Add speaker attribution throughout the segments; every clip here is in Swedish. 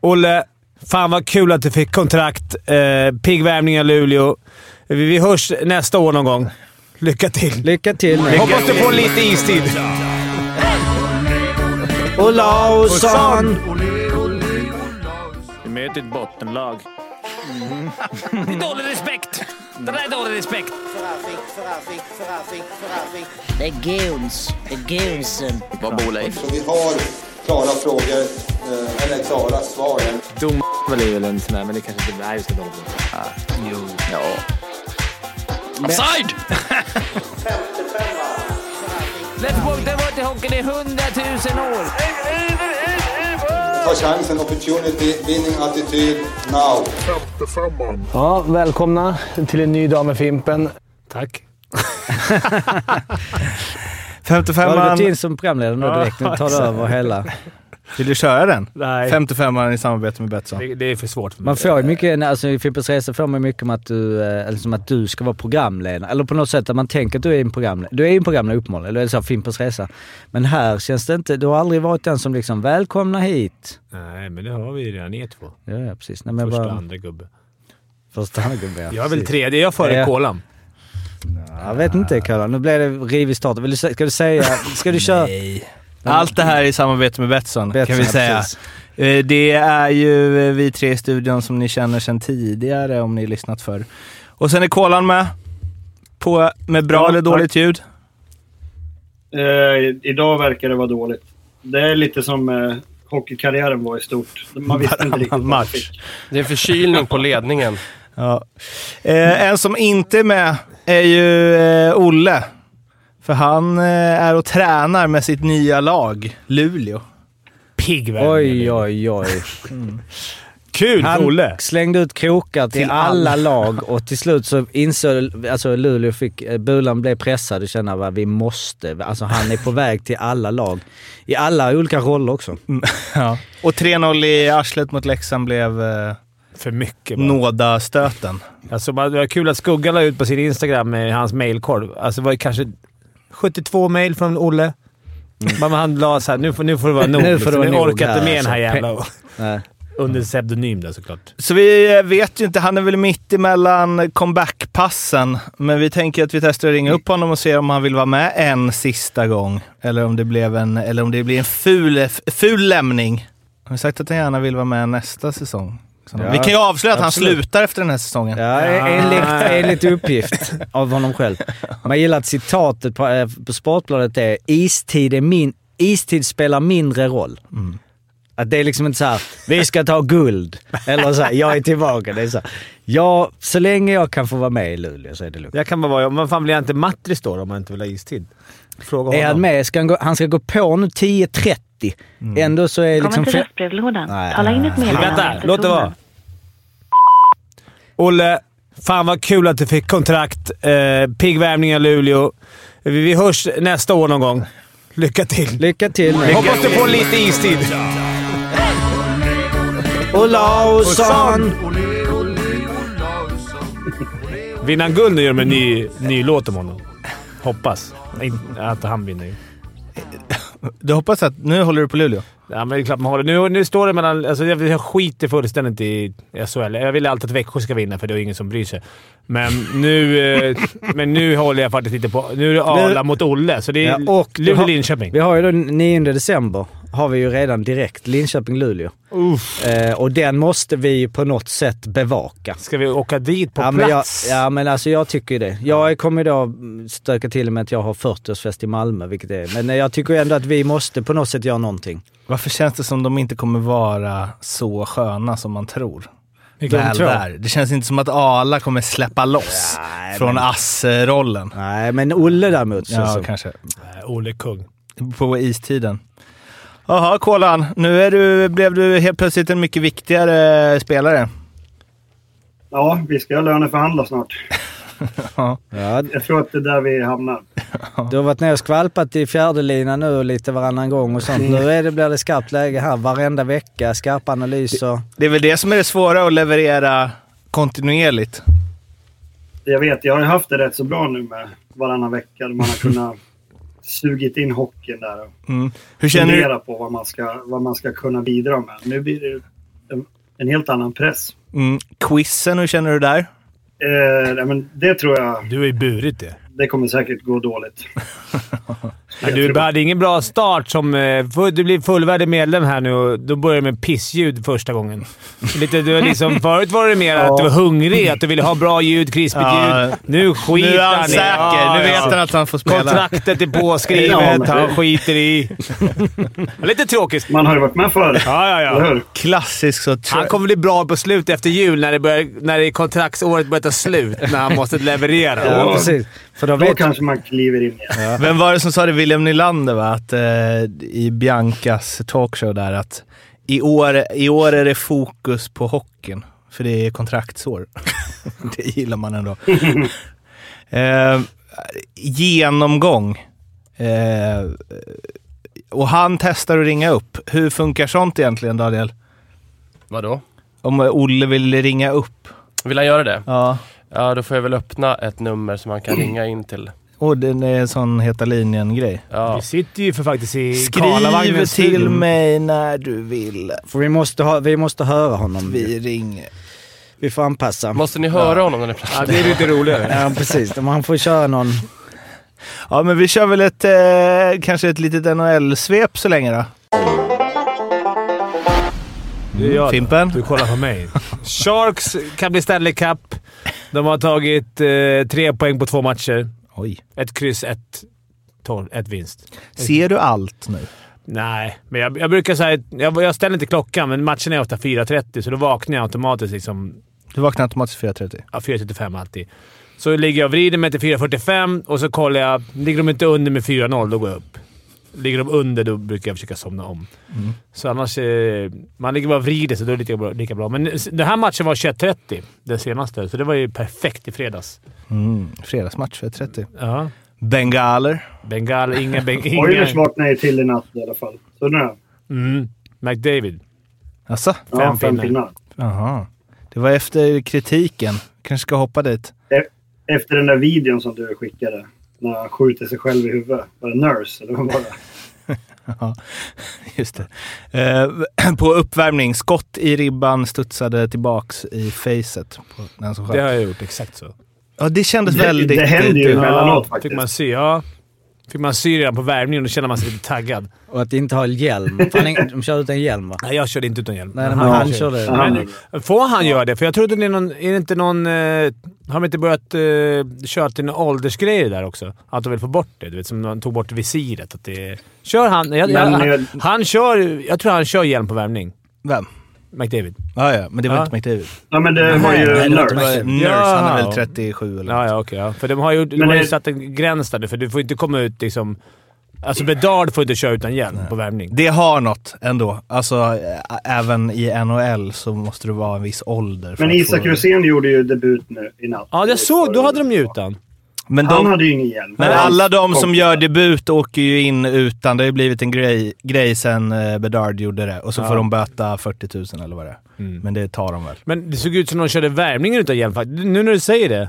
Speaker 1: Olle, fan vad kul att du fick kontrakt. Eh, pigg värmning i Luleå. Vi, vi hörs nästa år någon gång. Lycka till!
Speaker 2: Lycka till nu.
Speaker 1: Hoppas du får lite istid.
Speaker 2: Olausson!
Speaker 3: Vi möter ett bottenlag.
Speaker 4: Dålig respekt! Det där är dålig respekt.
Speaker 5: Det är guns. Det är gunsen.
Speaker 3: Vad bor Leif?
Speaker 6: Så vi har klara frågor, eh, eller klara svar.
Speaker 7: Dom väl är väl en sån där, men det kanske inte är just det.
Speaker 3: Ja.
Speaker 4: Offside! Letterbox, det har varit i hockeyn i hundratusen år.
Speaker 6: Ta chansen, opportunity, winning attityd, now.
Speaker 2: Ja, välkomna till en ny dag med Fimpen.
Speaker 1: Tack.
Speaker 2: Har du gått
Speaker 8: 55an.
Speaker 2: in som programledare nu direkt? Nu tar du över hela.
Speaker 8: Vill du köra den?
Speaker 1: alltså. Nej,
Speaker 8: 55an i samarbete med Betsson.
Speaker 1: det, det är för svårt för mig.
Speaker 2: Man får ju mycket, alltså i Fimpens Resa får man mycket om att du, eh, liksom att du ska vara programledare. Eller på något sätt att man tänker att du är en programledare. Du är ju en programledare uppenbarligen, eller så här, Fimpens Resa. Men här känns det inte, du har aldrig varit den som liksom “Välkomna hit”.
Speaker 1: Nej, men det har vi ju redan er två.
Speaker 2: Ja, ja precis. Nej, men
Speaker 1: Första och
Speaker 2: bara,
Speaker 1: andra gubbe.
Speaker 2: första hand, gubben, ja,
Speaker 1: Jag är väl
Speaker 2: precis.
Speaker 1: tredje. Jag är före
Speaker 2: Ja.
Speaker 1: Kolan.
Speaker 2: Jag vet inte Karla. nu blir det rivig start. Vill du, sä- ska du säga, ska du köra? Nej.
Speaker 8: Allt det här i samarbete med Betsson,
Speaker 2: Betsson,
Speaker 8: kan vi säga.
Speaker 2: precis.
Speaker 8: Eh, Det är ju eh, vi tre i studion som ni känner sedan tidigare om ni lyssnat förr. Och sen är Kolan med. På, med bra
Speaker 9: Ja,
Speaker 8: eller dåligt ljud.
Speaker 9: Eh, idag verkar det vara dåligt. Det är lite som eh, hockeykarriären var i stort. Man visste inte riktigt vad man
Speaker 8: match.
Speaker 9: fick.
Speaker 10: Det är förkylning på ledningen.
Speaker 8: Ja. Eh, en som inte är med är ju eh, Olle. För han eh, är och tränar med sitt nya lag, Luleå.
Speaker 1: Pigg värmning.
Speaker 2: Oj, oj, oj.
Speaker 1: Kul för
Speaker 2: Han
Speaker 1: Olle!
Speaker 2: slängde ut krokar till,
Speaker 8: Till
Speaker 2: alla lag och till slut så insåg alltså Luleå fick, eh, Bulan blev pressad och kände att vi måste. Alltså han är på väg till alla lag. I alla olika roller också.
Speaker 8: Ja. Och 3-0 i arslet mot Leksand blev eh,
Speaker 1: För mycket bara.
Speaker 8: nådastöten.
Speaker 1: Alltså, man- det var kul att Skuggan la ut på sin Instagram med hans mailkorv. Alltså, det var ju kanske 72 mail från Olle. Men han la såhär, nu får, nu får det vara nog.
Speaker 2: Mm. Nu får det
Speaker 1: liksom.
Speaker 2: vara
Speaker 1: nu
Speaker 2: nog
Speaker 1: orkar inte
Speaker 2: här,
Speaker 1: med den här
Speaker 2: alltså.
Speaker 1: jävla...
Speaker 2: Nej.
Speaker 1: Under pseudonym där såklart.
Speaker 8: Så vi eh, vet ju inte. Han är väl mitt emellan comebackpassen. Men vi tänker att vi testar att ringa upp honom och se om han vill vara med en sista gång. Eller om det, blev en, eller om det blir en ful, f- ful lämning. Han har sagt att han gärna vill vara med nästa säsong. Så
Speaker 2: Ja,
Speaker 8: vi kan ju avslöja att
Speaker 2: absolut.
Speaker 8: han slutar efter den här säsongen.
Speaker 2: Ja, enligt, enligt uppgift av honom själv. Man gillar att citatet på, eh, på Sportbladet är “Istid, är min, istid spelar mindre roll”. Att det är liksom inte såhär “Vi ska ta guld” eller såhär “Jag är tillbaka”. Det är såhär, ja, så länge jag kan få vara med i Luleå så är det lugnt.
Speaker 1: Jag kan bara vara... Vad fan blir jag inte Mattris då, om man inte vill ha istid? Fråga
Speaker 2: Är han
Speaker 1: honom.
Speaker 2: med? Ska han, gå, han ska gå på nu 10.30. Ändå så är liksom... fe-
Speaker 5: röstbrevlådan.
Speaker 2: Nej.
Speaker 5: Tala in ett
Speaker 1: Vänta, låt det vara. Olle, fan vad kul att du fick kontrakt. Eh, pigg värmning i Luleå. Vi, vi hörs nästa år någon gång. Lycka till!
Speaker 2: Lycka till nu.
Speaker 1: Hoppas du får lite istid.
Speaker 2: Olausson!
Speaker 1: Vinner han guld nu gör de en ny, ny låt om honom. Hoppas. In- Att han vinner ju.
Speaker 8: Du hoppas att... Nu håller du på Luleå.
Speaker 1: Ja, men det är klart man håller. Nu, nu står det mellan... Alltså jag, jag skiter fullständigt i SHL. Jag vill alltid att Växjö ska vinna, för det är ingen som bryr sig. Men nu, eh, men nu håller jag faktiskt lite på... Nu är det Arla mot Olle, så det är
Speaker 2: Ja, och-
Speaker 1: Luleå-Linköping.
Speaker 2: Vi har ju den 9 december, har vi ju redan direkt, Linköping-Luleå. Eh, och den måste vi ju på något sätt bevaka.
Speaker 1: Ska vi åka dit på
Speaker 2: ja, men jag,
Speaker 1: plats?
Speaker 2: ja men alltså jag tycker ju det. Jag kommer ju då stöka till med att jag har 40-årsfest i Malmö, vilket det är. Men eh, jag tycker ju ändå att vi måste på något sätt göra någonting.
Speaker 8: Varför känns det som de inte kommer vara så sköna som man tror?
Speaker 1: Vilka de
Speaker 8: Väl
Speaker 1: tror.
Speaker 8: där. Det känns inte som att Arla kommer släppa loss från Ass-rollen.
Speaker 2: Nej, men Olle däremot. Så,
Speaker 8: Ja,
Speaker 2: så.
Speaker 8: kanske.
Speaker 1: Nej, Olle kung.
Speaker 8: På istiden. Jaha, Kolan. Nu är du, blev du helt plötsligt en mycket viktigare spelare.
Speaker 9: Ja, vi ska löneförhandla snart.
Speaker 2: Ja,
Speaker 9: Jag tror att det är där vi hamnar.
Speaker 2: Du har varit nere och skvalpat i fjärde linan nu och lite varannan gång och sånt. Nu är det, blir det skarpt läge här varenda vecka. Skarpa analyser.
Speaker 8: Det är väl det som är det svåra att leverera kontinuerligt.
Speaker 9: Jag vet, jag har ju haft det rätt så bra nu med varannan vecka. Man har kunnat sugit in hockeyn där och
Speaker 8: Mm. Hur känner du?
Speaker 9: fundera på vad man, ska, vad man ska kunna bidra med. Nu blir det en, en helt annan press.
Speaker 8: Mm. Quizen, hur känner du där?
Speaker 9: Eh, nej, men det tror jag.
Speaker 1: Du har ju burit det.
Speaker 9: Det kommer säkert gå dåligt.
Speaker 1: Men du hade ingen bra start som... eh, fu- Du blir fullvärdig medlem här nu och då börjar det med pissljud första gången. Lite, du, är liksom, förut var det mer att du var hungrig, att du ville ha bra ljud, krispigt
Speaker 8: Ja.
Speaker 1: ljud. Nu skiter
Speaker 8: Nu är han
Speaker 1: i-
Speaker 8: säker.
Speaker 1: Ja,
Speaker 8: nu vet
Speaker 1: ja.
Speaker 8: han att han får spela.
Speaker 1: Kontraktet är
Speaker 9: Ja,
Speaker 1: påskrivet.
Speaker 9: men-
Speaker 1: Han skiter i. Lite tråkigt.
Speaker 9: Man har ju varit med förr.
Speaker 1: Ja, ja,
Speaker 9: Eller
Speaker 1: ja.
Speaker 9: hur?
Speaker 8: Klassisk så...
Speaker 1: Han kommer bli bra på slut efter jul när, det börjar, när det kontraktsåret börjar ta slut. När han måste leverera.
Speaker 2: Ja, precis. För då
Speaker 9: Då
Speaker 2: vet
Speaker 9: kanske man kliver in igen.
Speaker 8: Vem var det som sa det? William Nylander, va? Att, eh, I Biancas talkshow där att i år, i år är det fokus på hockeyn. För det är kontraktsår. det gillar man ändå. eh, genomgång. Eh, och han testar att ringa upp. Hur funkar sånt egentligen, Daniel?
Speaker 10: Vadå?
Speaker 8: Om Olle vill ringa upp.
Speaker 10: Vill han göra det?
Speaker 8: Ja.
Speaker 10: Ja, då får jag väl öppna ett nummer som han kan ringa in till.
Speaker 8: Och det är en sån Heta linjen-grej.
Speaker 10: Ja.
Speaker 1: Vi sitter ju för faktiskt i
Speaker 8: Skriv
Speaker 1: Karlavagnens
Speaker 8: till
Speaker 1: studio.
Speaker 8: mig när du vill.
Speaker 2: För vi måste, ha, vi måste höra honom. Vi,
Speaker 8: Vi ringer.
Speaker 2: vi får anpassa.
Speaker 10: Måste ni höra honom när ni pratar?
Speaker 1: Ja, det är lite roligare.
Speaker 2: Ja, precis. Man får köra någon...
Speaker 8: Ja, men vi kör väl ett, eh, kanske ett litet NHL-svep så länge då.
Speaker 1: Det är jag.
Speaker 8: Mm. Fimpen?
Speaker 1: Du kollar på mig. Sharks kan bli Stanley Cup. De har tagit eh, tre poäng på två matcher.
Speaker 8: Oj.
Speaker 1: Ett kryss, ett torr, ett vinst.
Speaker 8: Ser du allt nu?
Speaker 1: Nej, men jag, jag brukar säga... Jag, jag ställer inte klockan, men matchen är ofta 4.30, så då vaknar jag automatiskt liksom
Speaker 8: Du vaknar automatiskt 4.30.
Speaker 1: Ja, 4.35 alltid. Så ligger jag och vrider mig till 4.45 och så kollar jag. Ligger de inte under med 4.0, då går jag upp. Ligger de under, då brukar jag försöka somna om. Så annars... eh, Man ligger bara och vrider sig, då är det lika bra. Lika bra. Men s- den här matchen var 21.30, den senaste, så det var ju perfekt i fredags.
Speaker 8: Mm, fredagsmatch 4.30.
Speaker 1: Ja.
Speaker 8: Bengaler.
Speaker 1: Bengal, inga... Beng,
Speaker 9: Oilers
Speaker 1: inga
Speaker 9: vaknade ju till i natt i alla fall. Så nu då?
Speaker 1: mm. McDavid.
Speaker 8: Jaså?
Speaker 9: Ja, fem
Speaker 1: pinnar.
Speaker 9: pinnar.
Speaker 8: Jaha. Det var efter kritiken. Kanske ska hoppa dit.
Speaker 9: E- Efter den där videon som du skickade. När han skjuter sig själv i huvudet. Var det Nurse eller vad var det?
Speaker 8: Just det. Eh, på uppvärmning. Skott i ribban studsade tillbaks i facet på den som
Speaker 1: Det
Speaker 8: sköt.
Speaker 1: har jag gjort. Exakt så.
Speaker 8: Ja, det kändes
Speaker 9: Det-
Speaker 8: väldigt... typ.
Speaker 9: det händer ju. Emellanåt
Speaker 1: ja, fick
Speaker 9: faktiskt.
Speaker 1: man sy. Ja. Fick man sy redan på värmningen, då känner man sig lite taggad.
Speaker 2: Och att inte ha hjälm. Fan, ingen- de körde utan hjälm va?
Speaker 1: Nej, jag körde inte utan hjälm.
Speaker 2: Nej, men han
Speaker 9: Ja,
Speaker 2: körde...
Speaker 9: han-
Speaker 1: Men får han göra det? För jag trodde det är någon... Är det inte någon... Eh, har de inte börjat eh, köra till några åldersgrejer där också? Att de vill få bort det. Du vet, som de tog bort visiret. Att det, kör han... Jag, jag,
Speaker 9: Men, eh,
Speaker 1: han, han kör... Jag tror han kör hjälm på värmning.
Speaker 8: Vem?
Speaker 1: McDavid.
Speaker 8: Ja, ja, men det var
Speaker 1: Ja.
Speaker 8: inte McDavid.
Speaker 9: Ja, men det var
Speaker 2: Nej, nej,
Speaker 9: ju
Speaker 2: det var inte mig.
Speaker 9: Nurse.
Speaker 8: Nurse, han är
Speaker 1: Ja.
Speaker 8: väl 37 eller
Speaker 1: Ja, ja, okej. ja. För de har ju, de
Speaker 9: Men
Speaker 1: har ju
Speaker 9: det-
Speaker 1: satt en gräns där nu, för du får inte komma ut liksom... Alltså Bedard får inte köra utan hjälm på värmning.
Speaker 8: Det har något ändå. Alltså, ä- även i NHL så måste du vara en viss ålder. för
Speaker 9: Men
Speaker 8: att
Speaker 9: Isak
Speaker 8: få-
Speaker 9: Rosén gjorde ju debut nu i natt.
Speaker 1: Ja, jag såg. Då hade de ju utan.
Speaker 8: Men,
Speaker 9: Han
Speaker 8: de,
Speaker 9: hade ju ingen hjälm.
Speaker 8: men
Speaker 9: Han-
Speaker 8: alla de som gör debut åker ju in utan. Det har ju blivit en grej, grej sen eh, Bedard gjorde det. Och så får de böta 40 000 eller vad det är.
Speaker 1: Mm.
Speaker 8: Men det tar de väl.
Speaker 1: Men det såg ut som de körde värmningen utan hjälm faktiskt. Nu när du säger det.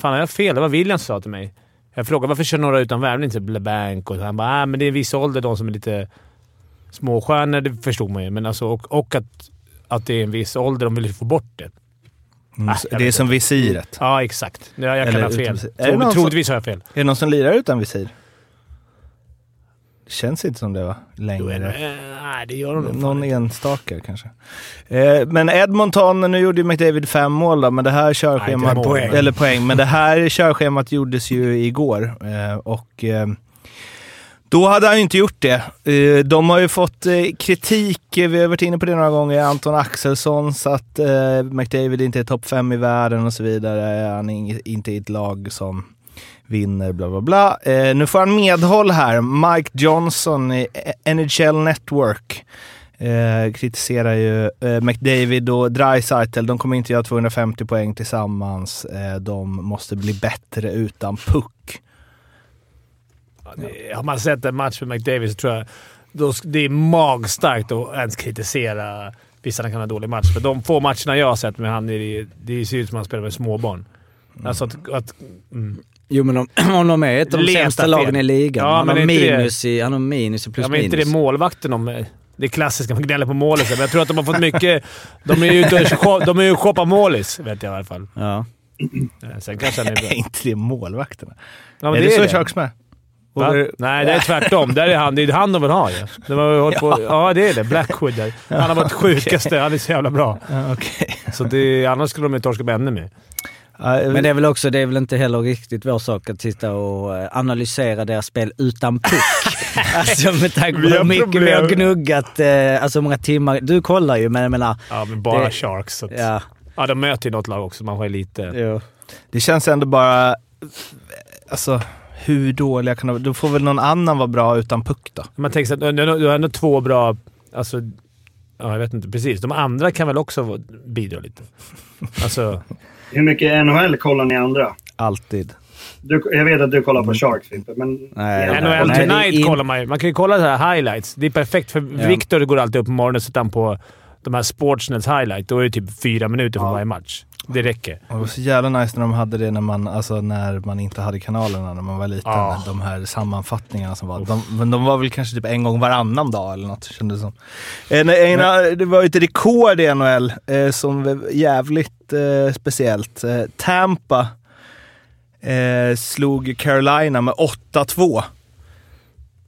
Speaker 1: Fan, har jag fel? Det var William som sa till mig. Jag frågade varför kör några utan värmning? Typ LeBanc och han bara äh, men det är en viss ålder, de som är lite småstjärnor. Det förstod man ju. Men alltså, och, och att, att det är en viss ålder. De vill få bort det.
Speaker 8: Mm,
Speaker 1: Ah,
Speaker 8: så-
Speaker 1: jag
Speaker 8: det är
Speaker 1: vet
Speaker 8: som visiret.
Speaker 1: Ja, exakt. Ja, jag kan
Speaker 8: Eller
Speaker 1: ha fel.
Speaker 8: utan- Är det någon
Speaker 1: Tro,
Speaker 8: som-
Speaker 1: troligtvis har jag fel.
Speaker 8: Är det någon som lirar utan visir? Det känns inte som det va?
Speaker 1: Jo,
Speaker 8: Längre.
Speaker 1: är det- eh, Nej, det gör de nog
Speaker 8: Någon
Speaker 1: fan inte.
Speaker 8: enstaka kanske. Eh, men Edmonton, nu gjorde ju McDavid fem mål då, men det här körschemat...
Speaker 1: Nej, inte poäng.
Speaker 8: Eller poäng. Men det här körschemat gjordes ju igår. Eh, och eh, då hade han ju inte gjort det. Eh, de har ju fått eh, kritik, eh, vi har varit inne på det några gånger, Anton Axelssons att eh, McDavid inte är topp fem i världen och så vidare. Han är ing- inte i ett lag som vinner, bla bla bla. Eh, nu får han medhåll här. Mike Johnson i eh, NHL Network eh, kritiserar ju eh, McDavid och Dreisaitl. De kommer inte göra 250 poäng tillsammans. Eh, de måste bli bättre utan puck.
Speaker 1: Har man sett en match med McDavid så tror jag då, sk- det är magstarkt att ens kritisera Visst, han kan ha en dålig match, för de få matcherna jag har sett med han är det, det ser ut som att han spelar med småbarn. Alltså att... att mm.
Speaker 2: Jo men om, om de är ett av de
Speaker 1: Leta
Speaker 2: sämsta
Speaker 1: fel.
Speaker 2: lagen i ligan.
Speaker 1: Ja,
Speaker 2: han,
Speaker 1: men
Speaker 2: har
Speaker 1: är inte det-
Speaker 2: minus i, han har minus i plus
Speaker 1: ja, men är inte det
Speaker 2: minus.
Speaker 1: målvakten de... Det är klassiska. Man gnäller på målisar, men jag tror att de har fått mycket... De är ju ute och shop- de är ju och shoppar målis, vet jag i alla fall.
Speaker 2: Ja.
Speaker 1: Eh, Sen kanske han är bra.
Speaker 8: Är inte det målvakterna?
Speaker 1: Ja, men
Speaker 8: är det, så
Speaker 1: det.
Speaker 8: Sharks med?
Speaker 1: Va? Nej, det är tvärtom. Där är han, det är han de vill ha ju. De har ju hållit på, ja, det är det. Blackwood där. Han har varit sjukaste. Han är så jävla bra.
Speaker 8: Ja, okej.
Speaker 1: Så det, annars skulle de ju torska med ännu mer.
Speaker 2: Men det är väl också, det är väl inte heller riktigt vår sak att sitta och eh, analysera deras spel utan puck. alltså med tanke på
Speaker 1: Vi har
Speaker 2: hur mycket vi har
Speaker 1: problem.
Speaker 2: gnuggat, eh, alltså hur många timmar. Du kollar ju, men jag menar...
Speaker 1: Ja, men bara
Speaker 2: Det-
Speaker 1: Sharks. Så att, ja.
Speaker 2: Ja,
Speaker 1: de möter ju något lag också. Man får ju lite...
Speaker 2: jo.
Speaker 8: Det känns ändå bara... Alltså, hur dåliga kan de vara? Då får väl någon annan vara bra utan puck då?
Speaker 1: Man tänker så att du- du du har ändå två bra... Alltså, ja, jag vet inte precis. De andra kan väl också bidra lite. Alltså,
Speaker 9: Hur mycket NHL kollar ni andra?
Speaker 8: Alltid.
Speaker 9: Du, jag vet att du kollar på Sharks, Fimpen, men...
Speaker 2: Nej,
Speaker 9: Ja,
Speaker 1: NHL
Speaker 2: Mm. nej, det är
Speaker 1: Tonight
Speaker 2: in-
Speaker 1: kollar man ju. Man kan ju kolla så här highlights. Det är perfekt, för
Speaker 2: Ja.
Speaker 1: Viktor går alltid upp på morgonen och sätter han på de här Sportsnets highlight. Då är det typ fyra minuter från varje match. Det räcker.
Speaker 8: Det var så jävla nice när de hade det när man, alltså, när man inte hade kanalerna när man var liten.
Speaker 1: Ja.
Speaker 8: De här sammanfattningarna som var. De, men de var väl kanske typ en gång varannan dag eller något kändes som. En, en, det var ju ett rekord i NHL eh, som var jävligt eh, speciellt. Eh, Tampa eh, slog Carolina med 8-2.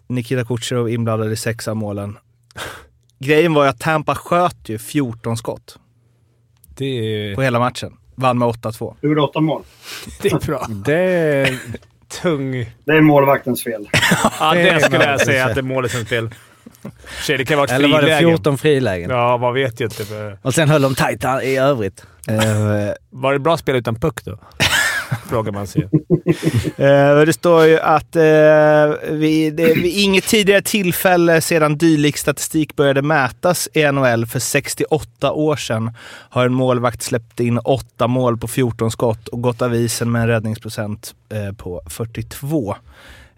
Speaker 8: Nikita Kucherov inblandad i sex av målen. Grejen var ju att Tampa sköt ju 14 skott
Speaker 1: Det är,
Speaker 8: på hela matchen. Vann med 8-2.
Speaker 9: Du gjorde åtta mål.
Speaker 1: det är bra. Det är tung...
Speaker 9: Det är målvaktens fel.
Speaker 1: Ja, det skulle jag säga att det är målets fel. Tjej, det kan vara ett
Speaker 2: Eller var det
Speaker 1: friläge.
Speaker 2: 14 frilägen?
Speaker 1: Ja, man vet ju inte. för-
Speaker 2: Och sen höll de tajt an- i övrigt.
Speaker 8: Eh,
Speaker 1: Var det bra spel utan puck då? Frågar man sig.
Speaker 8: Eh, det står ju att eh, vi, det, vid inget tidigare tillfälle sedan dylik statistik började mätas i NHL för 68 år sedan har en målvakt släppt in 8 mål på 14 skott och gått av isen med en räddningsprocent eh, på 42.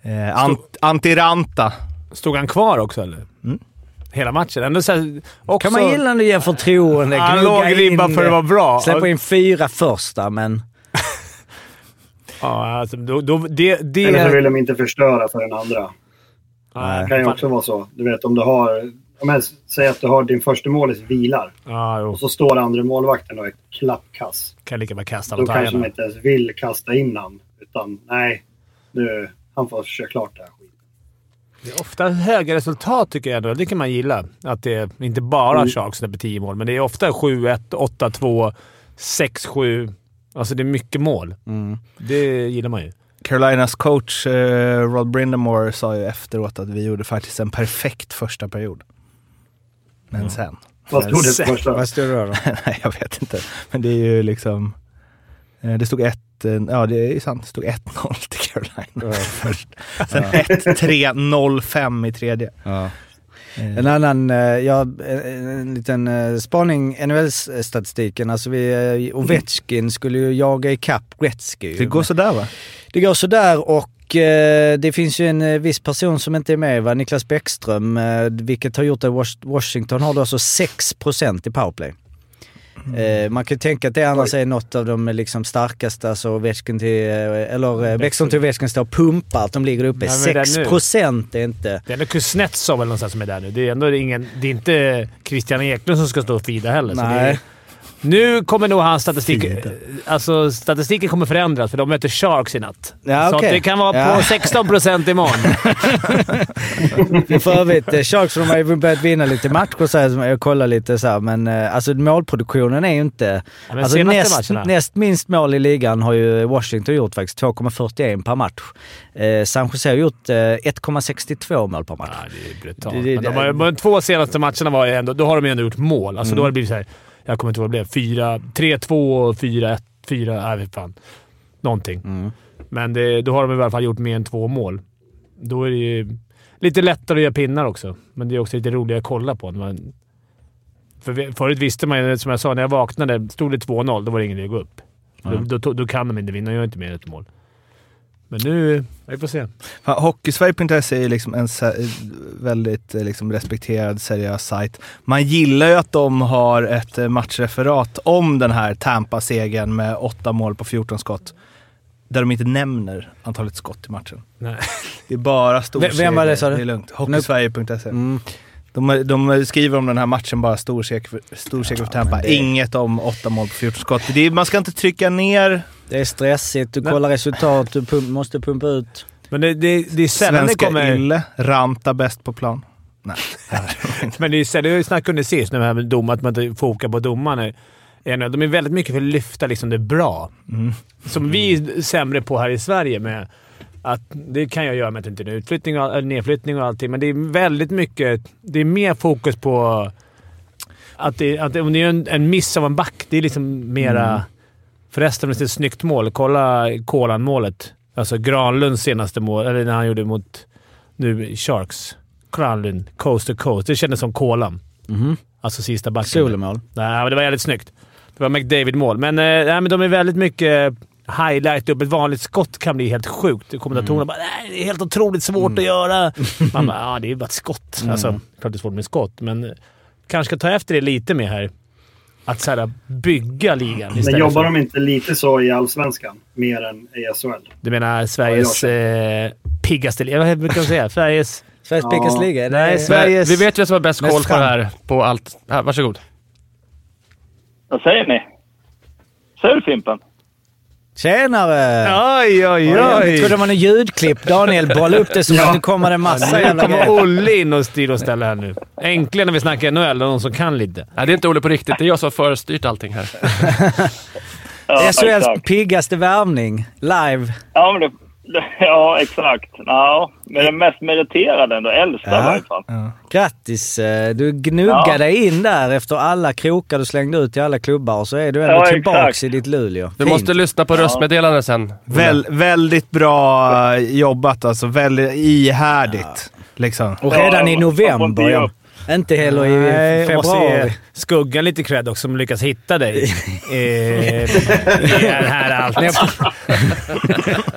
Speaker 8: Eh, ant, antiranta.
Speaker 1: Stod han kvar också, eller?
Speaker 8: Mm.
Speaker 1: Hela matchen? Ändå så här, också,
Speaker 2: Kan man gilla när du ger förtroende?
Speaker 1: Han
Speaker 2: gnugga
Speaker 1: låg ribban
Speaker 2: in
Speaker 1: för
Speaker 2: det.
Speaker 1: att vara bra.
Speaker 2: Släppa in fyra första, men...
Speaker 1: Ja, alltså, då, då, det... det
Speaker 9: Eller så vill de inte förstöra för den andra.
Speaker 1: Nej,
Speaker 9: Det kan ju
Speaker 1: fan.
Speaker 9: också vara så. Du vet om du har... Om jag säger att du har din första målis vilar
Speaker 1: Ja, jo.
Speaker 9: och så står andra målvakten och är klappkass.
Speaker 1: Kan lika gärna kasta
Speaker 9: Då
Speaker 1: alla
Speaker 9: kanske man
Speaker 1: tajarna.
Speaker 9: inte ens vill kasta in han. Utan nej, nu, han får köra klart det här skiten.
Speaker 1: Det är Ofta höga resultat tycker jag ändå. Det kan man gilla. Att det är inte bara
Speaker 9: Mm.
Speaker 1: Sharks släpper 10 mål, men det är ofta 7-1, 8-2, 6-7. Alltså det är mycket mål.
Speaker 2: Mm.
Speaker 1: Det gillar man ju.
Speaker 8: Carolinas coach eh, Rod Brindamore sa ju efteråt att vi gjorde faktiskt en perfekt första period. Men sen...
Speaker 9: Vad stod det på första?
Speaker 2: Vad stod det då?
Speaker 8: Nej, jag vet inte. Men det är ju liksom... eh, Det stod 1... Ja, det är ju sant. Det stod 1-0 till Carolina först. Sen 1-3-0-5 i tredje.
Speaker 2: En annan, eh, ja, en, en liten eh, spaning, NHL-statistiken. Alltså vi, eh, Ovechkin skulle ju jaga ikapp Gretzky. ju.
Speaker 8: Det går sådär va?
Speaker 2: det går sådär och eh, det finns ju en eh, viss person som inte är med, va? Niklas Bäckström, eh, vilket har gjort att Was- Washington har då alltså 6% i powerplay. Eh, man kan ju tänka att det annars är något av de eh, liksom starkaste, alltså Ovechkin till, eh, eller eh, Bäckström till Ovechkin står och pumpar, att de ligger uppe.
Speaker 1: Ja, men det är nu.
Speaker 2: 6% är inte...
Speaker 1: Det är ändå Kuznetsov eller någonstans som är där nu. Det är ändå ingen, det är inte Christian Eklund som ska stå och fida heller. Så Alltså, det är,
Speaker 2: Nej.
Speaker 1: nu kommer nog hans statistik... Alltså statistiken kommer förändras, för de möter Sharks i natt.
Speaker 2: Ja,
Speaker 1: Så
Speaker 2: okej.
Speaker 1: att det kan vara
Speaker 2: Ja.
Speaker 1: på 16 procent imorgon.
Speaker 2: Men För övrigt, eh, Sharks de har ju börjat vinna lite matcher så här, som jag kollar lite så här, men eh, alltså målproduktionen är ju inte...
Speaker 1: Ja, men
Speaker 2: alltså,
Speaker 1: senaste
Speaker 2: näst,
Speaker 1: matcherna.
Speaker 2: näst minst mål i ligan har ju Washington gjort faktiskt, 2,41 per match. Eh, San Jose har gjort eh, 1,62 mål per match.
Speaker 1: Ja, det är brutalt.
Speaker 2: Det- Mm. det-
Speaker 1: Men de har, ju- de två senaste matcherna var ju ändå, då har de ju ändå gjort mål. Alltså Då har det blivit så här, jag kommer inte ihåg vad det blev. Fyra- 3-2 och 4-1. 4... Nej, fy fan. Någonting.
Speaker 2: Mm.
Speaker 1: Men det, då har de i alla fall gjort mer än två mål. Då är det ju lite lättare att göra pinnar också, men det är också lite roligare att kolla på. När Man, för vi- förut visste man ju, som jag sa, när jag vaknade. Stod det 2-0, då var det ingen idé att gå upp. Då, då, då kan de inte vinna. De gör inte mer än ett mål. Men nu... Vi får se.
Speaker 8: Fan, Hockeysverige.se är ju liksom en se- väldigt eh, liksom, respekterad, seriös sajt. Man gillar ju att de har ett eh, matchreferat om den här Tampa-segern med 8 mål på 14 skott. Där de inte nämner antalet skott i matchen.
Speaker 1: Nej.
Speaker 8: Det är bara stor
Speaker 2: Vem- vem var det, sa du?
Speaker 8: Det är lugnt. Hockeysverige.se.
Speaker 2: Mm.
Speaker 8: De, de skriver om den här matchen bara stor seger för, stor seger för Tampa. Inget om åtta mål på 14 skott. Det är, man ska inte trycka ner
Speaker 2: Det är stressigt, du kollar resultat, du pump, måste pumpa ut.
Speaker 1: Men det, det, det är sällan det
Speaker 8: svenska
Speaker 1: kommer...
Speaker 8: Ylle. Ranta bäst på plan. Nej.
Speaker 1: Men det är ju sällan, det snackade under sist, när det här med dom, att man inte fokar på domarna. Ja, De är väldigt mycket för att lyfta liksom det bra. Som vi är sämre på här i Sverige. Med att det kan jag göra med att det inte är en utflyttning och, all- eller nedflyttning och allting, men det är väldigt mycket... Det är mer fokus på att, det, att om det är en, en miss av en back, det är liksom mera... Förresten, det är ett snyggt mål. Kolla Kolan-målet. Alltså Granlunds senaste mål, eller när han gjorde mot nu Sharks. Granlund, coast to coast. Det kändes som Kolan.
Speaker 2: Mhm.
Speaker 1: Alltså sista backen.
Speaker 2: Solomål.
Speaker 1: Nej, men det var jävligt snyggt. Det var McDavid-mål, men, eh, nej, men de är väldigt mycket eh, highlight upp. Ett vanligt skott kan bli helt sjukt. Kommentatorerna bara “Nej, det är helt otroligt svårt att göra”. Man bara “Ja, det är ju bara ett skott”. Alltså, klart det är svårt med skott, men eh, kanske ska ta efter det lite mer här. Att så här, bygga ligan
Speaker 9: Men
Speaker 1: istället
Speaker 9: jobbar
Speaker 1: för-
Speaker 9: de inte lite så i Allsvenskan? Mer än i SHL?
Speaker 1: Du menar Sveriges
Speaker 9: Ja,
Speaker 1: eh, piggaste liga? Vad brukar de säga? Sveriges...
Speaker 2: Sveriges
Speaker 9: Ja.
Speaker 2: Pickas liga? är det-
Speaker 1: Nej, Sveriges...
Speaker 10: Vi vet ju vem som har bäst
Speaker 2: Mest
Speaker 10: koll på det
Speaker 2: fram.
Speaker 10: här. På allt. Här, varsågod.
Speaker 4: Vad säger ni? Säger du Fimpen?
Speaker 2: Tjenare!
Speaker 1: Oj, oj,
Speaker 2: Jag trodde det
Speaker 1: oj!
Speaker 2: var något ljudklipp. Daniel bollade upp det som att nu kommer det massa
Speaker 1: Nu
Speaker 2: jävla
Speaker 1: kommer
Speaker 2: grejer.
Speaker 1: Olle in och styr och ställer här nu. Äntligen när vi snackar NHL, någon som kan lite.
Speaker 10: Nej, det är inte Olle på riktigt. Det är jag som har förstyrt allting här.
Speaker 4: Ja,
Speaker 2: SHLs
Speaker 4: exakt.
Speaker 2: piggaste värvning. Live.
Speaker 4: Ja, men det, det, ja, exakt. Ja, men den mest meriterade ändå. Äldsta
Speaker 2: Ja.
Speaker 4: i varje fall.
Speaker 2: Grattis! eh, Du gnuggade
Speaker 4: Ja.
Speaker 2: dig in där efter alla krokar du slängde ut i alla klubbar och så är du ändå
Speaker 4: Ja, exakt.
Speaker 2: tillbaks i ditt Luleå.
Speaker 10: Du
Speaker 2: Fint.
Speaker 10: måste lyssna på röstmeddelandet sen. Olle.
Speaker 8: Väl, väldigt bra eh, jobbat alltså. Väldigt ihärdigt. Liksom.
Speaker 2: Och redan
Speaker 4: Ja,
Speaker 2: i
Speaker 4: man- man får inte
Speaker 2: november.
Speaker 4: ge
Speaker 2: ja.
Speaker 4: upp.
Speaker 2: Inte heller i
Speaker 1: Nej, Eh, jag måste
Speaker 2: februari.
Speaker 1: ge skuggan lite cred också som lyckas hitta dig eh, i den här allt.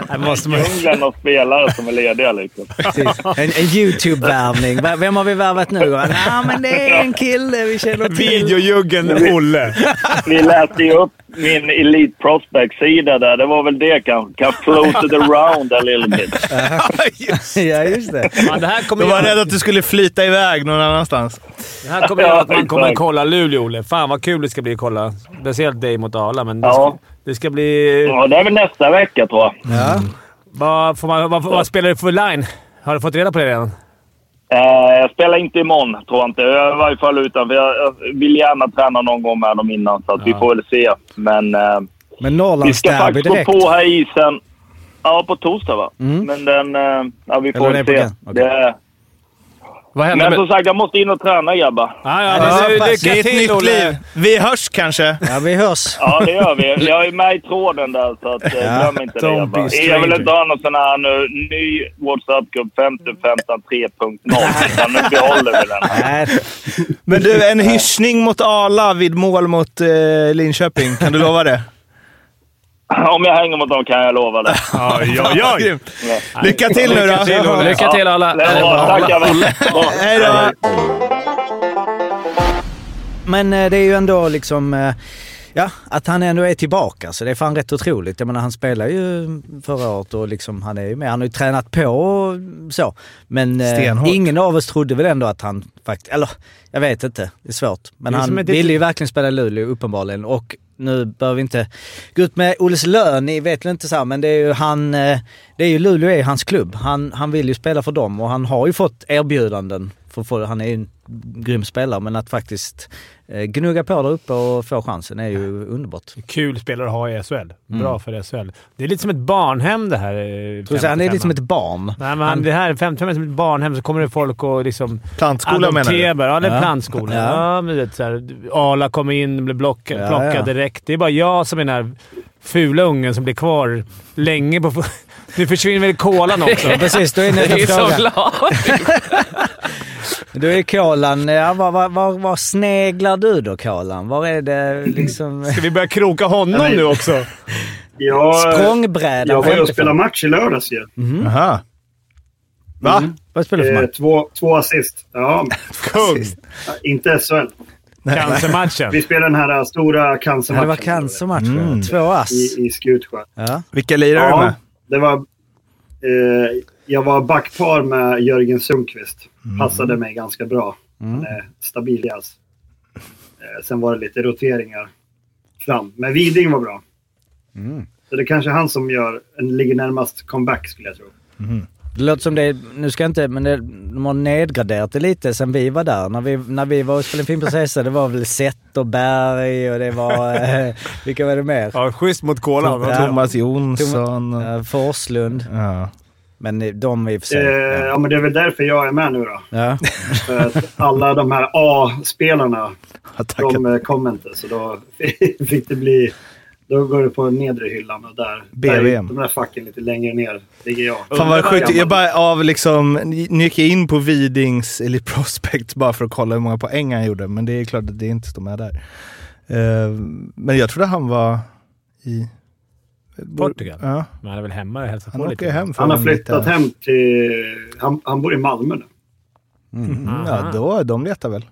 Speaker 1: Här måste man...
Speaker 4: Djungeln av spelare som är lediga liksom.
Speaker 2: Precis. En, en YouTube-värvning. Va- Vem har vi värvat nu? Ja, nah, men det är en kille vi känner till.
Speaker 1: Videojuggen Olle.
Speaker 4: Vi läste ju upp min Elite Prospect-sida där. Det var väl det kanske. Kan float it around a little bit.
Speaker 2: ja, just det.
Speaker 1: det här kommer
Speaker 8: Jag var
Speaker 1: göra,
Speaker 8: rädd att du skulle flyta iväg någon annanstans.
Speaker 1: det här kommer göra att man kommer
Speaker 4: Exakt.
Speaker 1: kolla Luleå, Olle. Fan vad kul det ska bli att kolla. Speciellt dig mot Arla, men det ska,
Speaker 4: Ja.
Speaker 1: det ska bli...
Speaker 4: Ja, det är väl nästa vecka tror jag.
Speaker 1: Vad, får man, vad, vad spelar du för line? Har du fått reda på det redan?
Speaker 4: Eh, jag spelar inte imorgon, tror jag inte. Jag är i varje fall utanför. Jag, jag vill gärna träna någon gång med dem innan, så att vi får väl se. Men eh,
Speaker 2: Men
Speaker 4: vi ska
Speaker 2: Norrlandsderby
Speaker 4: faktiskt gå
Speaker 2: direkt.
Speaker 4: på här i isen. Ja, på torsdag va? Men den... Eh, ja, vi får
Speaker 2: den är
Speaker 4: väl
Speaker 2: på
Speaker 4: se.
Speaker 2: den? Okej.
Speaker 4: Det,
Speaker 10: Vad hände
Speaker 4: men som
Speaker 10: med...
Speaker 4: sagt, jag måste in och träna grabbar.
Speaker 1: Ja, ja,
Speaker 2: men
Speaker 1: men
Speaker 2: så
Speaker 1: du,
Speaker 2: pass.
Speaker 1: lycka
Speaker 8: Det är ett
Speaker 1: till
Speaker 8: nytt
Speaker 1: Olle!
Speaker 8: liv. Vi hörs kanske.
Speaker 2: Ja, vi hörs.
Speaker 4: Ja, det gör vi. Jag är med i tråden där, så att, eh, glöm inte det
Speaker 1: don't be
Speaker 4: grabbar. Jag
Speaker 1: stranger.
Speaker 4: vill inte ha någon sån här nu, ny WhatsApp-grupp 5015 3.0. utan Nu behåller vi den.
Speaker 2: Nej,
Speaker 8: Men du, en hyschning mot Arla vid mål mot eh, Linköping. Kan du lova det?
Speaker 4: Om jag hänger mot dem kan jag lova det.
Speaker 1: Oj, oj, oj!
Speaker 8: Grymt. Lycka till nu då!
Speaker 10: Lycka till alla!
Speaker 4: Det är bra. Tack grabbar.
Speaker 8: Hej då!
Speaker 2: Men eh, det är ju ändå liksom... eh, Ja, att han ändå är tillbaka. Så det är fan rätt otroligt. Jag menar han spelade ju förra året och liksom han är ju med. Han har ju tränat på och så. Men eh,
Speaker 8: Stenhårt.
Speaker 2: ingen av oss trodde väl ändå att han faktiskt... Eller jag vet inte. Det är svårt. Men
Speaker 1: Det är
Speaker 2: han
Speaker 1: som ett-
Speaker 2: ville ju verkligen spela i Luleå uppenbarligen. Och nu behöver vi inte gå ut med Olles lön. Ni vet väl inte så här, men det är ju han... eh, Det är ju Luleå är hans klubb. Han, han vill ju spela för dem och han har ju fått erbjudanden. För, för, han är ju en grym spelare men att faktiskt eh, gnugga på där uppe och få chansen är ju underbart.
Speaker 1: Kul spelare att ha i SHL. Bra för SHL. Det är lite som ett barnhem det här. eh,
Speaker 2: Så han är lite
Speaker 1: 55.
Speaker 2: som ett barn.
Speaker 1: Nej, men han, det här är 55 som ett barnhem, så kommer det folk och liksom...
Speaker 8: Plantskola menar du?
Speaker 1: adopterar. Ja, det är
Speaker 2: Ja.
Speaker 1: plantskola.
Speaker 2: Ja.
Speaker 1: Ja. men du vet så här, Arla kommer in och blir block,
Speaker 2: Ja,
Speaker 1: plockad
Speaker 2: ja.
Speaker 1: direkt. Det är bara jag som är den här fula ungen som blir kvar länge på... Nu försvinner väl kolan också?
Speaker 2: Ja, precis, då är
Speaker 10: Det är
Speaker 2: nästa
Speaker 10: så
Speaker 2: fråga.
Speaker 10: glad!
Speaker 2: Då är kolan... Ja, var, var, var, var sneglar du då kolan? Var är det
Speaker 9: Mm.
Speaker 2: liksom...
Speaker 1: Ska vi börja kroka honom
Speaker 9: Nej.
Speaker 1: nu också?
Speaker 9: Jag,
Speaker 2: Språngbrädan?
Speaker 9: jag var ju och
Speaker 2: Femte-
Speaker 9: spelade match i lördags ju.
Speaker 8: Mm. Aha. Va?
Speaker 2: Vad spelar du för
Speaker 9: Eh,
Speaker 2: match?
Speaker 9: två, två assist. Ja,
Speaker 1: Kung!
Speaker 9: inte SHL.
Speaker 1: Cancermatchen.
Speaker 9: Vi spelade den här eh, stora
Speaker 2: Ja,
Speaker 9: cancermatchen.
Speaker 2: det var cancermatch.
Speaker 8: Mm.
Speaker 2: Mm. Två ass.
Speaker 9: I, i Skutsjö.
Speaker 2: Ja.
Speaker 8: Vilka lirar du med?
Speaker 9: det var... Eh, jag var backpar med Jörgen Sundqvist. Passade mig ganska bra. Han är stabil i alls. Eh, Sen var det lite roteringar fram. Men Widing var bra. Så det är kanske han som gör, ligger närmast comeback skulle jag tro.
Speaker 2: Det låter som det, nu ska jag inte, men det, de har nedgraderat det lite sen vi var där. När vi, när vi var och spelade Finnprinsessa, det var väl Zetterberg och det var, eh, vilka var det mer?
Speaker 1: Ja, schysst mot kolan.
Speaker 2: Ja.
Speaker 8: Thomas Jonsson. och-
Speaker 2: Eh, Forslund.
Speaker 8: Ja.
Speaker 2: Men eh, de i och för sig.
Speaker 9: Eh, ja, men det är väl därför jag är med nu då.
Speaker 2: Ja.
Speaker 9: För att alla de här A-spelarna,
Speaker 8: Har tackat.
Speaker 9: de eh, kom inte. Så då fick det bli... Då går det på den nedre hyllan och där, där
Speaker 8: BVM.
Speaker 9: är de där facken lite längre ner ligger jag.
Speaker 8: Fan vad
Speaker 9: Undrar
Speaker 8: sjukt.
Speaker 9: gammal-
Speaker 8: Jag bara av liksom... Nu gick jag in på Widings Elite Prospect bara för att kolla hur många poäng han gjorde, men det är klart att det inte står med där. Eh, men jag trodde han var i...
Speaker 1: Portugal.
Speaker 8: Ja,
Speaker 1: Men han är väl hemma och hälsar
Speaker 8: han
Speaker 1: på
Speaker 8: åker
Speaker 1: lite.
Speaker 8: hem från
Speaker 9: Han har
Speaker 8: en
Speaker 9: flyttat
Speaker 8: liten-
Speaker 9: hem till... Han, han bor i Malmö nu.
Speaker 8: Mm, ja, då, de letar väl.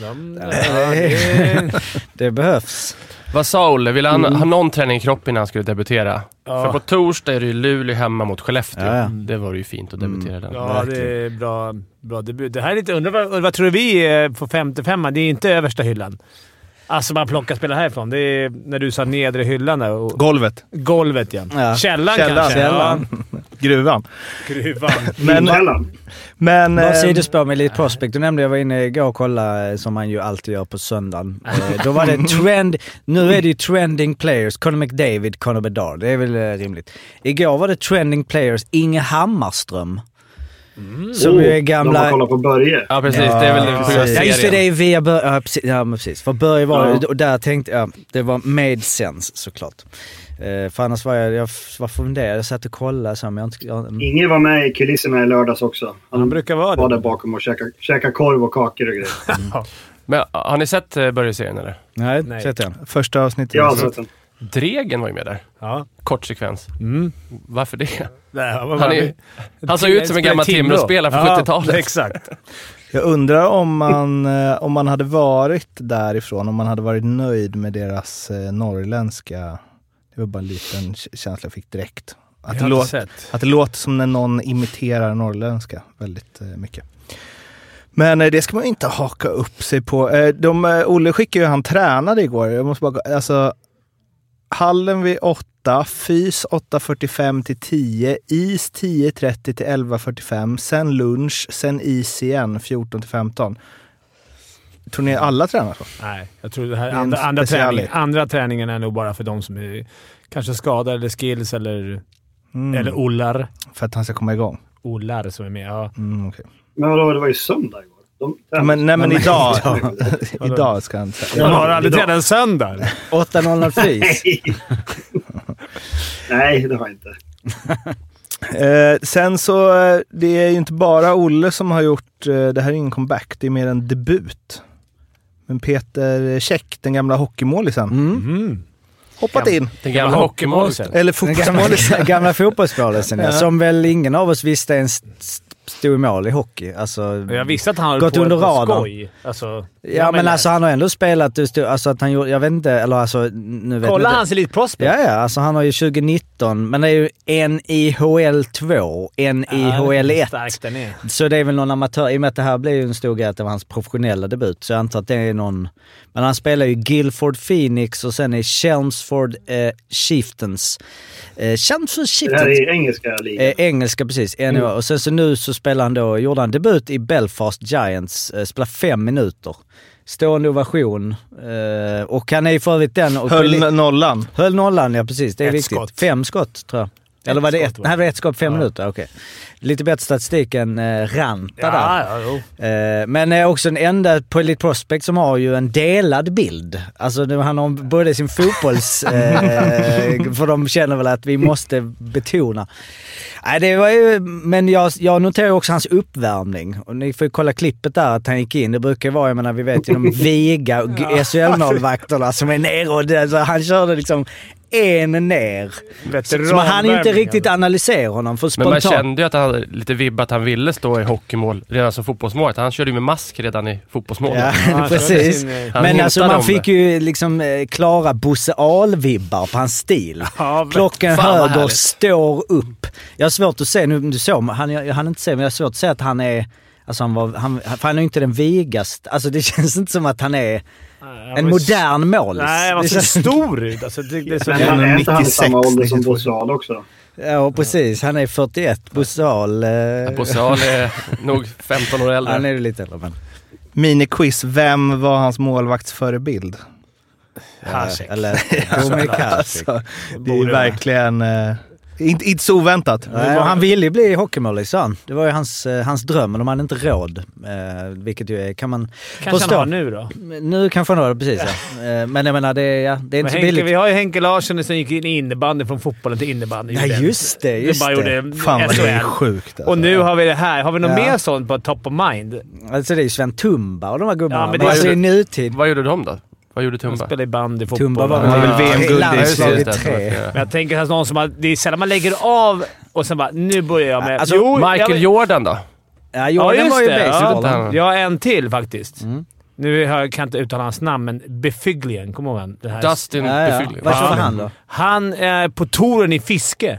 Speaker 1: De, ja, det,
Speaker 2: Det behövs.
Speaker 10: Vad sa Olle? Ville han
Speaker 2: Mm.
Speaker 10: ha någon träning i kroppen innan han skulle debutera? För på torsdag är det ju Luleå hemma mot Skellefteå.
Speaker 2: Ja, Mm. ja.
Speaker 10: Det var ju fint att debutera den.
Speaker 1: ja, det är bra, bra debut. Det här är lite... Undrar vad, vad tror vi är på 55 Det är inte översta hyllan. Alltså man plockar spelare härifrån. Det är när du sa nedre hyllan där. Och
Speaker 8: Golvet.
Speaker 1: golvet igen.
Speaker 2: Ja.
Speaker 1: Källan,
Speaker 8: Källan.
Speaker 1: kanske?
Speaker 2: Källan.
Speaker 8: Gruvan.
Speaker 1: Ja, gruvan.
Speaker 8: Men...
Speaker 9: Källan.
Speaker 8: men
Speaker 2: Bara
Speaker 8: eh,
Speaker 2: sidospår med Elite Prospect. Du nämnde jag var inne igår och kollade, eh, som man ju alltid gör på söndagen. Eh, Då var det trend... Nu är det ju trending players. Conor McDavid, Conor Bedard. Det är väl eh, rimligt. Igår var det trending players Inge Hammarström. Som ju är
Speaker 9: Oh, De har
Speaker 2: gamla...
Speaker 9: kollat på Börje.
Speaker 10: Ja, precis. det är väl det på grund av
Speaker 2: Ja just det,
Speaker 10: serien.
Speaker 2: det är via Börje. Ja precis. Ja, men precis. För Börje var
Speaker 9: Ja.
Speaker 2: och där tänkte jag, det var made sense såklart. Eh, för annars var jag, jag f- var funderad, jag satt och kollade så här, men jag inte... Jag, mm.
Speaker 9: Inge var med i kulisserna i lördags också. Han,
Speaker 1: Han brukar vara
Speaker 9: var
Speaker 1: det.
Speaker 9: där bakom och käkade käka korv och kakor och grejer.
Speaker 10: Men har ni sett eh, Börje-serien eller?
Speaker 2: Nej,
Speaker 1: Nej.
Speaker 2: sett den.
Speaker 8: Första avsnittet.
Speaker 9: Jag har sett den.
Speaker 10: Dregen var ju med där.
Speaker 1: Ja.
Speaker 10: Kort sekvens. Varför det?
Speaker 1: Där, han, var
Speaker 10: Han, är, han såg ut som en gammal Timrå-spelare från
Speaker 1: Ja,
Speaker 10: 70-talet.
Speaker 1: Exakt.
Speaker 8: Jag undrar om man, eh, om man hade varit därifrån, om man hade varit nöjd med deras eh, norrländska... Det var bara en liten k- känsla jag fick direkt. Att det,
Speaker 1: har inte
Speaker 8: låt,
Speaker 1: sett.
Speaker 8: att det låter som när någon imiterar norrländska väldigt eh, mycket. Men eh, det ska man ju inte haka upp sig på. Eh, de, eh, Olle skickade ju, han tränade igår. Jag måste bara, gå- alltså, hallen vid 8, fys 8.45 till 10, is 10.30 till 11.45, sen lunch, sen is igen 14 till 15. Tror ni alla tränar så?
Speaker 1: Nej, jag tror det här
Speaker 8: Det är en
Speaker 1: andra, andra,
Speaker 8: special-
Speaker 1: träning, andra träningen är nog bara för de som är kanske skadade eller skills eller, eller ollar.
Speaker 8: För att han ska komma igång?
Speaker 1: Ollar som är med. Ja.
Speaker 8: Mm, okej.
Speaker 9: Men vadå, det var ju söndag igår. De,
Speaker 8: Ja, Men, nej, men
Speaker 9: Men-
Speaker 8: idag, idag ska han
Speaker 1: Han
Speaker 8: träna.
Speaker 1: har aldrig
Speaker 9: idag-
Speaker 1: tränat en söndag. eller?
Speaker 2: 800 fis.
Speaker 9: Nej, det har jag inte.
Speaker 8: Eh, sen så, eh, det är ju inte bara Olle som har gjort, eh, det här är ingen comeback, det är mer en debut. Men Peter Käck, den gamla hockeymålisen,
Speaker 1: Mm.
Speaker 8: hoppat in.
Speaker 10: Den gamla hockeymålisen.
Speaker 8: Eller
Speaker 2: Den
Speaker 8: fotbollsmålisen.
Speaker 2: gamla, gamla fotbollsmålisen ja. Som väl ingen av oss visste ens st- stod i mål i hockey. Alltså,
Speaker 1: Jag visste att han höll
Speaker 2: Gått
Speaker 1: på
Speaker 2: under
Speaker 1: på
Speaker 2: radarn.
Speaker 1: skoj. Alltså,
Speaker 2: ja men alltså han har ändå spelat, du stod- alltså att han gjorde, jag vet inte, eller alltså nu vet
Speaker 1: Kolla
Speaker 2: jag inte.
Speaker 1: hans Elite Prospect.
Speaker 2: Ja, ja, alltså han har ju 2019, men det är ju en IHL 2, en IHL 1.
Speaker 1: Stark den är.
Speaker 2: Så det är väl någon amatör, i och med att det här blev ju en stor grej att det var hans professionella debut, så jag antar att det är någon... Men han spelar ju Guilford Phoenix och sen i Chelmsford eh, Chieftains. Eh, Chelmsford
Speaker 9: Det här
Speaker 2: Chieftains.
Speaker 9: är engelska ligan.
Speaker 2: Eh, engelska precis, NHA. Och sen så nu så spelar han då, gjorde han debut i Belfast Giants, eh, spelar fem minuter. Stående ovation. Eh, och han är ju för övrigt den... Och
Speaker 8: Höll nollan.
Speaker 2: Höll nollan, ja precis. Det är
Speaker 1: Ett
Speaker 2: viktigt.
Speaker 1: skott.
Speaker 2: Fem skott tror jag. Eller var det
Speaker 1: skott,
Speaker 2: ett?
Speaker 1: va?
Speaker 2: Nej, det var ett skott, fem minuter. Okej. Lite bättre statistik än eh, Ranta där.
Speaker 1: Ja, ja, jo.
Speaker 2: Eh, men är också den enda på Elite Prospect som har ju en delad bild. Alltså nu, han har både sin fotbolls... Eh, för de känner väl att vi måste betona. Nej, det var ju, men jag, jag noterar ju också hans uppvärmning. Och ni får ju kolla klippet där att han gick in. Det brukar ju vara, jag menar vi vet ju de viga g- SHL-målvakterna som är nere och det, så han körde liksom en ner. Så man hann ju inte riktigt analysera honom för
Speaker 10: Men man
Speaker 2: spontant.
Speaker 10: kände ju att han lite vibb att han ville stå i hockeymål redan som fotbollsmål. Han körde ju med mask redan i fotbollsmålet.
Speaker 2: Ja,
Speaker 1: Ja, han körde
Speaker 2: precis.
Speaker 1: sin, eh,
Speaker 10: han
Speaker 2: Men
Speaker 10: hintade
Speaker 2: alltså man
Speaker 10: om
Speaker 2: fick
Speaker 10: det.
Speaker 2: ju liksom eh, klara Bosse Ahl-vibbar på hans stil.
Speaker 1: Ja, men-
Speaker 2: Klockan
Speaker 10: Fan, vad
Speaker 2: höger
Speaker 10: härligt.
Speaker 2: står upp. Jag har svårt att se, nu du såg, han, jag, jag hann inte se, men jag har svårt att se att han är Alltså han var, han, för han är ju inte den vigaste. Alltså det känns inte som att han är
Speaker 1: var
Speaker 2: en
Speaker 1: ju
Speaker 2: modern målis.
Speaker 1: Nej, han
Speaker 2: Det
Speaker 1: ser
Speaker 2: känns-
Speaker 1: stor ut. Alltså, det, det är så
Speaker 9: Men han är inte han samma ålder som
Speaker 8: 96,
Speaker 9: Bosse Ahl också?
Speaker 2: Ja, precis. Han är 41. Bosse Ahl... eh,
Speaker 10: Bosse Ahl är nog 15 år äldre.
Speaker 2: Han är ju lite äldre, men... eh,
Speaker 8: Miniquiz. Vem var hans målvaktsförebild?
Speaker 1: Hasek.
Speaker 2: Eller Dominic Hasek.
Speaker 8: Alltså, det är
Speaker 1: Borde
Speaker 8: verkligen... eh, inte, inte så oväntat.
Speaker 2: Nej, och Han ville ju bli hockeymålis, sa han. Det var ju hans, eh, hans dröm, men de hade inte råd. Eh, vilket ju är, kan man
Speaker 1: Kanske
Speaker 2: förstå.
Speaker 1: han har nu då.
Speaker 2: Nu kanske han har det, precis ja. Eh, Men jag menar, det är, ja, det är
Speaker 1: Men
Speaker 2: inte så
Speaker 1: Henke,
Speaker 2: billigt.
Speaker 1: vi har ju Henke Larsson som gick in i innebandy från fotbollen till innebandy.
Speaker 2: Ja,
Speaker 1: Gjorde
Speaker 2: just det,
Speaker 1: en-
Speaker 2: just
Speaker 1: bara
Speaker 2: det.
Speaker 1: Gjorde
Speaker 8: Fan vad det är
Speaker 1: SHL.
Speaker 8: sjukt. Alltså.
Speaker 1: Och nu har vi det här. Har vi något
Speaker 2: Ja.
Speaker 1: mer sånt på top of mind?
Speaker 2: Alltså det är ju Sven Tumba och de här gubbarna.
Speaker 1: Ja,
Speaker 2: men
Speaker 1: men det
Speaker 2: det
Speaker 1: är
Speaker 2: alltså
Speaker 10: ju-
Speaker 2: i nutid.
Speaker 10: Vad gjorde de då? Vad gjorde
Speaker 1: De
Speaker 10: Tumba?
Speaker 1: spelar i bandy, fotboll.
Speaker 2: Tumba var
Speaker 8: Han
Speaker 2: väl
Speaker 8: är väl VM-guld
Speaker 2: Ja,
Speaker 8: i
Speaker 10: just
Speaker 2: landslaget
Speaker 10: det, att de
Speaker 2: tre.
Speaker 10: ska göra.
Speaker 1: Men jag tänker att någon som har, det är sällan man lägger av och sen bara “nu börjar jag med...”
Speaker 2: Alltså,
Speaker 1: jag,
Speaker 10: Michael Jordan då?
Speaker 2: Ja, Jordan
Speaker 1: Ja, just
Speaker 2: var ju
Speaker 1: det,
Speaker 2: bäst i
Speaker 1: ja.
Speaker 2: bollen.
Speaker 1: Jag har en till faktiskt.
Speaker 2: Mm.
Speaker 1: Nu har jag, kan jag inte uttala hans namn, men Befiglien. Kommer du ihåg han? Den här-
Speaker 10: Dustin
Speaker 2: Ja, ja.
Speaker 10: Byfuglien.
Speaker 2: Varför var
Speaker 1: Ja.
Speaker 2: han då?
Speaker 1: Han är på touren i Fiske.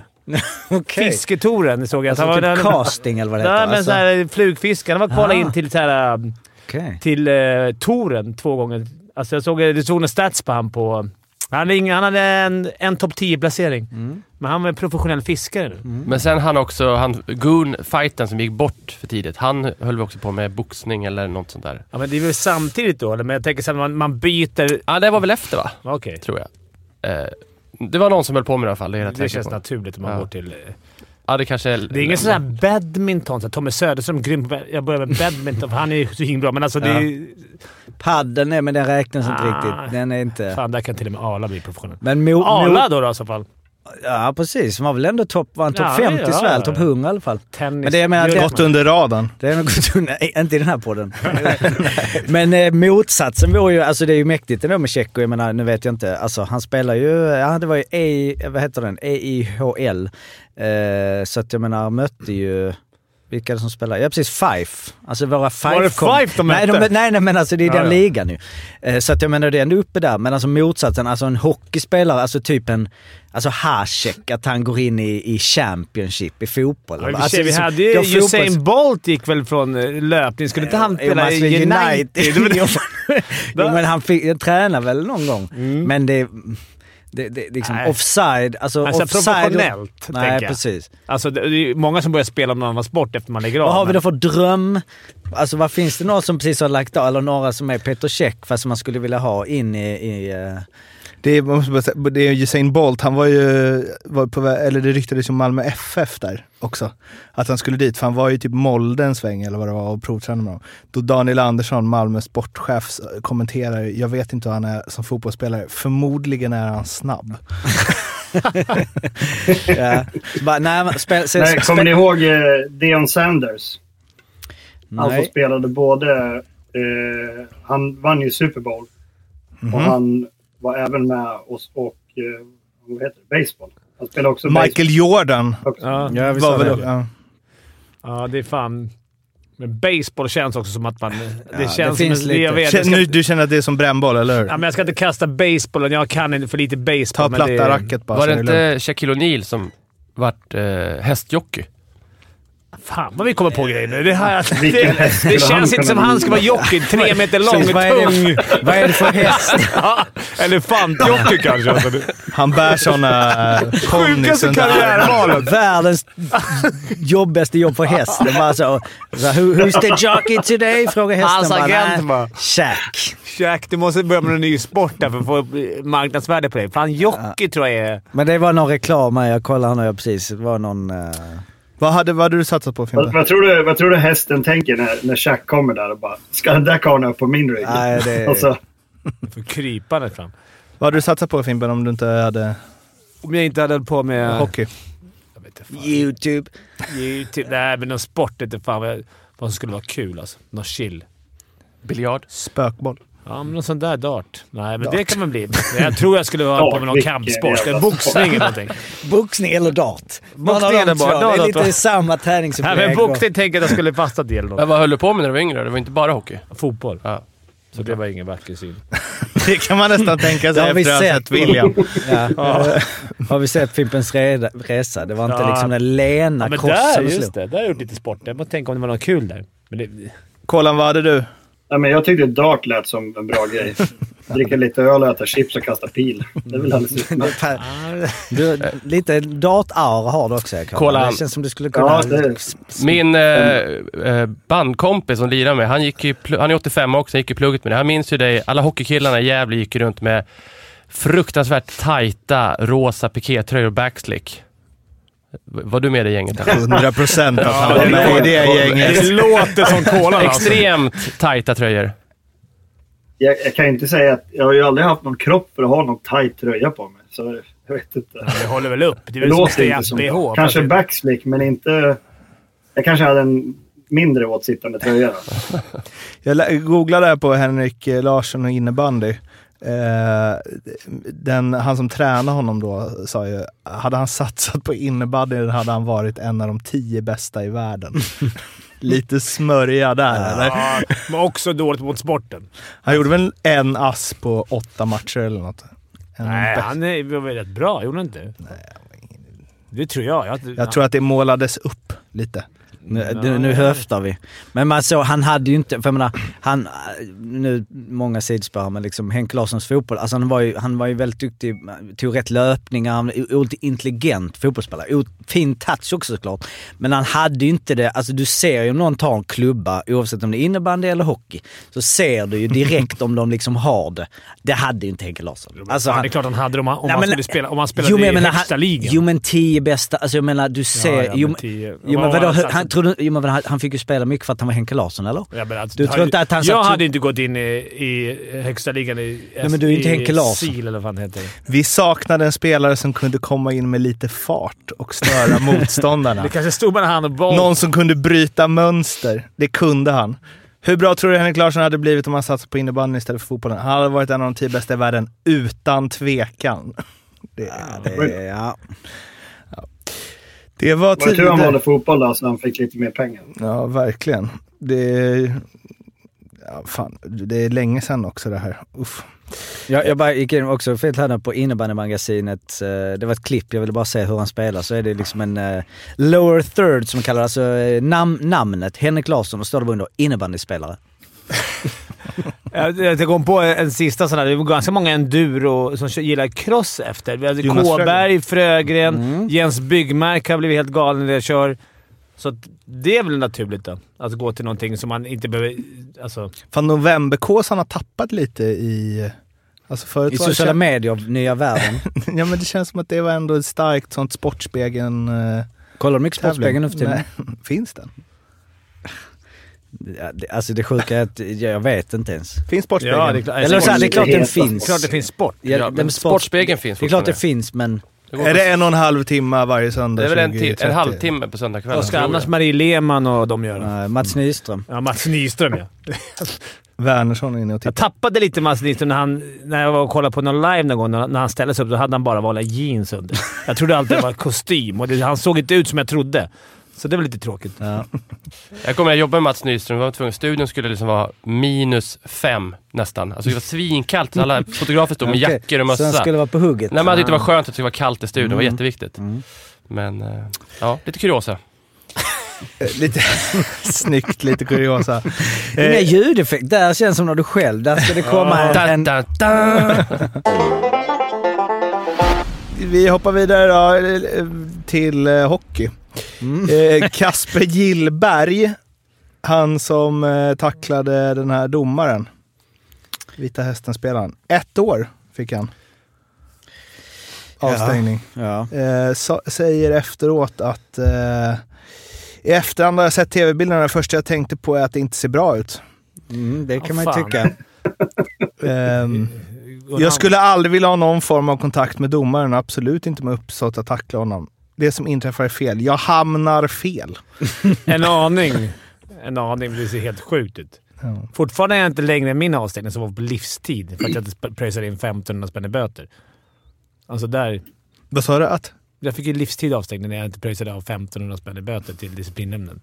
Speaker 2: Okej.
Speaker 1: Fisketouren såg jag.
Speaker 2: Alltså
Speaker 1: han
Speaker 2: typ
Speaker 1: var
Speaker 2: casting eller vad det
Speaker 1: Nej,
Speaker 2: heter.
Speaker 1: men
Speaker 2: Alltså,
Speaker 1: så här, flugfiskare. Han var kvala
Speaker 2: Ah.
Speaker 1: in till, så här, um,
Speaker 2: okej.
Speaker 1: till eh, touren två gånger. Alltså, jag såg, det stod en stats på han på... Han, ring, han hade en, en topp 10-placering,
Speaker 2: Mm.
Speaker 1: men han var en professionell fiskare nu.
Speaker 10: Men sen han också, han, Goon, fighten som gick bort för tidigt, han höll vi också på med boxning eller något sånt där.
Speaker 1: Ja, men det är väl samtidigt då, eller? Men jag tänker sen man, man byter...
Speaker 10: Ja, det var väl efter va?
Speaker 1: Okej.
Speaker 10: Tror jag. Eh, det var någon som höll på med det i alla fall, det är jag rätt
Speaker 1: Det
Speaker 10: säker
Speaker 1: känns
Speaker 10: på.
Speaker 1: naturligt om man
Speaker 10: Ja.
Speaker 1: går till... eh,
Speaker 10: Ja, det kanske är...
Speaker 1: Det är ingen sån här badminton. Så här, Tommy Söderström grym på... Jag börjar med badminton, för han är ju så himla bra. Men alltså det är ju...
Speaker 2: Padden är, men den räknas inte
Speaker 1: Ah.
Speaker 2: riktigt. Den är inte...
Speaker 1: Fan, där kan till och med Arla bli professionell.
Speaker 2: Men Mo...
Speaker 1: Arla
Speaker 2: Mo
Speaker 1: då, då i så fall.
Speaker 2: ja, precis. Han var väl ändå topp... Var han topp
Speaker 1: Ja,
Speaker 2: 50 i
Speaker 1: ja,
Speaker 2: Sverige?
Speaker 1: ja.
Speaker 2: Topp 100 i alla fall.
Speaker 1: Tennis.
Speaker 2: Men det jag menar,
Speaker 1: Björn-
Speaker 2: det-
Speaker 8: Gått under radarn.
Speaker 2: Det är nog gått undan. Nej, Inte i den här podden. Men eh, motsatsen vore ju, alltså det är ju mäktigt ändå med Tjecko. Jag menar, nu vet jag inte. Alltså han spelar ju, ja det var ju EI, vad heter den? E EIHL. Eh, så att jag menar, mötte ju... Vilka är det som spelar? Ja precis, Fife. Alltså våra Fife
Speaker 1: det
Speaker 2: kom-
Speaker 1: Fife de
Speaker 2: nej,
Speaker 1: mötte?
Speaker 2: nej, nej men alltså det är
Speaker 1: Ja,
Speaker 2: den
Speaker 1: ja.
Speaker 2: ligan ju. Eh, så att jag menar det är ändå uppe där. Men alltså motsatsen, alltså en hockeyspelare, alltså typ en... Alltså Hasek, att han går in i, i Championship i fotboll.
Speaker 1: Ja, i och för
Speaker 2: alltså,
Speaker 1: sig, vi
Speaker 2: så-
Speaker 1: hade
Speaker 2: det
Speaker 1: ju...
Speaker 2: är fotbolls-
Speaker 1: Usain Bolt gick väl från eh, löpning. Skulle inte han
Speaker 2: Jo, men
Speaker 1: spela
Speaker 2: alltså,
Speaker 1: i United?
Speaker 2: Jo, men- jo, men han fick, träna väl någon gång. Men det... Det, det liksom
Speaker 1: Mm. Nej.
Speaker 2: offside... Alltså,
Speaker 1: Alltså,
Speaker 2: offside
Speaker 1: professionellt,
Speaker 2: Nej,
Speaker 1: tänker jag.
Speaker 2: precis.
Speaker 1: Alltså, det det är ju många som börjar spela någon annan sport efter man lägger av.
Speaker 2: Vad har vi
Speaker 1: men-
Speaker 2: då för dröm? Alltså vad finns det någon som precis har lagt av, eller några som är Peter Check fast som man skulle vilja ha in i... i eh,
Speaker 8: Det är, man måste bara säga, det är Usain Bolt, han var ju, var på, vä- eller det ryktades om Malmö FF där också. Att han skulle dit, för han var ju typ Molde en sväng eller vad det var och provtränade med dem. Då Daniel Andersson, Malmös sportchef, s- kommenterar, jag vet inte hur han är som fotbollsspelare, förmodligen är han snabb.
Speaker 2: ja. Så bara, nej, men spel, se,
Speaker 9: Nej,
Speaker 2: spe-
Speaker 9: kommer ni ihåg eh, Dion Sanders? Han som
Speaker 2: Nej.
Speaker 9: spelade både... Eh, han vann ju Super Bowl. Och han var även med oss och... Eh, vad heter det? Baseball. Han spelade också
Speaker 8: Michael Jordan
Speaker 9: baseball. Också.
Speaker 1: Ja.
Speaker 2: Ja, vi sa
Speaker 8: var
Speaker 2: det.
Speaker 8: väl... Ja.
Speaker 1: Ja, det är fan... Men baseball känns också som att man... Det
Speaker 2: det
Speaker 1: känns som
Speaker 2: finns
Speaker 1: en- det
Speaker 2: lite.
Speaker 1: Jag vet, jag
Speaker 8: Känner,
Speaker 1: ska,
Speaker 8: nu, du känner att det är som brännboll, eller hur?
Speaker 1: ja, men jag ska inte kasta basebollen. Jag kan inte för lite baseball.
Speaker 8: Ta
Speaker 1: men det,
Speaker 8: platta racket bara.
Speaker 10: Var
Speaker 8: så
Speaker 10: det
Speaker 8: är lugnt.
Speaker 10: inte Shaquille O'Neal som vart eh, hästjockey?
Speaker 1: Fan vad vi kommer på grejer nu. Det, här, det,
Speaker 9: Vilken häst
Speaker 1: det
Speaker 9: skulle han
Speaker 1: känns inte
Speaker 9: kunna
Speaker 1: som
Speaker 9: bli?
Speaker 1: han ska vara jockey. Tre meter lång
Speaker 2: Precis, vad, är
Speaker 1: och tung.
Speaker 2: det, vad är det för häst?
Speaker 1: Ja, Elefantjockey kanske. Alltså, det-
Speaker 8: Han bär såna ponnys.
Speaker 1: Sjukaste karriärvalet.
Speaker 2: Världens jobbigaste jobb för hästen. Bara så, så, who, who's the jockey today? Frågar hästen.
Speaker 1: Hans agent
Speaker 2: nej,
Speaker 1: bara.
Speaker 2: Shaq.
Speaker 1: Jack, du måste börja med en ny sport där för att få marknadsvärde på dig. Fan, jockey tror jag är...
Speaker 2: Men det var någon reklam här. Jag kollade nu precis. Det var någon... eh,
Speaker 8: Vad hade, vad hade du satsat på
Speaker 9: Vad,
Speaker 8: Fimpen?
Speaker 9: vad, tror du, vad tror du hästen tänker när, när Shaq kommer där och bara “Ska den där karln upp på min rygg?” Alltså,
Speaker 2: Nej, det-
Speaker 9: och så,
Speaker 1: För krypande fram.
Speaker 8: Vad hade du satsat på Fimpen om du inte hade
Speaker 1: Om jag inte hade hållit på med...
Speaker 8: hockey?
Speaker 1: Jag vet inte, fan.
Speaker 2: YouTube.
Speaker 1: YouTube. Nej, men någon sport inte fan vad, vad som skulle vara kul alltså. Någon chill.
Speaker 10: Biljard?
Speaker 8: Spökboll.
Speaker 1: Ja, men någon sån där dart. Nej, men det kan man bli. Men jag tror jag skulle vara på med någon
Speaker 9: Vilken
Speaker 1: kampsport.
Speaker 9: jävla
Speaker 1: Boxning eller någonting.
Speaker 2: Boxning eller dart? Någon av
Speaker 1: Boxning
Speaker 2: de
Speaker 1: eller
Speaker 2: två.
Speaker 1: bara-
Speaker 2: Det är
Speaker 1: dart,
Speaker 2: lite
Speaker 1: va?
Speaker 2: samma träningsupplägg.
Speaker 1: Nej, men boxning tänker jag att jag skulle fasta till.
Speaker 10: Men vad höll du på med när du var yngre? Det var inte bara hockey?
Speaker 1: Fotboll.
Speaker 10: Ja.
Speaker 1: Så det var ingen vacker syn.
Speaker 8: Det kan man nästan tänka
Speaker 2: Det
Speaker 8: sig
Speaker 2: har vi
Speaker 8: efter att ha
Speaker 2: sett.
Speaker 8: sett William.
Speaker 2: Ja. Har vi sett Fimpens Reda- Resa? Det var inte
Speaker 1: Ja.
Speaker 2: liksom den
Speaker 1: Ja,
Speaker 2: lena
Speaker 1: men där,
Speaker 2: krossen och
Speaker 1: just
Speaker 2: slog.
Speaker 1: det. Där har jag gjort lite sport. Jag måste tänka om det var något kul där. Men det,
Speaker 8: Kolan, vad hade du?
Speaker 9: Nej, men jag tyckte dart lät som en bra grej. Dricka lite öl, äta chips och kasta pil. Det är väl alldeles utmärkt.
Speaker 2: Per- Du, lite dart-aura har du också, Karin.
Speaker 10: Kolla.
Speaker 2: Det känns som du skulle kunna...
Speaker 9: Ja, det,
Speaker 10: Min eh, eh, bandkompis som lirar med, han, gick ju, pl- han är 85 också, han gick i plugget med det. Han minns ju dig, alla hockeykillarna i Gävle gick ju runt med fruktansvärt tajta rosa pikétröjor backslick. V- Var du med i det gänget? Eller?
Speaker 8: 100 procent att han var med i det gänget.
Speaker 1: det låter som kolan alltså.
Speaker 10: Extremt tajta tröjor.
Speaker 9: jag, jag kan ju inte säga att jag har ju aldrig haft någon kropp för att ha någon tajt tröja på mig. Så jag vet inte.
Speaker 1: Det håller väl upp? Det är
Speaker 9: Det
Speaker 1: väl som
Speaker 9: låter inte
Speaker 1: extremt
Speaker 9: som...
Speaker 1: bh.
Speaker 9: Kanske
Speaker 1: fast-
Speaker 9: backslick, men inte... Jag kanske hade en mindre åtsittande tröja.
Speaker 8: Jag la- googlade här på Henrik eh, Larsson och innebandy. Eh, den, han som tränade honom då sa ju, hade han satsat på innebandy hade han varit en av de tio bästa i världen. Lite smörja där eller?
Speaker 1: Ja, men också dåligt mot
Speaker 9: Mm,
Speaker 1: sporten.
Speaker 8: Han gjorde väl en ass på åtta matcher eller något. En
Speaker 1: Nej,
Speaker 8: bä-
Speaker 1: han är, var väl rätt bra, gjorde han inte? Det tror jag. Jag,
Speaker 8: Jag tror att det målades upp lite.
Speaker 2: Nu, nu, nu höftar vi. Men man såg, han hade ju inte, för jag menar, han, nu många sidospår här, men liksom Henke Larssons fotboll, alltså han var ju, han var ju väldigt duktig, tog rätt löpningar, han var oerhört intelligent fotbollsspelare. O- Fin touch också såklart. Men han hade ju inte det, alltså du ser ju om någon tar en klubba, oavsett om det är innebandy eller hockey, så ser du ju direkt om de liksom har det. Det hade ju inte Henke Larsson. Alltså,
Speaker 1: det är klart han hade det om han, om
Speaker 2: Nej,
Speaker 1: han,
Speaker 2: men-
Speaker 1: skulle spela, om han spelade
Speaker 2: Jo, men
Speaker 1: i
Speaker 2: jag menar,
Speaker 1: högsta
Speaker 2: han,
Speaker 1: ligan.
Speaker 2: Jo men tio bästa, alltså jag menar du ser...
Speaker 1: ja, men
Speaker 2: jo, men-
Speaker 1: tio.
Speaker 2: jo, men
Speaker 1: Vad var
Speaker 2: vadå,
Speaker 1: han
Speaker 2: han,
Speaker 1: satt-
Speaker 2: trodde, jo, men han, han fick ju spela mycket för att han var Henke Larsson eller?
Speaker 1: Ja, men alltså,
Speaker 2: Du tror inte att han
Speaker 1: jag
Speaker 2: satt-
Speaker 1: hade inte gått in i, i högsta ligan i...
Speaker 2: Nej, men du är inte
Speaker 1: i
Speaker 2: Henke Larsson.
Speaker 1: SIL eller vad han heter.
Speaker 8: Vi saknade en spelare som kunde komma in med lite fart och störa motståndarna.
Speaker 1: Det kanske stod mellan han och Bolt.
Speaker 8: Någon som kunde bryta mönster. Det kunde han. Hur bra tror du Henrik Larsson hade blivit om han satsat på innebandyn istället för fotbollen? Han hade varit en av de tio bästa i världen, utan tvekan.
Speaker 2: Ja, det, ja.
Speaker 8: Det var
Speaker 9: Det var tur han valde
Speaker 8: tider.
Speaker 9: fotboll där, så han fick lite mer pengar.
Speaker 8: Ja, verkligen. Det är... Ja, fan. Det är länge sedan också det här. Uff.
Speaker 2: Jag, jag bara gick in också fel här på innebandymagasinet. eh, Det var ett klipp, jag ville bara se hur han spelar. Så är det liksom en eh, lower third som kallar det, alltså eh, nam, namnet Henrik Larsson och står det under innebandyspelare.
Speaker 1: Jag, jag kom på en sista sån här. Det var ganska många enduro som kö- gillar cross efter. Vi hade
Speaker 8: Jonas
Speaker 1: Kåberg, Frögren,
Speaker 2: Mm.
Speaker 1: Jens Byggmark har blivit helt galen när jag kör. Så att det är väl naturligt då. Att gå till någonting som man inte behöver... Alltså,
Speaker 8: Fan, novemberkåsan har tappat lite i... Alltså förut
Speaker 2: I
Speaker 8: var det
Speaker 2: sociala medier, nya världen.
Speaker 8: Ja, men det känns som att det var ändå ett starkt sånt Sportspegeln-tävling.
Speaker 2: Kollar du mycket Sportspegeln nu för tiden?
Speaker 8: Finns den?
Speaker 2: Ja, det- Alltså det sjuka är att jag vet inte ens.
Speaker 8: Finns Sportspegeln?
Speaker 1: ja, det är klart.
Speaker 2: Eller så här, det är klart den
Speaker 9: Heta
Speaker 2: finns.
Speaker 1: klart det finns sport.
Speaker 2: Ja,
Speaker 10: Ja,
Speaker 2: den
Speaker 10: men
Speaker 2: sports-
Speaker 10: Sportspegeln finns
Speaker 2: Det är klart det
Speaker 10: fortfarande.
Speaker 2: finns men...
Speaker 10: går
Speaker 8: Är
Speaker 10: på-
Speaker 8: det en och en halv timme varje söndag?
Speaker 10: det är väl en, ti-
Speaker 8: 20.30?
Speaker 10: en halvtimme på söndagskvällen.
Speaker 1: Vad ska
Speaker 10: tror jag.
Speaker 1: annars Marie Lehmann och de göra?
Speaker 2: eh, Mats
Speaker 10: Mm.
Speaker 2: Nyström.
Speaker 1: Ja, Mats Nyström ja.
Speaker 8: Wernersson är inne och
Speaker 1: Jag
Speaker 8: tittar.
Speaker 1: tappade lite Mats Nyström när, han, när jag var och kollade på någon live någon gång. När när han ställde sig upp då hade han bara vanliga jeans under. Jag trodde alltid det var kostym och det, han såg inte ut som jag trodde. Så det var lite tråkigt.
Speaker 10: Jag kommer att jobba med Mats Nyström. Vi var tvungna, studion skulle liksom vara minus fem nästan. Alltså det var svinkallt. så Alla fotografer stod med
Speaker 2: Okej,
Speaker 10: jackor och
Speaker 2: Så han
Speaker 10: mössa.
Speaker 2: skulle vara på hugget. Ah.
Speaker 10: Nej, men jag tyckte det var skönt att det var kallt i studion. Det var jätteviktigt. Men eh, ja, lite kuriosa.
Speaker 8: Eh, Lite snyggt, lite kuriosa.
Speaker 2: Inga
Speaker 8: Eh,
Speaker 2: ljudeffekt. Där känns som när du själv. Där ska det komma en...
Speaker 10: Da, da.
Speaker 8: vi hoppar vidare då, eh, till eh, hockey.
Speaker 10: Mm.
Speaker 8: Eh, Kasper Gillberg, han som eh, tacklade den här domaren. Vita Hästen-spelaren. Ett år fick han. Avstängning.
Speaker 2: Ja.
Speaker 8: eh, sa- säger efteråt att eh, i efterhand har jag sett tv-bilderna. Det första jag tänkte på är att det inte ser bra ut.
Speaker 2: Mm, det kan
Speaker 1: Ja,
Speaker 2: man ju
Speaker 1: fan.
Speaker 2: tycka.
Speaker 8: Ehm, jag skulle aldrig vilja ha någon form av kontakt med domaren. Absolut inte med uppsåt att tackla honom. Det som inträffar är fel. Jag hamnar fel.
Speaker 1: En aning. En aning. Det ser helt sjukt ut.
Speaker 8: Ja.
Speaker 1: Fortfarande är jag inte längre än min avstängning som var på livstid för att jag inte sp- pröjsade in 1500 spänn i böter. Alltså där...
Speaker 8: Vad sa du? Att?
Speaker 1: Jag fick ju livstid avstängning när jag inte pröjsade av 1500 spänn i böter till disciplinnämnden.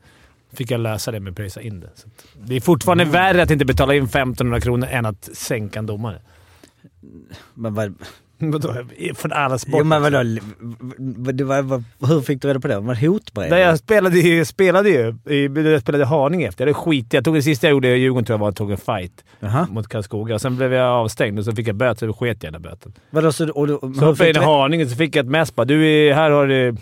Speaker 1: fick jag lösa det med att pröjsa in det. Så att det är fortfarande
Speaker 2: Mm.
Speaker 1: värre att inte betala in 1500 kronor än att sänka en domare.
Speaker 2: Men vad...
Speaker 1: Vadå? Från alla sporter.
Speaker 2: Jo, men vadå? V- v- det var- var- Hur fick du reda på det? Var det hotbrev?
Speaker 1: Nej, jag spelade ju, spelade ju. i- Jag spelade i Haninge efter. Jag hade skit Jag tog det sista jag gjorde i Djurgården tror jag var att jag tog en fight
Speaker 2: Jaha.
Speaker 1: mot Karlskoga. Och sen blev jag avstängd och så fick jag böter. Så sket jag i den där böten.
Speaker 2: Vadå, så, och, du-
Speaker 1: Så
Speaker 2: hur
Speaker 1: uppe i
Speaker 2: fick du-
Speaker 1: Haninge så fick jag ett mess bara. Du, är- här har du...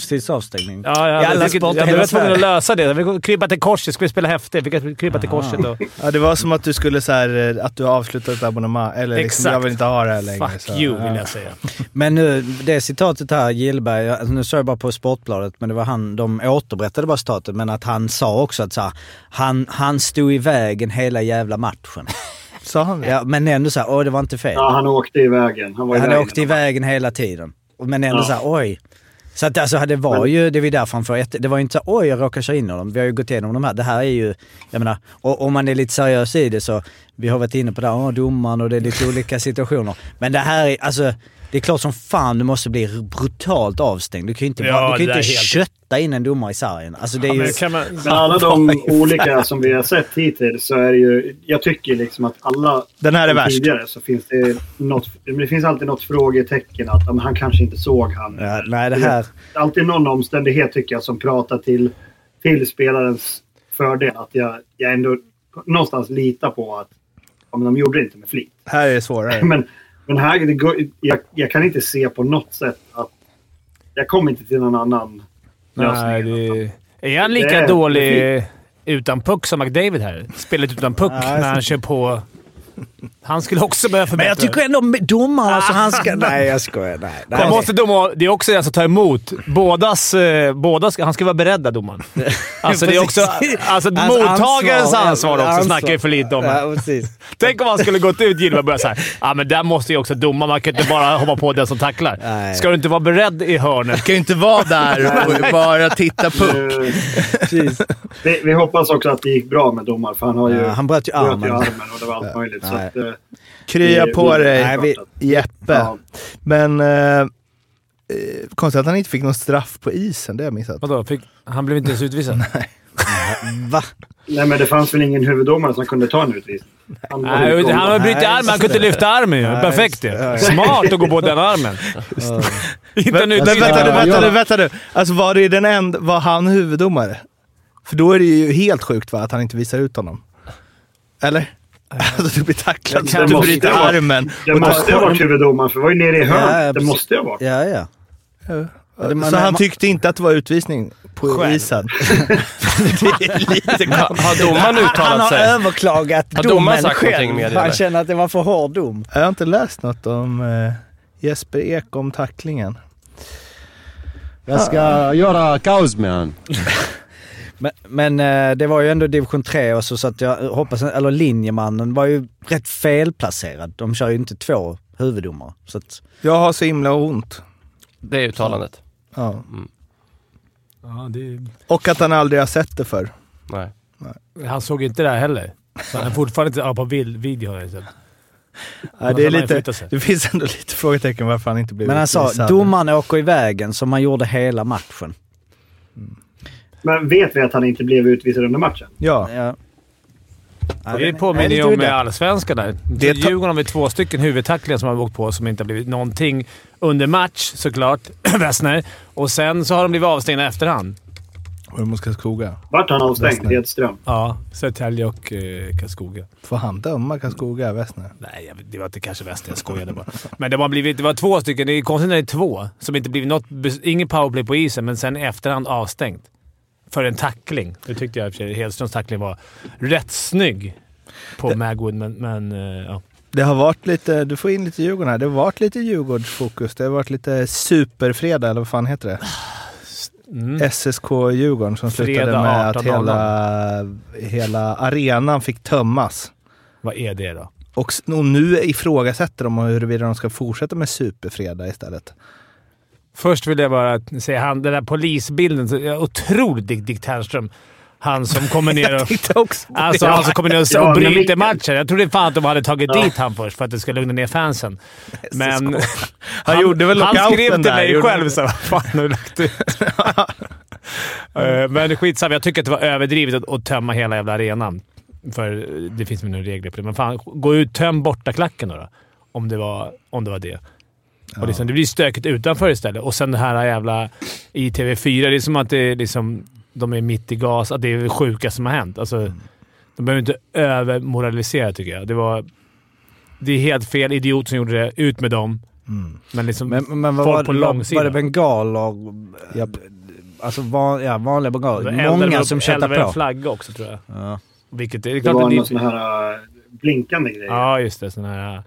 Speaker 2: Livstidsavstängning?
Speaker 1: Ja, jag,
Speaker 2: I alla
Speaker 1: jag, fick-
Speaker 2: sporter i
Speaker 1: jag
Speaker 2: hela
Speaker 1: blev tvungen att
Speaker 2: Sverige.
Speaker 1: lösa det. Jag fick krypa till korset. Skulle spela häftigt. Fick jag krypa till korset. Och,
Speaker 8: Ja, det var som att du skulle så här, eh, att du avslutat ett abonnemang. Eller liksom,
Speaker 1: Exakt.
Speaker 8: jag vill inte ha det här längre.
Speaker 1: fuck
Speaker 8: så,
Speaker 1: you,
Speaker 8: ja.
Speaker 1: vill jag säga.
Speaker 2: Men nu, det citatet här, Gillberg, jag- alltså nu såg jag bara på Sportbladet, men det var han, de återberättade bara citatet, men att han sa också att så här, han, han stod i vägen hela jävla matchen.
Speaker 8: Sa han det?
Speaker 2: Ja, men ändå så här, åh det var inte fel.
Speaker 9: Ja, han åkte i vägen. Han var i
Speaker 2: han
Speaker 9: vägen.
Speaker 2: åkte i vägen hela tiden. Men ändå
Speaker 9: Ja.
Speaker 2: så här, oj. Så att alltså det var ju, det var ju därför han får ett, Det var ju inte så här, oj jag råkar köra in honom. Vi har ju gått igenom de här. Det här är ju, jag menar, och, om man är lite seriös i det så, vi har varit inne på det här, åh, domaren och det är lite olika situationer. Men det här är, alltså, det är klart som fan du måste bli brutalt avstängd. Du kan ju inte,
Speaker 1: Ja,
Speaker 2: bara- du kan ju
Speaker 1: det
Speaker 2: inte
Speaker 1: är helt-
Speaker 2: kötta in en domare i sargen. Alltså det är ju...
Speaker 9: Men alla de olika som vi har sett hittills så är det ju... Jag tycker liksom att alla...
Speaker 8: Den här är
Speaker 9: de
Speaker 8: värst.
Speaker 9: Tidigare så finns det, något, men det finns alltid något frågetecken att ja, men han kanske inte såg han.
Speaker 2: Ja, nej, det här...
Speaker 9: Det är alltid någon omständighet tycker jag som pratar till, till spelarens fördel. Att jag, jag ändå någonstans litar på att ja, men de gjorde det inte med flit.
Speaker 8: Här är det svårare.
Speaker 9: Men, men här, det går, jag, jag kan inte se på något sätt att... Jag kommer inte till någon annan lösning.
Speaker 1: Nej, det... Är han lika
Speaker 9: Det är-
Speaker 1: dålig utan puck som McDavid här? Spelet utan puck när han kör på... Han skulle också behöva förbättra.
Speaker 2: Men jag tycker ändå domaren, alltså han ska... Nej jag skojar. Nej, nej.
Speaker 1: Man måste doma, det är också den som tar emot. Bådas, eh, båda ska, han ska vara beredda, domaren. Alltså, det är också,
Speaker 2: Precis.
Speaker 1: alltså,
Speaker 2: Hans
Speaker 1: mottagarens ansvar, också
Speaker 2: ansvar.
Speaker 1: snackar vi för lite om.
Speaker 2: Ja, precis.
Speaker 1: Tänk om han skulle gått ut Gillberg och börjat såhär. Ja, men där måste ju också domaren. Man kan inte bara hoppa på den som tacklar.
Speaker 2: Nej.
Speaker 1: Ska du inte vara beredd i hörnet?
Speaker 8: kan ju inte vara där och bara titta puck.
Speaker 9: Eh,
Speaker 2: precis.
Speaker 9: Vi, vi hoppas också att det gick bra med domar för han har ju
Speaker 2: Ja, han bröt ju armen.
Speaker 9: och det var allt möjligt. Så
Speaker 2: Nej.
Speaker 9: att, eh,
Speaker 8: Krya
Speaker 9: det-
Speaker 8: på
Speaker 9: det-
Speaker 8: dig,
Speaker 9: Nej, vi-
Speaker 8: Jeppe.
Speaker 9: ja.
Speaker 8: Men... Eh, eh, konstigt att han inte fick någon straff på isen. Det har jag missat.
Speaker 1: Vadå? Fick, han blev inte ens utvisad?
Speaker 2: Va?
Speaker 9: Nej, men det fanns väl ingen huvuddomare som kunde ta en utvisning. Han var
Speaker 1: Nej,
Speaker 9: utgången.
Speaker 1: han har brutit
Speaker 2: Nej,
Speaker 1: armen. Han
Speaker 2: just
Speaker 1: kunde inte
Speaker 2: det.
Speaker 1: lyfta armen ju.
Speaker 2: Nej,
Speaker 1: Perfekt
Speaker 2: just det.
Speaker 1: ju. Smart att gå på den armen. Hitta en
Speaker 8: Men,
Speaker 1: utväg.
Speaker 8: vänta nu,
Speaker 1: Ja,
Speaker 8: vänta nu,
Speaker 1: ja.
Speaker 8: vänta nu. Alltså var det den enda... Var han huvuddomare? För då är det ju helt sjukt va, att han inte visar ut honom. Eller? Alltså du blir tacklad så
Speaker 9: Det
Speaker 8: att du
Speaker 9: måste
Speaker 8: bryter
Speaker 9: vara-
Speaker 8: armen.
Speaker 9: Det
Speaker 8: och tar
Speaker 9: måste ha varit huvuddomaren för det var ju nere i
Speaker 2: Ja, ja,
Speaker 9: hörnet. det
Speaker 2: precis.
Speaker 9: måste ju ha varit.
Speaker 2: Ja, ja. man-
Speaker 8: så han
Speaker 2: man-
Speaker 8: tyckte inte att det var utvisning på isen? det är lite
Speaker 10: Ha- Har domaren
Speaker 2: Han
Speaker 10: uttalat
Speaker 2: har
Speaker 10: sig?
Speaker 2: överklagat
Speaker 10: Har domaren
Speaker 2: domen
Speaker 10: sagt någonting
Speaker 2: själv.
Speaker 10: med det,
Speaker 2: Han
Speaker 10: eller?
Speaker 2: känner att det var för hård dom.
Speaker 8: Jag har inte läst något om eh, Jesper Ek om tacklingen.
Speaker 11: Jag ska göra kaos med han.
Speaker 2: Men, men eh, det var ju ändå division 3 och så, så att jag hoppas... Eller linjemannen var ju rätt felplacerad. De kör ju inte två huvuddomar. Så att,
Speaker 8: Jag har så himla ont.
Speaker 10: Det är uttalandet.
Speaker 8: Ja.
Speaker 1: Ja, det-
Speaker 8: Och att han aldrig har sett det förr.
Speaker 10: Nej.
Speaker 1: Han såg inte det här heller. Så han är fortfarande inte... Ja, på bild, video har jag sett.
Speaker 8: Ja,
Speaker 1: så
Speaker 8: det, är
Speaker 1: han har
Speaker 8: lite,
Speaker 1: flyttat sig.
Speaker 8: det finns ändå lite frågetecken varför han inte blev
Speaker 2: men han sa
Speaker 8: utvisad.
Speaker 2: domaren åker i vägen som han gjorde hela matchen.
Speaker 9: Men vet vi att han inte blev utvisad under matchen?
Speaker 8: Ja.
Speaker 2: Ja. Ja,
Speaker 1: Det
Speaker 2: den-
Speaker 1: påminner
Speaker 2: den
Speaker 1: ju
Speaker 2: är
Speaker 1: om
Speaker 2: lite udda.
Speaker 1: allsvenskan där.
Speaker 8: Det
Speaker 1: Det
Speaker 8: är ta-
Speaker 1: Djurgården har vi två stycken huvudtacklingar som har åkt på som inte har blivit någonting under match såklart. Wessner. Och sen så har de blivit avstängda i efterhand.
Speaker 8: Ormos Karlskoga.
Speaker 9: Vart han avstängd?
Speaker 8: Wessner.
Speaker 9: Hedström?
Speaker 1: Ja, Södertälje och eh, Karlskoga.
Speaker 8: Får han döma Karlskoga, Wessner?
Speaker 1: Nej, jag, det var inte kanske Wessner. Jag skojade bara. Men det, har blivit, det var två stycken. Det är konstigt när det är två som inte blivit något... bes- Ingen powerplay på isen, men sen i efterhand avstängt. För en tackling. Det tyckte jag i och för sig. Hedströms tackling var rätt snygg på Magwood, men... men eh, ja.
Speaker 8: Det har varit lite, du får in lite Djurgården här. Det har varit lite Djurgårdsfokus. Det har varit lite superfredag, eller vad fan heter det?
Speaker 1: Mm.
Speaker 8: SSK Djurgården som slutade
Speaker 1: Fredag
Speaker 8: med att
Speaker 1: 18.00.
Speaker 8: hela, hela arenan fick tömmas.
Speaker 1: Vad är det då?
Speaker 8: Och, s- och nu ifrågasätter de huruvida de ska fortsätta med superfredag istället.
Speaker 1: Först vill jag bara säga han, den där polisbilden. så- ja, Otroligt Dick, Dick Ternström. Han som kommer ner och...
Speaker 8: också
Speaker 1: Alltså han som kommer ner och,
Speaker 9: Ja,
Speaker 1: och
Speaker 9: men
Speaker 1: bryter
Speaker 9: Mikael-
Speaker 1: matchen. Jag trodde fan att de hade tagit
Speaker 9: Ja.
Speaker 1: dit han först för att det ska lugna ner fansen. Men han,
Speaker 8: gjorde väl
Speaker 1: Han
Speaker 8: lockouten
Speaker 1: skrev till
Speaker 8: där,
Speaker 1: mig
Speaker 8: gjorde-
Speaker 1: själv så här, "Vad fan har du lagt ut?" Eh, Men skitsamma, jag tycker att det var överdrivet att, att tömma hela jävla arenan. För det finns väl några regler på det. Men fan, gå ut töm bortaklacken då. då om, det var, om det var det. Och liksom, det blir stökigt utanför istället. Och sen det här jävla i TV4. Det är som att det är liksom, de är mitt i gas. Att det är det sjukaste som har hänt. Alltså,
Speaker 2: Mm.
Speaker 1: De behöver inte övermoralisera tycker jag. Det var... Det är helt fel idiot som gjorde det. Ut med dem. Men liksom
Speaker 2: Mm. Men, men vad
Speaker 1: folk
Speaker 2: var,
Speaker 1: på
Speaker 2: det- vad,
Speaker 1: långsidan.
Speaker 2: var det bengaler? Alltså van, ja, vanliga bengaler.
Speaker 1: Det eldade
Speaker 2: Många
Speaker 1: väl-
Speaker 2: som köttar
Speaker 1: eldade väl en
Speaker 2: på.
Speaker 1: flagga också tror jag.
Speaker 2: Ja.
Speaker 1: Vilket det är
Speaker 9: Det
Speaker 1: klart
Speaker 9: var
Speaker 1: att
Speaker 9: någon sån här eh, blinkande grej.
Speaker 1: Ja, just det. Sån här...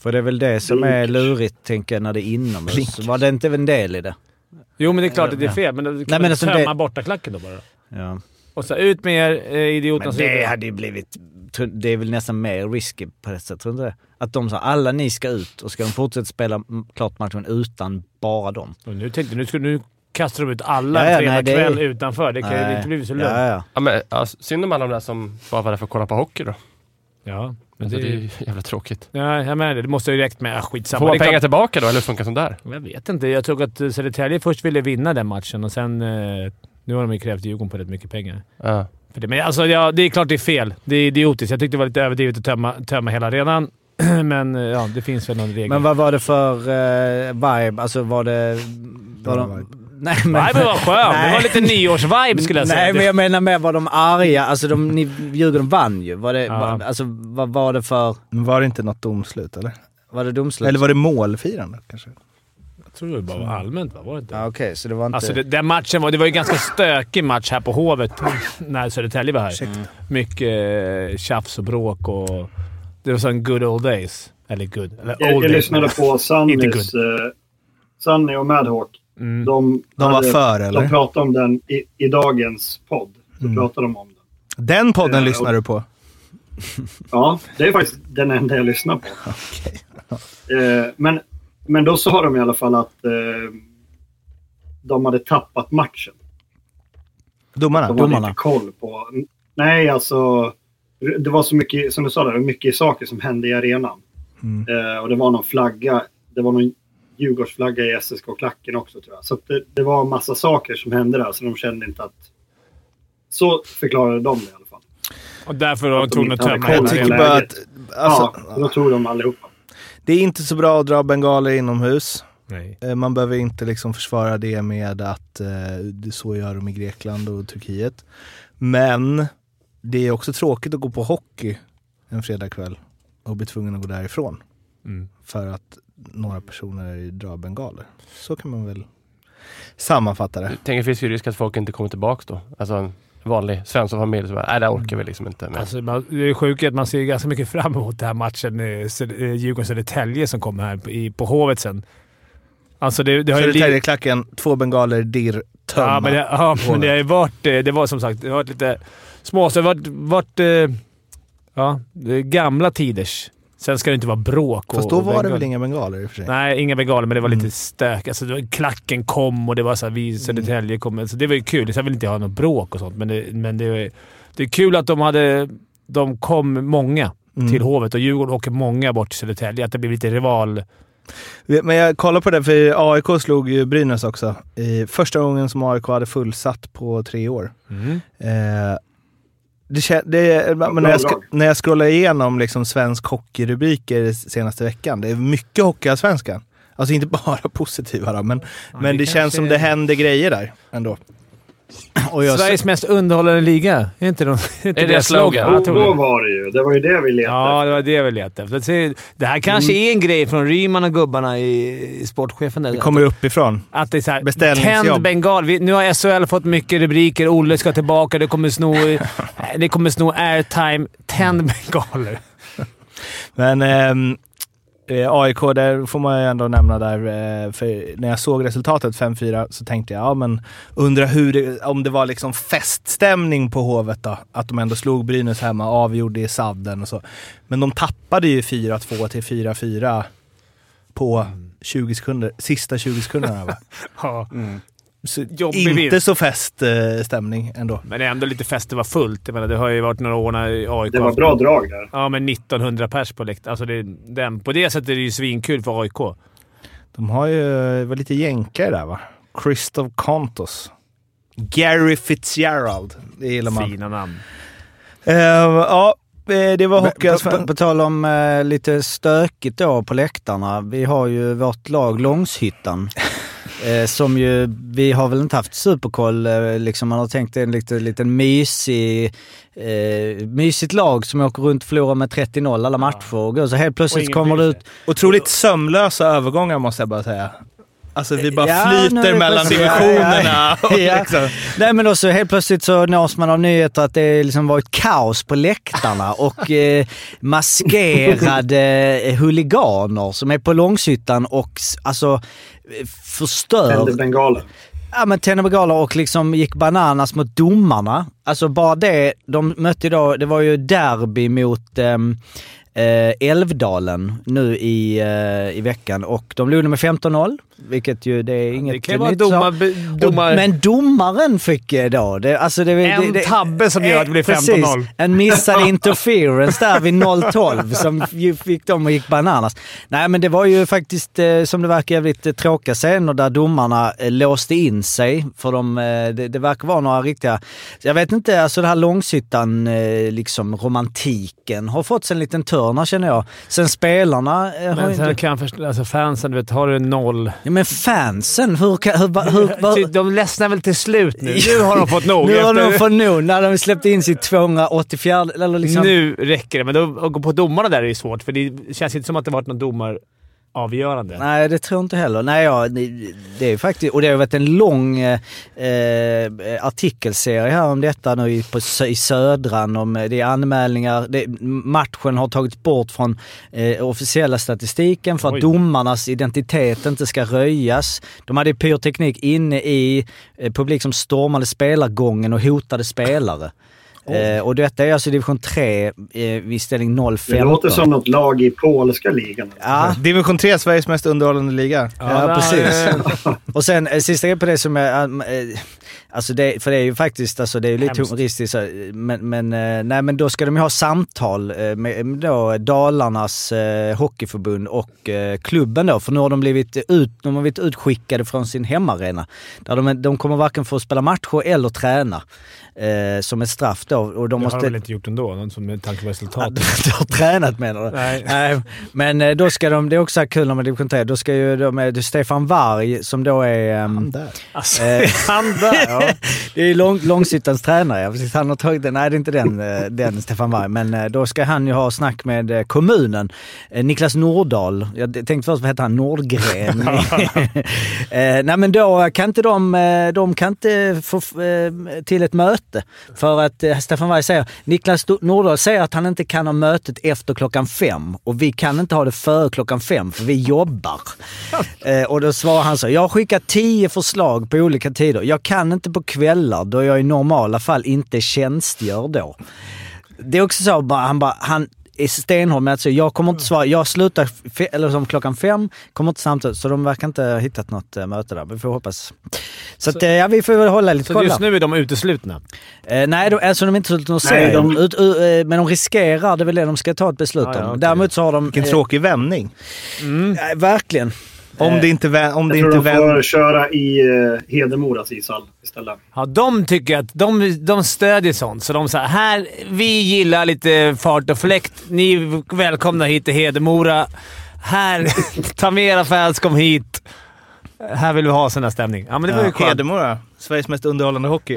Speaker 2: För det är väl det som är lurigt, tänker jag, när det är inomhus. Var det inte en del i det?
Speaker 1: Jo, men det är klart att det är
Speaker 2: Ja.
Speaker 1: fel, men då
Speaker 2: Nej,
Speaker 1: kan
Speaker 2: men
Speaker 1: man
Speaker 2: alltså,
Speaker 1: tömma
Speaker 2: det-
Speaker 1: bortaklacken då bara.
Speaker 2: Ja.
Speaker 1: Och så ut med er, eh, idioterna.
Speaker 2: Men
Speaker 1: som
Speaker 2: det
Speaker 1: gjorde
Speaker 2: hade ju blivit... tror- Det är väl nästan mer risky på det sättet, tror du inte det? Att de sa alla ni ska ut och ska de fortsätta spela m- klart matchen utan bara dem.
Speaker 1: Och nu tänkte jag, nu, ska, nu kastar de ut alla
Speaker 2: Ja, ja,
Speaker 1: en
Speaker 2: nej, det är-
Speaker 1: fredagkväll utanför. Det kan ju
Speaker 2: Nej.
Speaker 1: inte bli så lugnt.
Speaker 2: Ja, ja.
Speaker 10: Ja, men, ja, synd om alla de där som bara var där för att kolla på hockey då.
Speaker 1: Ja, men
Speaker 10: alltså,
Speaker 1: det-
Speaker 10: det... är ju jävla tråkigt.
Speaker 1: Nej, jag menar det. Det måste ju direkt med... Ah, skitsamma.
Speaker 10: Får man
Speaker 1: Det är
Speaker 10: pengar
Speaker 1: klart-
Speaker 10: tillbaka då, eller hur funkar sånt där?
Speaker 1: Jag vet inte. Jag tror att eh, Södertälje först ville vinna den matchen och sen... Eh, nu har de ju krävt Djurgården på rätt mycket pengar.
Speaker 10: Ja.
Speaker 1: För det, men alltså, ja, det är klart det är fel. Det är idiotiskt. Jag tyckte det var lite överdrivet att tömma, tömma hela arenan, men eh, ja, det finns väl någon regel.
Speaker 2: Men vad var det för eh, vibe? Alltså var det... Var de, Nej, men,
Speaker 1: Viben var skön. Det var lite nyårsvibe skulle jag säga.
Speaker 2: Nej, men jag menar mer var de arga. Alltså de, ni, Djurgården vann ju. Var det, var, alltså, vad var det för...
Speaker 8: Var det inte något domslut eller?
Speaker 2: Var det domslut?
Speaker 8: Eller var det målfirande kanske?
Speaker 1: Jag tror det bara var allmänt, va? Var det inte?
Speaker 2: Ja, Okej, så det var inte...
Speaker 1: Alltså det, den matchen var, det var ju en ganska stökig match här på Hovet när Södertälje var här. Mm. Mycket eh, tjafs och bråk och... Det var sån good old days. Eller good. Eller
Speaker 9: Jag,
Speaker 1: old
Speaker 9: jag
Speaker 1: days.
Speaker 9: lyssnade på
Speaker 1: Inte
Speaker 9: Sunnys,
Speaker 1: good.
Speaker 9: eh, Sunny och Madhawk.
Speaker 1: Mm.
Speaker 9: De,
Speaker 8: De var för, eller? Mm.
Speaker 9: De pratade om den i, i dagens podd. Så pratade de om den.
Speaker 8: Den podden
Speaker 9: Eh,
Speaker 8: lyssnar
Speaker 9: och-
Speaker 8: du på?
Speaker 9: Ja, det är faktiskt den enda jag lyssnar på. Eh, men, men då sa de i alla fall att eh, de hade tappat matchen.
Speaker 8: Domarna?
Speaker 9: De hade inte koll på... Nej, alltså... Det var så mycket, som du sa, där, det var mycket saker som hände i arenan.
Speaker 8: Mm.
Speaker 9: Eh, och det var någon flagga. Det var någon Djurgårdsflagga i SSK-klacken också tror jag. Så att det, det var en massa saker som hände där, så de kände inte att... Så förklarade de det i alla fall.
Speaker 1: Och därför var de
Speaker 9: de
Speaker 1: tvungna att
Speaker 9: inte hade
Speaker 1: tömma
Speaker 9: koll
Speaker 1: hela
Speaker 9: på
Speaker 8: Jag tycker
Speaker 1: arenan.
Speaker 8: bara att...
Speaker 9: läget.
Speaker 8: Alltså,
Speaker 9: ja, då tog de allihopa.
Speaker 8: Det är inte så bra att dra bengaler inomhus.
Speaker 1: Nej.
Speaker 8: Eh, Man behöver inte liksom försvara det med att eh, det- så gör de i Grekland och Turkiet. Men det är också tråkigt att gå på hockey en fredagkväll och bli tvungen att gå därifrån.
Speaker 1: Mm.
Speaker 8: För att några personer drar bengaler. Så kan man väl sammanfatta det.
Speaker 10: Tänk det finns ju risk att folk inte kommer tillbaka då. Alltså en vanlig svenssonfamilj som bara, nej det här orkar vi liksom inte. Men,
Speaker 1: Alltså, man, det är sjukt att man ser ganska mycket fram emot den här matchen eh, Sö- eh, Djurgården-Södertälje som kommer här på, i, på Hovet sen. Alltså det, det har ju... li-
Speaker 8: Södertäljeklacken, två bengaler, dirr, tömma.
Speaker 1: Ja, men det, ja, men det har ju varit... eh, Det var som sagt det har varit lite småstö. Det har varit... varit eh, ja, det är gamla tiders. Sen ska det inte vara bråk och
Speaker 8: Fast då
Speaker 1: och
Speaker 8: var
Speaker 1: bengal.
Speaker 8: det väl Mm. inga bengaler i och för sig?
Speaker 1: Nej, inga bengaler, men det var lite stök. Alltså, det var, klacken kom och det var så här, vi i
Speaker 8: Mm.
Speaker 1: Södertälje kom. Alltså, det var ju kul. Så jag vill inte ha något bråk och sånt, men det, men det, är- det är kul att de hade... De kom många
Speaker 8: Mm.
Speaker 1: till Hovet och Djurgården åker många bort till Södertälje. Att det blir lite rival...
Speaker 8: Men jag kollar på det, för AIK slog ju Brynäs också. I första gången som AIK hade fullsatt på tre år. Eh, det, kä- det, men när, jag sk- när jag scrollar igenom liksom svensk hockeyrubriker senaste veckan, det är mycket hockeyallsvenskan. Alltså inte bara positiva då, men, men det,
Speaker 1: det
Speaker 8: känns
Speaker 1: kanske
Speaker 8: som
Speaker 1: är-
Speaker 8: det händer grejer där ändå. Och jag,
Speaker 1: Sveriges mest underhållande liga. Är inte, de, är inte
Speaker 10: Är det
Speaker 1: deras
Speaker 10: slogan?
Speaker 1: Ja,
Speaker 9: Då,
Speaker 1: jag tror
Speaker 9: då
Speaker 1: det.
Speaker 9: var det ju. Det var ju det vi letade
Speaker 1: Ja, det var det vi letade efter. Se, Det här kanske är en grej från Ryman och gubbarna i, i sportchefen. Där.
Speaker 8: det kommer uppifrån.
Speaker 1: Att det är såhär,
Speaker 8: Beställningsjobb.
Speaker 1: tänd bengal. Vi, nu har SHL fått mycket rubriker. Olle ska tillbaka. Det kommer sno, det kommer sno airtime. Tänd bengaler.
Speaker 8: Men ehm, eh, AIK, där får man ju ändå nämna där, eh, för när jag såg resultatet 5-4 så tänkte jag, ja men undra hur det, om det var liksom feststämning på Hovet då. Att de ändå slog Brynäs hemma, avgjorde i sadden och så. Men de tappade ju 4-2 till 4-4 på 20 sekunder, sista 20 sekunderna va?
Speaker 1: Ja.
Speaker 8: Så
Speaker 1: Jobbig
Speaker 8: inte
Speaker 1: vinst.
Speaker 8: så feststämning eh, ändå.
Speaker 1: Men det är ändå lite fest. Det var fullt. Jag menar, det har ju varit några år när AIK...
Speaker 9: Det var bra drag där.
Speaker 1: Ja, men 1900 pers på läktaren. Alltså det, den, på det sättet är det ju svinkul för AIK.
Speaker 8: De har ju, det var lite jänkare där va? Christoph Kontos. Gary Fitzgerald. Det gillar man.
Speaker 1: Fina namn.
Speaker 8: Eh, ja, eh, det var
Speaker 2: Men
Speaker 8: Hockeyallsvenskan.
Speaker 2: På, på, på tal om eh, lite stökigt då på läktarna. Vi har ju vårt lag Långshyttan. eh, som ju, vi har väl inte haft superkoll. Eh, liksom man har tänkt en lite, liten mysig, eh, mysigt lag som åker runt och förlorar med 30-0 alla matcher. och går. Så helt
Speaker 8: Och
Speaker 2: plötsligt
Speaker 8: ingen
Speaker 2: kommer det
Speaker 8: bryr
Speaker 2: ut...
Speaker 8: Otroligt sömlösa övergångar måste jag bara säga. Alltså vi bara
Speaker 2: Ja, nu är
Speaker 8: flyter
Speaker 2: det
Speaker 8: mellan
Speaker 2: precis-
Speaker 8: divisionerna.
Speaker 2: Ja,
Speaker 8: och
Speaker 2: ja.
Speaker 8: liksom.
Speaker 2: Nej men då så helt plötsligt så nås man av nyheter att det liksom varit kaos på läktarna och eh, maskerade eh, huliganer som är på Långshyttan och s- alltså eh,
Speaker 9: Tände
Speaker 2: förstör.
Speaker 9: bengaler.
Speaker 2: Ja men tände bengaler och liksom gick bananas mot domarna. Alltså bara det, de mötte idag, det var ju derby mot ehm, eh, Älvdalen nu i, eh, i veckan och de låg med 15-0, vilket ju det är inget
Speaker 1: Det kan ju vara
Speaker 2: nytt så.
Speaker 1: domar, be- domar,
Speaker 2: Och, men domaren fick eh, då... Det, alltså det, det,
Speaker 1: en
Speaker 2: det, eh,
Speaker 1: tabbe som gör att det blir
Speaker 2: Precis.
Speaker 1: 15-0.
Speaker 2: En missad interference där vid 0-12 som ju fick dem och gick bananas. Nej, men det var ju faktiskt, eh, som det verkar, jävligt eh, tråkiga scener där domarna eh, låste in sig. För de, eh, det, det verkar vara några riktiga... Jag vet inte, alltså den här långsittan, eh, liksom romantiken, har fått sig en liten törn här, känner jag. Sen spelarna eh, har
Speaker 1: Men
Speaker 2: ju
Speaker 1: sen
Speaker 2: inte...
Speaker 1: kan jag förstå, alltså fansen, du vet, har du noll...
Speaker 2: Ja, men fansen, hur kan... Hur, hur, hur,
Speaker 1: De ledsnar väl till slut nu? Nu har de fått nog.
Speaker 2: Nu har
Speaker 1: efter-
Speaker 2: de fått nog när de släppte in sitt 284 eller liksom...
Speaker 1: Nu räcker det, men då, att gå på domarna där är ju svårt, för det känns inte som att det varit någon domaravgörande.
Speaker 2: Nej, det tror jag inte heller. Nej, ja, det- det är faktiskt... Och det har varit en lång eh, eh, artikelserie här om detta nu i, på, Sö- i Södran. Om, eh, det är anmälningar. Det, matchen har tagits bort från eh, officiella statistiken för
Speaker 1: Oj.
Speaker 2: att domarnas identitet inte ska röjas. De hade pyroteknik inne i eh, publik som stormade spelargången och hotade spelare. Eh, och detta är alltså division 3 eh, vid ställning 0-15.
Speaker 9: Det låter som något lag i polska ligan.
Speaker 2: Ja,
Speaker 8: Division 3, Sveriges mest underhållande liga.
Speaker 2: Ja,
Speaker 1: där,
Speaker 2: precis.
Speaker 1: eh,
Speaker 2: Och sen eh, sista grejen på det som är... um, eh, Alltså det, för det är ju faktiskt, alltså det är ju lite
Speaker 1: Hemskt.
Speaker 2: humoristiskt så, eh, men, men, eh, nej, men då ska de ju ha samtal eh, med med då Dalarnas eh, hockeyförbund och eh, klubben då, för nu har de blivit, ut, de har blivit utskickade från sin hemmaarena. Där de, de kommer varken få spela matcher eller träna eh, som ett straff då. Och de
Speaker 1: det har de
Speaker 2: måste...
Speaker 1: väl inte gjort ändå, någon som med tanke på
Speaker 2: Ja,
Speaker 1: resultatet.
Speaker 2: du har tränat menar du?
Speaker 1: Nej.
Speaker 2: Men eh, då ska de, det är också här kul när man är i division 3, då ska ju de, eh, det är Stefan Varg som då är... ehm,
Speaker 1: Alltså,
Speaker 2: eh,
Speaker 1: han där! Ja.
Speaker 2: det är lång, Långsittans tränare, ja. Precis, han har tagit den. Nej, det är inte den, eh, den Stefan Warg. Men eh, då ska han ju ha snack med eh, kommunen. Eh, Niklas Nordahl. Jag d- tänkte först, vad heter han? Nordgren? eh, nej, men då kan inte de, eh, de kan inte få f- eh, till ett möte. För att eh, Stefan Warg säger, Niklas Do- Nordahl säger att han inte kan ha mötet efter klockan fem. Och vi kan inte ha det före klockan fem, för vi jobbar. Eh, och då svarar han så, jag har skickat tio förslag på olika tider. Jag kan inte på kvällar då jag i normala fall inte tjänstgör då. Det är också så, bara, han bara, han är stenhård med att säga, jag kommer inte svara, jag slutar fe- eller som klockan fem, kommer inte samtidigt. Så de verkar inte ha hittat något eh, möte där, men vi får hoppas. Så, att, eh, ja, vi får väl hålla lite
Speaker 1: Så
Speaker 2: koll
Speaker 1: just
Speaker 2: där.
Speaker 1: nu är de uteslutna.
Speaker 2: Eh, nej, de, alltså de är inte slutat någon
Speaker 9: Nej,
Speaker 2: serie.
Speaker 9: de-
Speaker 2: Ut- u- eh, Men de riskerar, det är väl det de ska ta ett beslut
Speaker 1: Ah, ja,
Speaker 2: om.
Speaker 1: okej.
Speaker 2: Däremot så har de...
Speaker 8: Vilken tråkig vändning.
Speaker 2: eh, eh, verkligen.
Speaker 8: Om det inte, vä- om det
Speaker 9: Jag tror
Speaker 8: inte
Speaker 9: de får
Speaker 8: vänder.
Speaker 9: köra i eh, Hedemoras ishall istället.
Speaker 1: Ja, de tycker att de, de stödjer sånt, så de säger här, vi gillar lite fart och fläkt. Ni är välkomna hit till Hedemora. Här, ta med era fans, kom hit. Här vill vi ha sån här stämning. Ja, men det var ju skönt.
Speaker 8: Hedemora, Sveriges mest underhållande hockey.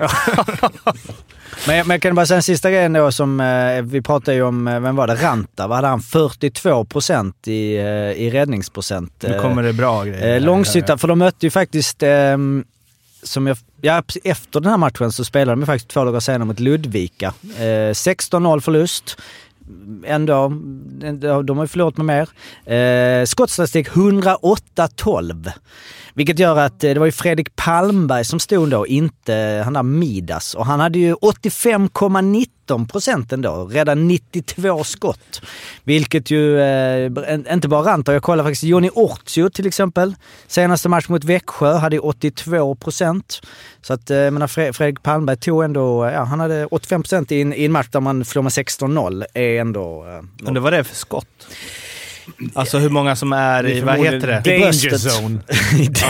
Speaker 2: Men jag, men jag kan bara säga en sista grej då som eh, vi pratade ju om, eh, vem var det? Ranta, vad hade han? 42 procent i, eh, i räddningsprocent.
Speaker 8: Nu kommer det bra grejer.
Speaker 2: Eh, Långshyttan, för de mötte ju faktiskt, ehm, som jag, ja, precis efter den här matchen så spelade de ju faktiskt två dagar senare mot Ludvika. Eh, 16-0 förlust. Ändå, ändå- de har ju förlorat med mer. Eh, skottstatistik 108-12. Vilket gör att eh, det var ju Fredrik Palmberg som stod då, inte han där Midas. Och han hade ju 85,19 procent ändå, redan 92 skott. Vilket ju, eh, en- inte bara Rantar, jag kollar faktiskt Jonny Ortio till exempel. Senaste match mot Växjö hade ju 82 procent. Så att, eh, jag menar, Fre- Fredrik Palmberg tog ändå, eh, ja han hade 85 procent i en i en match där man förlorar med 16-0. Är ändå... eh,
Speaker 8: Undrar vad det är för skott. Alltså hur många som är i, vad heter det?
Speaker 1: Danger zone.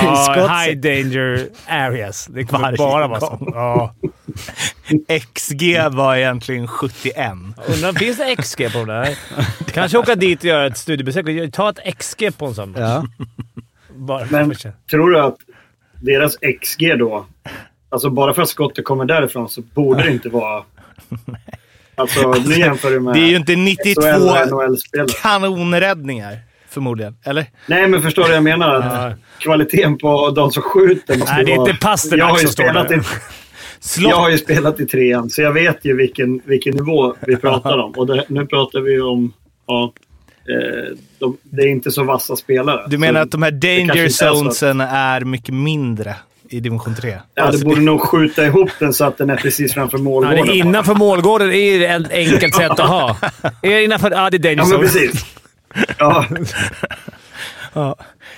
Speaker 1: ja, high danger areas. Det kommer
Speaker 8: Varje
Speaker 1: bara vara
Speaker 8: gång.
Speaker 1: så. Ja.
Speaker 8: XG var egentligen 71.
Speaker 1: Undrar, finns det XG på den där? Kanske åka dit och göra ett studiebesök. och gö- Ta ett XG på en sån match. Bara
Speaker 9: Men tror du att deras XG då, alltså bara för att skottet kommer därifrån så borde det inte vara... Alltså nu jämför du med
Speaker 8: Det är ju inte 92
Speaker 9: SHL och NHL-spelare.
Speaker 8: kanonräddningar, förmodligen. Eller?
Speaker 9: Nej, men förstår du vad jag menar? Att kvaliteten på de som skjuter måste
Speaker 8: Nej, det är
Speaker 9: vara-
Speaker 8: inte Pasternak
Speaker 9: Jag har ju
Speaker 8: som står
Speaker 9: spelat
Speaker 8: där.
Speaker 9: i- Jag har ju spelat i trean, så jag vet ju vilken, vilken nivå vi pratar om. Och det, nu pratar vi ju om... Ja, eh, de, det är inte så vassa spelare.
Speaker 8: Du menar
Speaker 9: Så
Speaker 8: att de här
Speaker 9: det kanske
Speaker 8: danger
Speaker 9: inte är så att-
Speaker 8: zonesen är mycket mindre i division Alltså, 3?
Speaker 9: Ja, du borde nog skjuta ihop den så att den är precis framför
Speaker 1: Ja,
Speaker 9: målgården.
Speaker 1: det är innanför målgården är ju ett enkelt sätt att ha. Är det innanför... Ja, det är danger
Speaker 9: Ja,
Speaker 1: zone.
Speaker 9: men precis. Ja.
Speaker 2: Ja.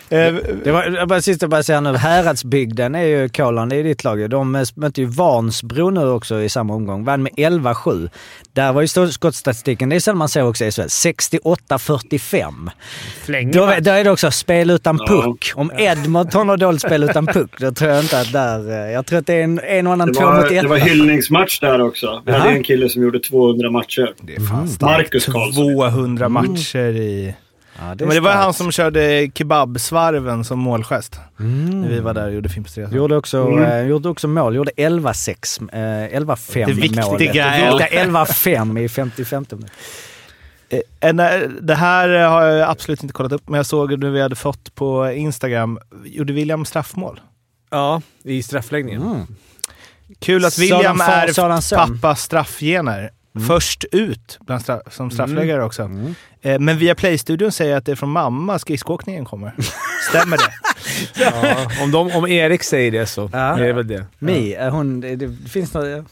Speaker 2: Det var, jag bara, sist jag bara säga nu, Häradsbygden är ju Kolan, det är ditt lag ju. De eh, mötte ju Vansbro nu också i samma omgång. Vann med 11-7. Där var ju stå- skottstatistiken, det är sällan man ser också i SHL, 68-45. Då, då är det också spel utan
Speaker 9: Mm. Ja.
Speaker 2: puck. Om Edmonton har dåligt spel utan puck, då tror jag inte att där... eh, Jag tror att det är en, en och annan
Speaker 9: Det
Speaker 2: två mot
Speaker 9: var,
Speaker 2: ett.
Speaker 9: det var hyllningsmatch där också. Vi hade
Speaker 2: Ja.
Speaker 9: ju en kille som gjorde 200 matcher. Det är fan Marcus Karlsson.
Speaker 8: 200 matcher i...
Speaker 2: det är
Speaker 8: Men det var
Speaker 2: starkt.
Speaker 8: han som körde kebabsvarven som målgest. När vi var där och gjorde Filmstresan.
Speaker 2: Gjorde också,
Speaker 8: Mm.
Speaker 2: eh, gjorde också mål. Gjorde 11-6. Eh, 11-5
Speaker 8: Det
Speaker 2: i
Speaker 8: viktiga
Speaker 2: målet.
Speaker 8: är-
Speaker 2: Det viktiga 11-5 i 55 minuten.
Speaker 8: Eh, en, eh, Det här har jag absolut inte kollat upp, men jag såg nu vi hade fått på Instagram. Gjorde William straffmål?
Speaker 1: Ja, i straffläggningen.
Speaker 8: Kul att
Speaker 1: Sådan
Speaker 8: William
Speaker 1: far,
Speaker 8: är
Speaker 1: sådan son.
Speaker 8: pappas straffgener.
Speaker 1: Mm.
Speaker 8: Först ut bland stra- som straffläggare också. Eh, Men via Playstudion säger att det är från mamma skridskoåkningen kommer. Stämmer det?
Speaker 1: Ja, om, de, om Erik säger det så är det väl det.
Speaker 2: Mi, eh, hon, det, det finns något... Ja.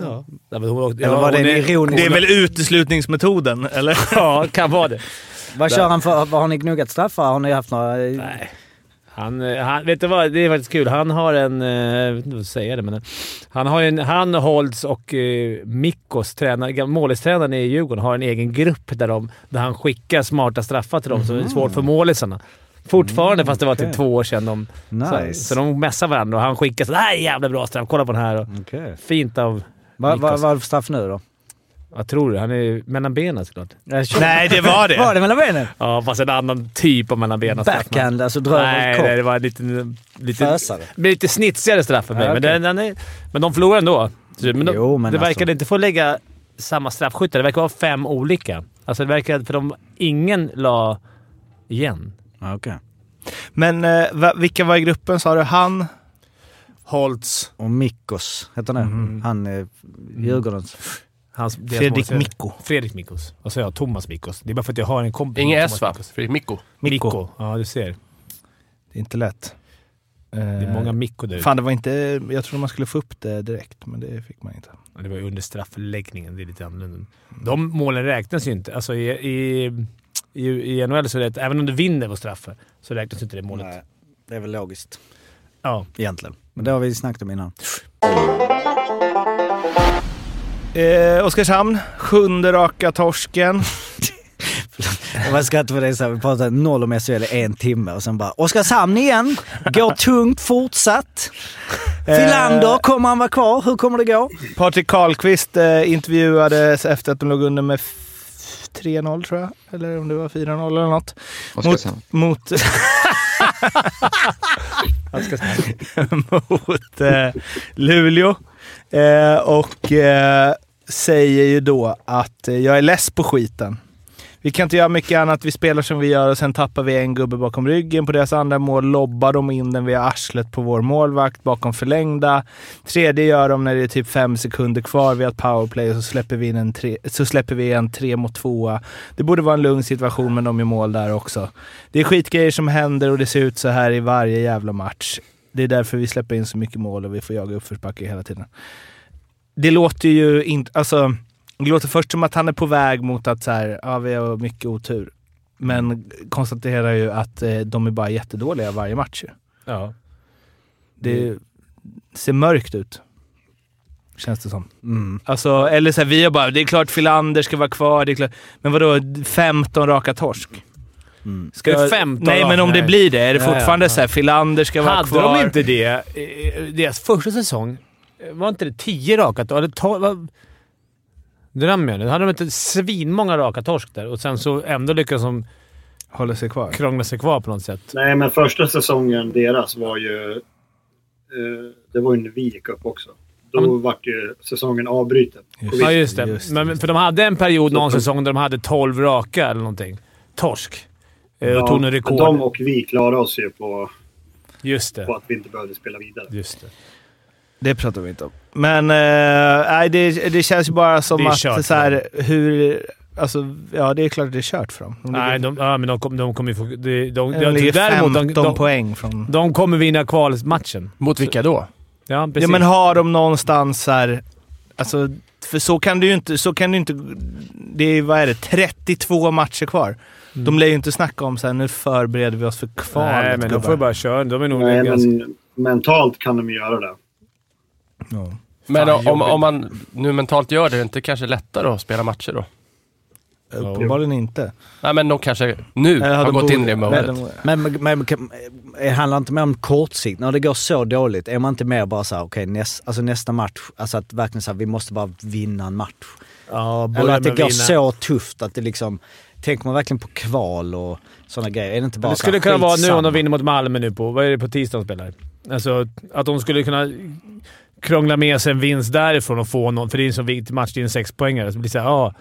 Speaker 1: Ja. Ja, men hon åkte-
Speaker 2: Eller
Speaker 1: ja,
Speaker 2: var det
Speaker 1: hon
Speaker 2: en
Speaker 1: är-
Speaker 2: ironisk...
Speaker 1: Det är väl
Speaker 8: uteslutningsmetoden, eller?
Speaker 1: Ja, kan vara det.
Speaker 2: Vad
Speaker 1: Där.
Speaker 2: kör han för... Vad har ni gnuggat straffar? Har ni haft några... Nej.
Speaker 1: Han, eh, han, vet du vad? Det är faktiskt kul. Han har en... eh, Jag vet inte vad jag säger det, men... eh, Han har ju en... Han, Holtz och eh, Mikkos, tränare- gam- målistränaren i Djurgården, har en egen grupp där, de, där han skickar smarta straffar till dem som är svårt för målisarna. Fortfarande, fast det var typ två år sedan. De,
Speaker 2: Nice.
Speaker 1: så, så de messar varandra och han skickar så här jävla bra straff. Kolla på den här. Och, Fint av
Speaker 2: Vad va,
Speaker 1: Mikkos.
Speaker 2: va, för straff nu då?
Speaker 1: Vad tror du? Han är mellan benen såklart.
Speaker 8: Nej, det var det.
Speaker 2: Var det mellan benen?
Speaker 1: Ja, fast en annan typ av mellan benen. straff.
Speaker 2: Backhand, alltså dröver
Speaker 1: Nej,
Speaker 2: kort.
Speaker 1: nej, det var en liten... liten
Speaker 2: Fösare.
Speaker 1: blir lite snitsigare straff för mig,
Speaker 2: Ja,
Speaker 1: men,
Speaker 2: okej.
Speaker 1: den, den är, men de förlorar ändå. Så- Men de,
Speaker 2: Jo, men
Speaker 1: det
Speaker 2: alltså.
Speaker 1: verkade inte få lägga samma straffskyttar. Det verkar vara fem olika. Alltså det verkar... För de, ingen la igen.
Speaker 2: Ah, okay.
Speaker 8: Men eh, va, vilka var i gruppen sa du? Han?
Speaker 1: Holtz.
Speaker 2: Och Mikkos, heter han det? Han eh, Djurgårdens...
Speaker 1: Hans, deras
Speaker 8: Fredrik
Speaker 1: målsägare.
Speaker 8: Mikko.
Speaker 1: Fredrik Mikkos. Vad sa jag? Thomas Mikkos. Det är bara för att jag har en kompis.
Speaker 10: Inget
Speaker 1: Thomas
Speaker 10: S va?
Speaker 1: Mikkos.
Speaker 10: Fredrik Mikko.
Speaker 1: Mikko. Ja, du ser.
Speaker 8: Det är inte lätt. Det
Speaker 1: är många Mikko där ute.
Speaker 8: Fan, det var inte... Jag trodde man skulle få upp det direkt, men det fick man inte.
Speaker 1: Ja, Det var ju under straffläggningen. Det är lite annorlunda. De målen räknas ju inte. Alltså i, i, i, i NHL så är det att även om du vinner på straffar så räknas inte det målet.
Speaker 2: Nej, det är väl logiskt.
Speaker 1: Ja.
Speaker 2: Egentligen. Men det har vi snackat om innan.
Speaker 8: Eh, Oskarshamn, sjunde raka torsken.
Speaker 2: Jag bara skrattar för det är så här, vi pratar noll om SHL i en timme och sen bara Oskarshamn igen, går tungt fortsatt. Filander, kommer han vara kvar? Hur kommer det gå?
Speaker 8: Patrik Karlqvist eh, intervjuades efter att de låg under med f- 3-0 tror jag. Eller om det var 4-0 eller något. Mot...
Speaker 12: Oskarshamn.
Speaker 8: mot mot eh, Luleå. Eh, och eh, säger ju då att eh, jag är less på skiten. Vi kan inte göra mycket annat. Vi spelar som vi gör och sen tappar vi en gubbe bakom ryggen på deras andra mål. Lobbar de in den via arslet på vår målvakt bakom förlängda. Tredje gör de när det är typ fem sekunder kvar. Vi har ett powerplay och så släpper vi in en tre, så släpper vi en tre mot tvåa. Det borde vara en lugn situation, men de är mål där också. Det är skitgrejer som händer och det ser ut så här i varje jävla match. Det är därför vi släpper in så mycket mål och vi får jaga uppförsbacke hela tiden. Det låter ju inte... Alltså, det låter först som att han är på väg mot att så här, ja, vi har mycket otur.
Speaker 2: Mm.
Speaker 8: Men konstaterar ju att eh, de är bara jättedåliga varje match. ju.
Speaker 1: Ja.
Speaker 8: Det
Speaker 2: Mm.
Speaker 8: ser mörkt ut. Känns det som.
Speaker 2: Mm.
Speaker 8: Alltså, eller så här, vi har bara, det är klart Filander ska vara kvar. Det är klart. Men vadå, 15 raka torsk?
Speaker 1: Ska det 15
Speaker 8: Nej, men om det blir det. Är det fortfarande så här, Filander ska vara
Speaker 1: Hade
Speaker 8: kvar?
Speaker 1: de inte det i deras första säsong? Var inte det 10 raka torsk? Eller 12? Drömmer jag nu? Hade de inte svinmånga raka torsk där och sen så ändå lyckas de
Speaker 8: Hålla sig kvar.
Speaker 1: krångla sig kvar på något sätt?
Speaker 9: Nej, men första säsongen deras var ju... eh, det var ju när vi gick upp också. Då
Speaker 1: Mm.
Speaker 9: vart ju säsongen avbruten.
Speaker 1: ja, just det. men, För de hade en period någon säsong där de hade 12 raka eller någonting. Torsk. Eh, och tog nu rekord.
Speaker 9: De och vi klarade oss ju på,
Speaker 1: Just det.
Speaker 9: på att vi inte behövde spela vidare.
Speaker 1: Just det.
Speaker 8: Det pratar vi inte om. Men eh, nej, det, det känns ju bara som
Speaker 1: Det är
Speaker 8: att
Speaker 1: kört
Speaker 8: så här, hur... Alltså, ja, det är klart det är kört för dem. De
Speaker 1: Nej,
Speaker 8: ligger-
Speaker 1: de, ja, men de kommer de kommer ju få... De, de, de,
Speaker 8: de ligger
Speaker 1: däremot, de,
Speaker 8: 15
Speaker 1: de,
Speaker 8: poäng från...
Speaker 1: de kommer vinna kvalmatchen.
Speaker 12: Mot vilka då?
Speaker 1: Ja, precis.
Speaker 8: Ja, men har de någonstans här... Alltså, för så kan du ju inte... Så kan du inte det är, ju- vad är det, 32 matcher kvar.
Speaker 2: Mm.
Speaker 8: De lär ju inte snacka om så här, nu förbereder vi oss för kvalet
Speaker 1: Nej, men de får ju bara köra. De är nog
Speaker 9: Nej,
Speaker 1: ganska...
Speaker 9: men mentalt kan de ju göra det.
Speaker 10: Men
Speaker 9: Fan,
Speaker 10: om,
Speaker 9: jobbigt.
Speaker 10: om man nu mentalt gör det, är det inte kanske lättare att spela matcher då?
Speaker 8: Uppenbarligen inte.
Speaker 10: Nej, men de kanske nu
Speaker 2: Eller hade
Speaker 10: har
Speaker 2: de
Speaker 10: gått in i
Speaker 2: borde-
Speaker 10: det modet.
Speaker 2: Men, men, men kan- eh, handlar inte mer om kortsikt? När det går så dåligt, är man inte mer bara såhär, okej näs, alltså nästa match, alltså att verkligen såhär, vi måste bara vinna en match.
Speaker 1: Ja, börja
Speaker 2: Eller att det går
Speaker 1: med att vinna.
Speaker 2: så tufft att det liksom, tänker man verkligen på kval och sådana grejer? Är det inte bara
Speaker 1: Det
Speaker 2: så här,
Speaker 1: skulle kunna vara nu om
Speaker 2: skitsamma?
Speaker 1: de vinner mot Malmö nu på... Vad är det på tisdag de spelar? Alltså, att de skulle kunna krångla med sig en vinst därifrån och få någon... För det är en så viktig match. Det är en sexpoängare. Så det blir såhär, ja...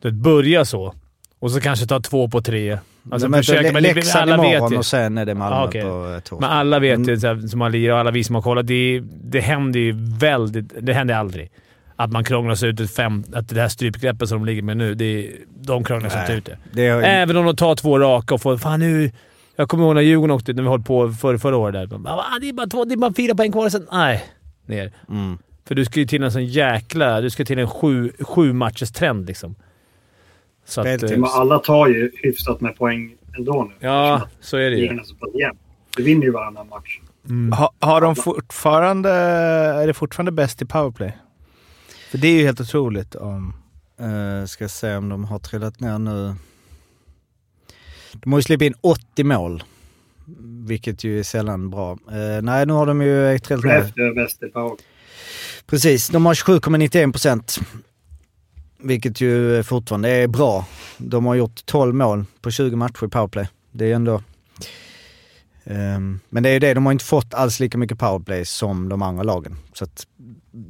Speaker 1: Du vet, börja så. Och så kanske ta två på tre. Alltså,
Speaker 2: De möter
Speaker 1: försöka,
Speaker 2: Le-
Speaker 1: men det-
Speaker 2: Leksand
Speaker 1: alla vet
Speaker 2: imorgon
Speaker 1: ju.
Speaker 2: och sen är det Malmö
Speaker 1: Ja, okej.
Speaker 2: på eh, torsdag.
Speaker 1: Men alla vet ju, så här, som har lirat och alla vi som har kollat, det, det händer ju väldigt... Det händer aldrig. Att man krånglar sig ut ett fem... Att det här strypgreppet som de ligger med nu, det, de krånglar sig inte
Speaker 2: Nej.
Speaker 1: ut det. Eh,
Speaker 2: Det är-
Speaker 1: Även om de tar två raka och får... Fan nu... Jag kommer ihåg när Djurgården åkte ut, när vi höll på för, förra året. Där. Man bara, "Ah, det, är bara två, det är bara fyra poäng kvar och sen... Nej. Ner. För du ska ju till en sån jäkla... Du ska till en sju, sju matchers trend liksom. Så att, eh,
Speaker 9: Men alla tar ju hyfsat med poäng ändå nu. alltså
Speaker 1: Ja, så är det
Speaker 9: Ligan
Speaker 1: ju.
Speaker 9: är så pass jämn. Du vinner ju varannan match.
Speaker 2: Mm.
Speaker 8: Ha, har de fortfarande... Är det fortfarande bäst i powerplay? För det är ju helt otroligt om...
Speaker 2: Uh, ska se om de har trillat ner nu. De har ju släppt in 80 mål. Vilket ju är sällan bra. Eh, nej, nu har de ju trillat ner.
Speaker 9: Skellefteå är bäst i power.
Speaker 2: Precis, de har 27,91 procent. Vilket ju fortfarande är bra. De har gjort 12 mål på 20 matcher i powerplay. Det är ändå... Ehm, men det är ju det, de har inte fått alls lika mycket powerplay som de andra lagen. Så att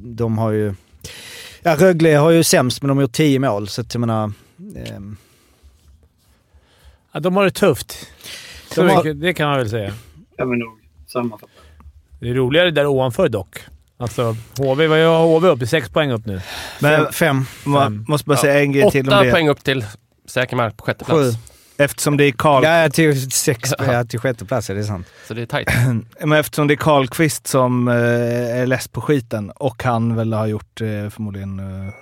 Speaker 2: de har ju... Ja, Rögle har ju sämst, men de har gjort 10 mål. Så att jag menar... ehm,
Speaker 1: Ja, de har det tufft. Så
Speaker 2: De har-
Speaker 1: mycket, det kan man väl säga.
Speaker 9: Kan vi nog sammanfatta.
Speaker 1: Det är roligare där ovanför dock. Alltså, HV, vad gör HV upp? Det är sex poäng upp nu.
Speaker 8: Men-
Speaker 2: fem.
Speaker 8: Ma- måste bara säga en grej till om
Speaker 10: Åtta
Speaker 8: det.
Speaker 10: poäng upp till säker mark på sjätte plats.
Speaker 8: Eftersom det är Karl...
Speaker 2: Ja, till, sex, ja, till sjätte plats, är det sant?
Speaker 10: Så det är tajt.
Speaker 8: Men eftersom det är Karlqvist som eh, är less på skiten och han väl har gjort eh, förmodligen eh,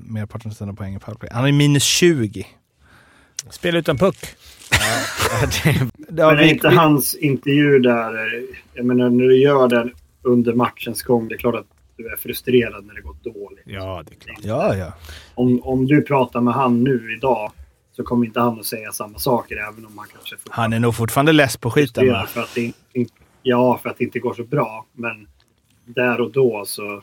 Speaker 8: merparten av sina poäng i powerplay. Han är minus 20.
Speaker 1: Spel utan puck.
Speaker 9: men är inte hans intervju där... eh, Jag menar, när du gör den under matchens gång, det är klart att du är frustrerad när det går dåligt.
Speaker 1: Ja, det är klart.
Speaker 8: Ja, ja.
Speaker 9: Om, om du pratar med han nu idag så kommer inte han att säga samma saker, även om han kanske får
Speaker 8: Han är nog fortfarande less på skiten.
Speaker 9: frustrerad
Speaker 8: va?
Speaker 9: för att det, in- ja, för att det inte går så bra. Men där och då så...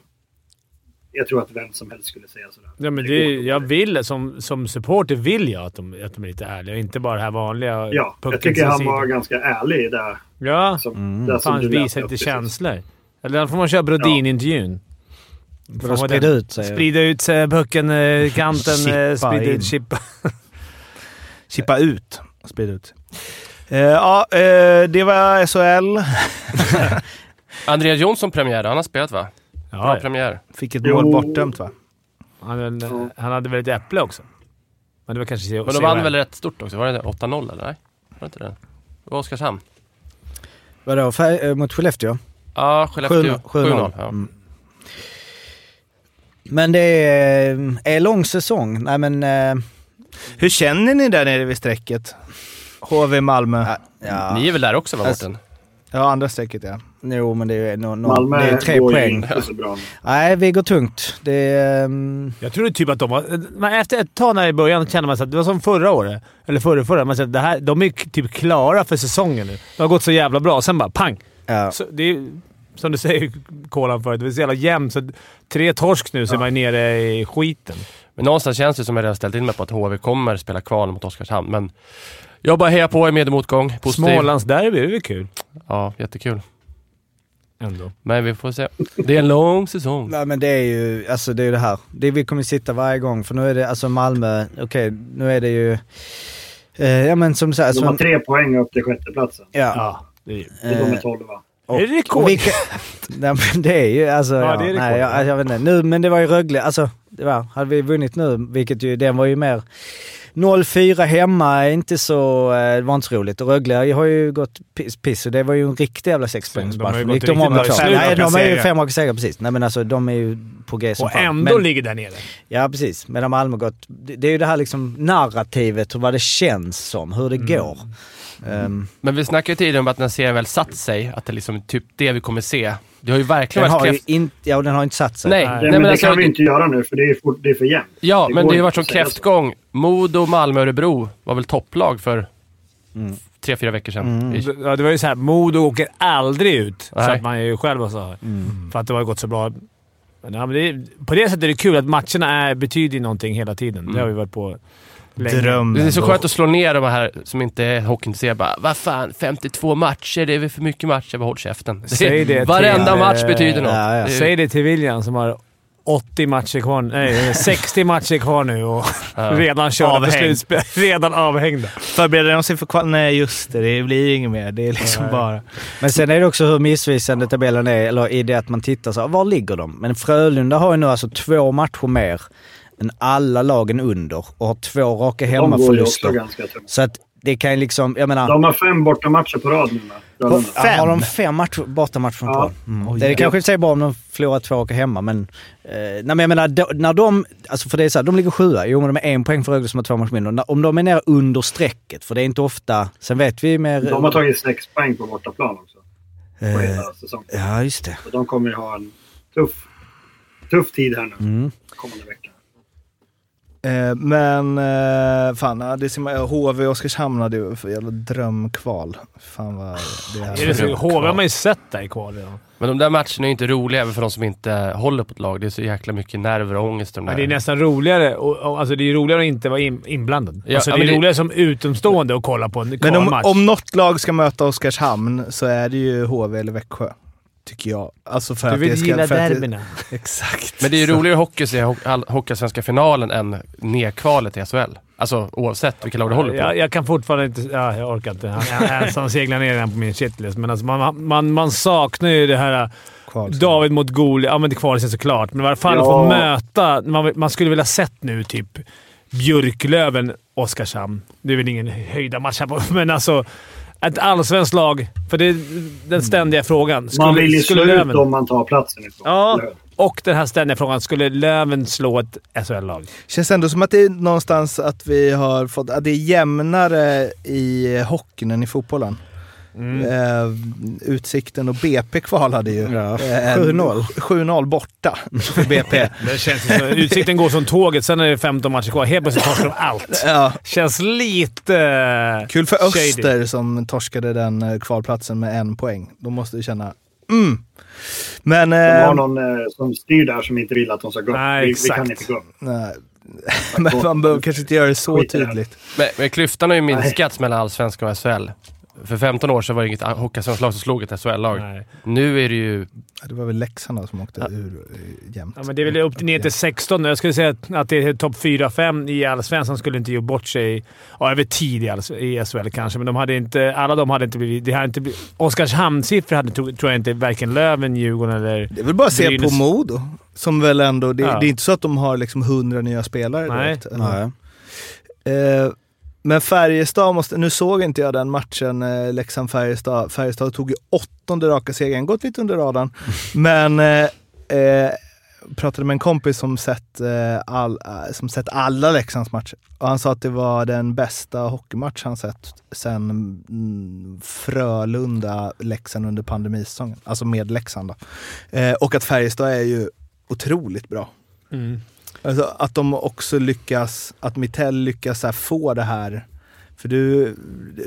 Speaker 9: Jag tror att vem som helst skulle säga sådär.
Speaker 1: Ja, men det, jag vill, som, som supporter vill jag att de, att de är lite ärliga. Inte bara det här vanliga.
Speaker 9: Ja, jag
Speaker 1: puckens
Speaker 9: tycker han
Speaker 1: sida.
Speaker 9: var ganska ärlig där.
Speaker 1: Ja,
Speaker 9: som,
Speaker 1: där
Speaker 9: där som
Speaker 1: fan
Speaker 9: du läste
Speaker 1: visar
Speaker 9: upp
Speaker 1: lite
Speaker 9: precis.
Speaker 1: känslor. Eller då får man köra Brodin-intervjun.
Speaker 2: Vadå,
Speaker 1: Fan, vad
Speaker 2: sprida
Speaker 1: den-
Speaker 2: ut eh, sig?
Speaker 1: Sprida ut sig, pucken, eh, kanten, eh,
Speaker 8: Chippa
Speaker 1: sprida
Speaker 8: in.
Speaker 1: ut, chippa.
Speaker 8: Chippa ut. Sprid ut. Eh, ja, eh, det var SHL.
Speaker 10: Andreas Jonsson premiär. Han har spelat va? Bra premiär.
Speaker 8: Fick ett
Speaker 10: Jo.
Speaker 8: mål bortdömt va?
Speaker 1: Han, han hade väl ett äpple också? Men det var kanske
Speaker 10: Men de vann väl rätt stort också? Var det 8-0 eller? Nej? Var det inte det? Det var Oskarshamn.
Speaker 2: Vadå, fär, eh, mot Skellefteå?
Speaker 10: Ja, Skellefteå. 7-0.
Speaker 2: 7-0.
Speaker 10: Ja.
Speaker 2: Mm. Men det är, är lång säsong. Nej, men, eh,
Speaker 8: Hur känner ni där nere vid strecket? HV Malmö.
Speaker 2: Ja.
Speaker 10: Ni är väl där också va, Mårten?
Speaker 8: Ja, andra strecket ja.
Speaker 2: Jo, men det är, no, no,
Speaker 9: Malmö
Speaker 2: det är tre
Speaker 9: går ju
Speaker 2: poäng. Alltså,
Speaker 9: inte så bra.
Speaker 2: Nej, vi går tungt. Det är, ehm,
Speaker 1: Jag trodde typ att de var... Men efter ett tag när i början kände man att det var som förra året. Eller förra, förra. Man sa att det här, de är ju typ klara för säsongen nu. Det har gått så jävla bra. Sen bara pang! Så det är, som du säger, Kolan förut. Det är så jävla jämnt. Så tre torsk nu så är man ju nere i skiten.
Speaker 10: Men någonstans känns det som jag redan ställt in mig på att HV kommer spela kval mot Oskarshamn, men jag bara hejar på i med och motgång. Positiv.
Speaker 1: Smålandsderby, det är väl kul?
Speaker 10: Ja, jättekul.
Speaker 1: Ändå.
Speaker 10: Men vi får se. Det är en lång säsong.
Speaker 2: Nej men det är ju, alltså det är ju det här. Det vi kommer sitta varje gång, för nu är det alltså Malmö, okej nu är det ju... Eh, ja men som sagt...
Speaker 9: De har tre poäng upp till sjätteplatsen.
Speaker 2: Ja.
Speaker 1: det
Speaker 9: är... De är
Speaker 2: Eh,
Speaker 9: tolva.
Speaker 2: Och-
Speaker 9: Är det rekord?
Speaker 2: och vilka- Nej men det är ju alltså...
Speaker 9: Ja,
Speaker 2: Ja,
Speaker 9: det är rekord,
Speaker 2: nej, jag,
Speaker 9: ja.
Speaker 2: jag vet inte. Nu, men det var ju Rögle, alltså det var, hade vi vunnit nu, vilket ju, den var ju mer... 0-4 hemma är inte så, eh, det var inte så roligt. Och Rögle har ju gått piss, piss och det var ju en riktig jävla
Speaker 1: de har ju
Speaker 2: sexpoängsmatch.
Speaker 1: gått
Speaker 2: Gick de
Speaker 1: riktigt
Speaker 2: om
Speaker 1: bra
Speaker 2: och
Speaker 1: i
Speaker 2: klart?
Speaker 1: slutet
Speaker 2: Nej,
Speaker 1: kan
Speaker 2: de är ju
Speaker 1: säga.
Speaker 2: fem raka segrar precis. Nej men alltså de är ju på G som
Speaker 1: Och
Speaker 2: fan.
Speaker 1: ändå
Speaker 2: Men-
Speaker 1: ligger där nere.
Speaker 2: Ja, precis. Medan Malmö gått... Det det är ju det här liksom narrativet och vad det känns som, hur det går. Ehm,
Speaker 10: Men vi snackade ju tidigare om att när serien väl satt sig, att det liksom är typ det vi kommer se. Det har ju verkligen
Speaker 2: den,
Speaker 10: varit
Speaker 2: har ju
Speaker 10: kräft...
Speaker 2: inte, ja, och den har inte satt sig.
Speaker 10: Nej, alltså,
Speaker 9: Nej, men det kan vi inte göra nu för det är, fort, det är för jämnt.
Speaker 10: Ja,
Speaker 9: Det
Speaker 10: men
Speaker 9: går
Speaker 10: det har ju
Speaker 9: inte
Speaker 10: varit som
Speaker 9: att säga så.
Speaker 10: kräftgång. Modo, Malmö, Örebro var väl topplag för
Speaker 1: Mm.
Speaker 10: tre, fyra veckor sedan. I-
Speaker 1: Ja, det var ju såhär. Modo åker aldrig ut, så
Speaker 10: Nej.
Speaker 1: att man ju själv sa.
Speaker 2: Mm.
Speaker 1: För att det har gått så bra. Men, ja, men det, är- på det sättet är det kul att matcherna är, betyder ju någonting hela tiden. Det
Speaker 10: Mm.
Speaker 1: har vi varit på länge.
Speaker 10: Det
Speaker 1: Mm.
Speaker 10: är så skönt att slå ner de här som inte är hockeyintresserade. Bara, Vad fan, 52 matcher, det är väl för mycket matcher? Bara håll käften.
Speaker 1: Säg det till-
Speaker 10: Varenda
Speaker 1: eh,
Speaker 10: match betyder något.
Speaker 1: ja, ja.
Speaker 10: Det är-
Speaker 1: Säg det till William som har 80 matcher kvar. Nej, 60 matcher kvar nu och redan körda på
Speaker 8: Avhängd.
Speaker 1: slutspel. Redan avhängda.
Speaker 8: Förbereder de sig för kval? Nej, just det. Det blir inget mer. Det är liksom bara...
Speaker 2: Men sen är det också hur missvisande tabellen är, eller i det att man tittar så här, var ligger de? Men Frölunda har ju nu alltså två matcher mer än alla lagen under och har två raka
Speaker 9: De går ju också
Speaker 2: hemmaförluster.
Speaker 9: ganska tungt.
Speaker 2: Så att det kan ju liksom, jag menar...
Speaker 9: De har fem bortamatcher på rad nu. va?
Speaker 2: Ja, Har de fem matcher, bortamatcher från kvar? Mm.
Speaker 9: Oj,
Speaker 2: det är
Speaker 9: jävlar.
Speaker 2: kanske i och för sig bra om de förlorar två och åker hemma, men... Eh, nej, men jag menar, då, när de... Alltså för det är så här, de ligger sjua. Jo, men de är en poäng för Rögle som har två matcher mindre. När- Om de är nere under strecket, för det är inte ofta... Sen vet vi mer...
Speaker 9: De har tagit sex poäng på bortaplan också. På
Speaker 2: Eh,
Speaker 9: hela säsongen.
Speaker 2: Ja, just det.
Speaker 9: Så de kommer ju ha en tuff, tuff tid här nu
Speaker 2: Mm.
Speaker 9: kommande vecka.
Speaker 8: Eh, men eh, fan, ja, det ser man, HV och Oskarshamn hade ju för jävla drömkval. Fan vad det
Speaker 1: Är det så, HV har man ju sett där i kval redan.
Speaker 10: Men de där matcherna är ju inte roliga även för de som inte håller på ett lag. Det är så jäkla mycket nerver och ångest. De
Speaker 1: Ja,
Speaker 10: där.
Speaker 1: det är nästan roligare, och, och, alltså det är ju roligare att inte vara in, inblandad.
Speaker 10: Ja,
Speaker 1: alltså
Speaker 10: ja,
Speaker 1: det är
Speaker 10: men det-
Speaker 1: roligare som utomstående att kolla på en
Speaker 8: Men om,
Speaker 1: kvalmatch.
Speaker 8: om något lag ska möta Oskarshamn så är det ju HV eller Växjö. Tycker jag. Alltså för
Speaker 1: Du
Speaker 8: att
Speaker 1: vill
Speaker 8: det ska,
Speaker 1: gilla
Speaker 8: för att det-
Speaker 1: derbyna.
Speaker 8: Exakt.
Speaker 10: Men det är ju
Speaker 8: Så-
Speaker 10: roligare hockey att se ho- all- Hockeyallsvenska finalen än nedkvalet i SHL. Alltså oavsett vilka lag du håller på.
Speaker 1: jag, jag kan fortfarande inte... Ja, jag orkar inte. Han- Han Hanson seglar ner den på min shitlist, men alltså man, man, man saknar ju det här... David mot Goliat. Ja, men det kvalar sig såklart, men vad fan att få
Speaker 10: Ja.
Speaker 1: möta... Man, man skulle vilja sett nu typ Björklöven, Oskarshamn. Det är väl ingen höjda match här på, men alltså... Ett allsvenskt lag, för det är den ständiga frågan.
Speaker 9: man vill ju slå ut
Speaker 1: Löven-
Speaker 9: dem man tar platsen ifrån.
Speaker 1: Ja, och den här ständiga frågan. Skulle Löven slå ett SHL-lag?
Speaker 8: Känns ändå som att det är någonstans att vi har fått, att det är jämnare i hockeyn än i fotbollen.
Speaker 1: Mm.
Speaker 8: Eh, utsikten och BP kvalade ju. Eh,
Speaker 2: 7-0.
Speaker 8: 7-0 borta för BP.
Speaker 1: Det känns ju så. Utsikten går som tåget, sen är det 15 matcher kvar. Helt plötsligt torskar de allt.
Speaker 8: Ja.
Speaker 1: Känns lite...
Speaker 8: Kul för
Speaker 1: shady.
Speaker 8: Öster som torskade den eh, kvalplatsen med en poäng. De måste ju känna... Mm. Men...
Speaker 9: De har
Speaker 8: eh,
Speaker 9: någon eh, som styr där som inte vill att de ska gå upp.
Speaker 8: Nej,
Speaker 9: vi, vi
Speaker 8: exakt.
Speaker 9: kan inte gå upp.
Speaker 8: nej. Men man behöver kanske inte göra det så tydligt.
Speaker 10: Men, men klyftan har ju minskats mellan Allsvenskan och SHL. För 15 år sedan var det inget Hockeyallsvenskt lag som slog ett SHL-lag. Nu är det ju...
Speaker 8: Det var väl Leksand som åkte ur eh, jämnt.
Speaker 1: Ja, men det är väl upp till ner till 16 nu. Jag skulle säga att- att det är topp 4-5 i Allsvenskan skulle inte ge bort sig. Ja, över tid i, alls, i SHL kanske, men de hade inte, alla de hade inte blivit... Det hade inte blivit Oskarshamnssiffror hade tro- tror jag inte varken Löven, Djurgården eller...
Speaker 8: Det är väl bara att se på
Speaker 1: Brynäs.
Speaker 8: Modo. Som väl ändå, det,
Speaker 1: Ja.
Speaker 8: det är inte så att de har liksom 100 nya spelare
Speaker 1: Nej.
Speaker 8: direkt. eller? Eh, men Färjestad måste, nu såg inte jag den matchen, eh, Leksand-Färjestad. Färjestad tog ju åttonde raka segern, gått lite under radarn. Men eh, eh, pratade med en kompis som sett, eh, all, eh, som sett alla Leksands matcher. Och han sa att det var den bästa hockeymatch han sett sen mm, Frölunda-Leksand under pandemisäsongen. Alltså med Leksand då. Eh, och att Färjestad är ju otroligt bra.
Speaker 1: Mm.
Speaker 8: Alltså att de också lyckas, att Mittell lyckas så här få det här för du,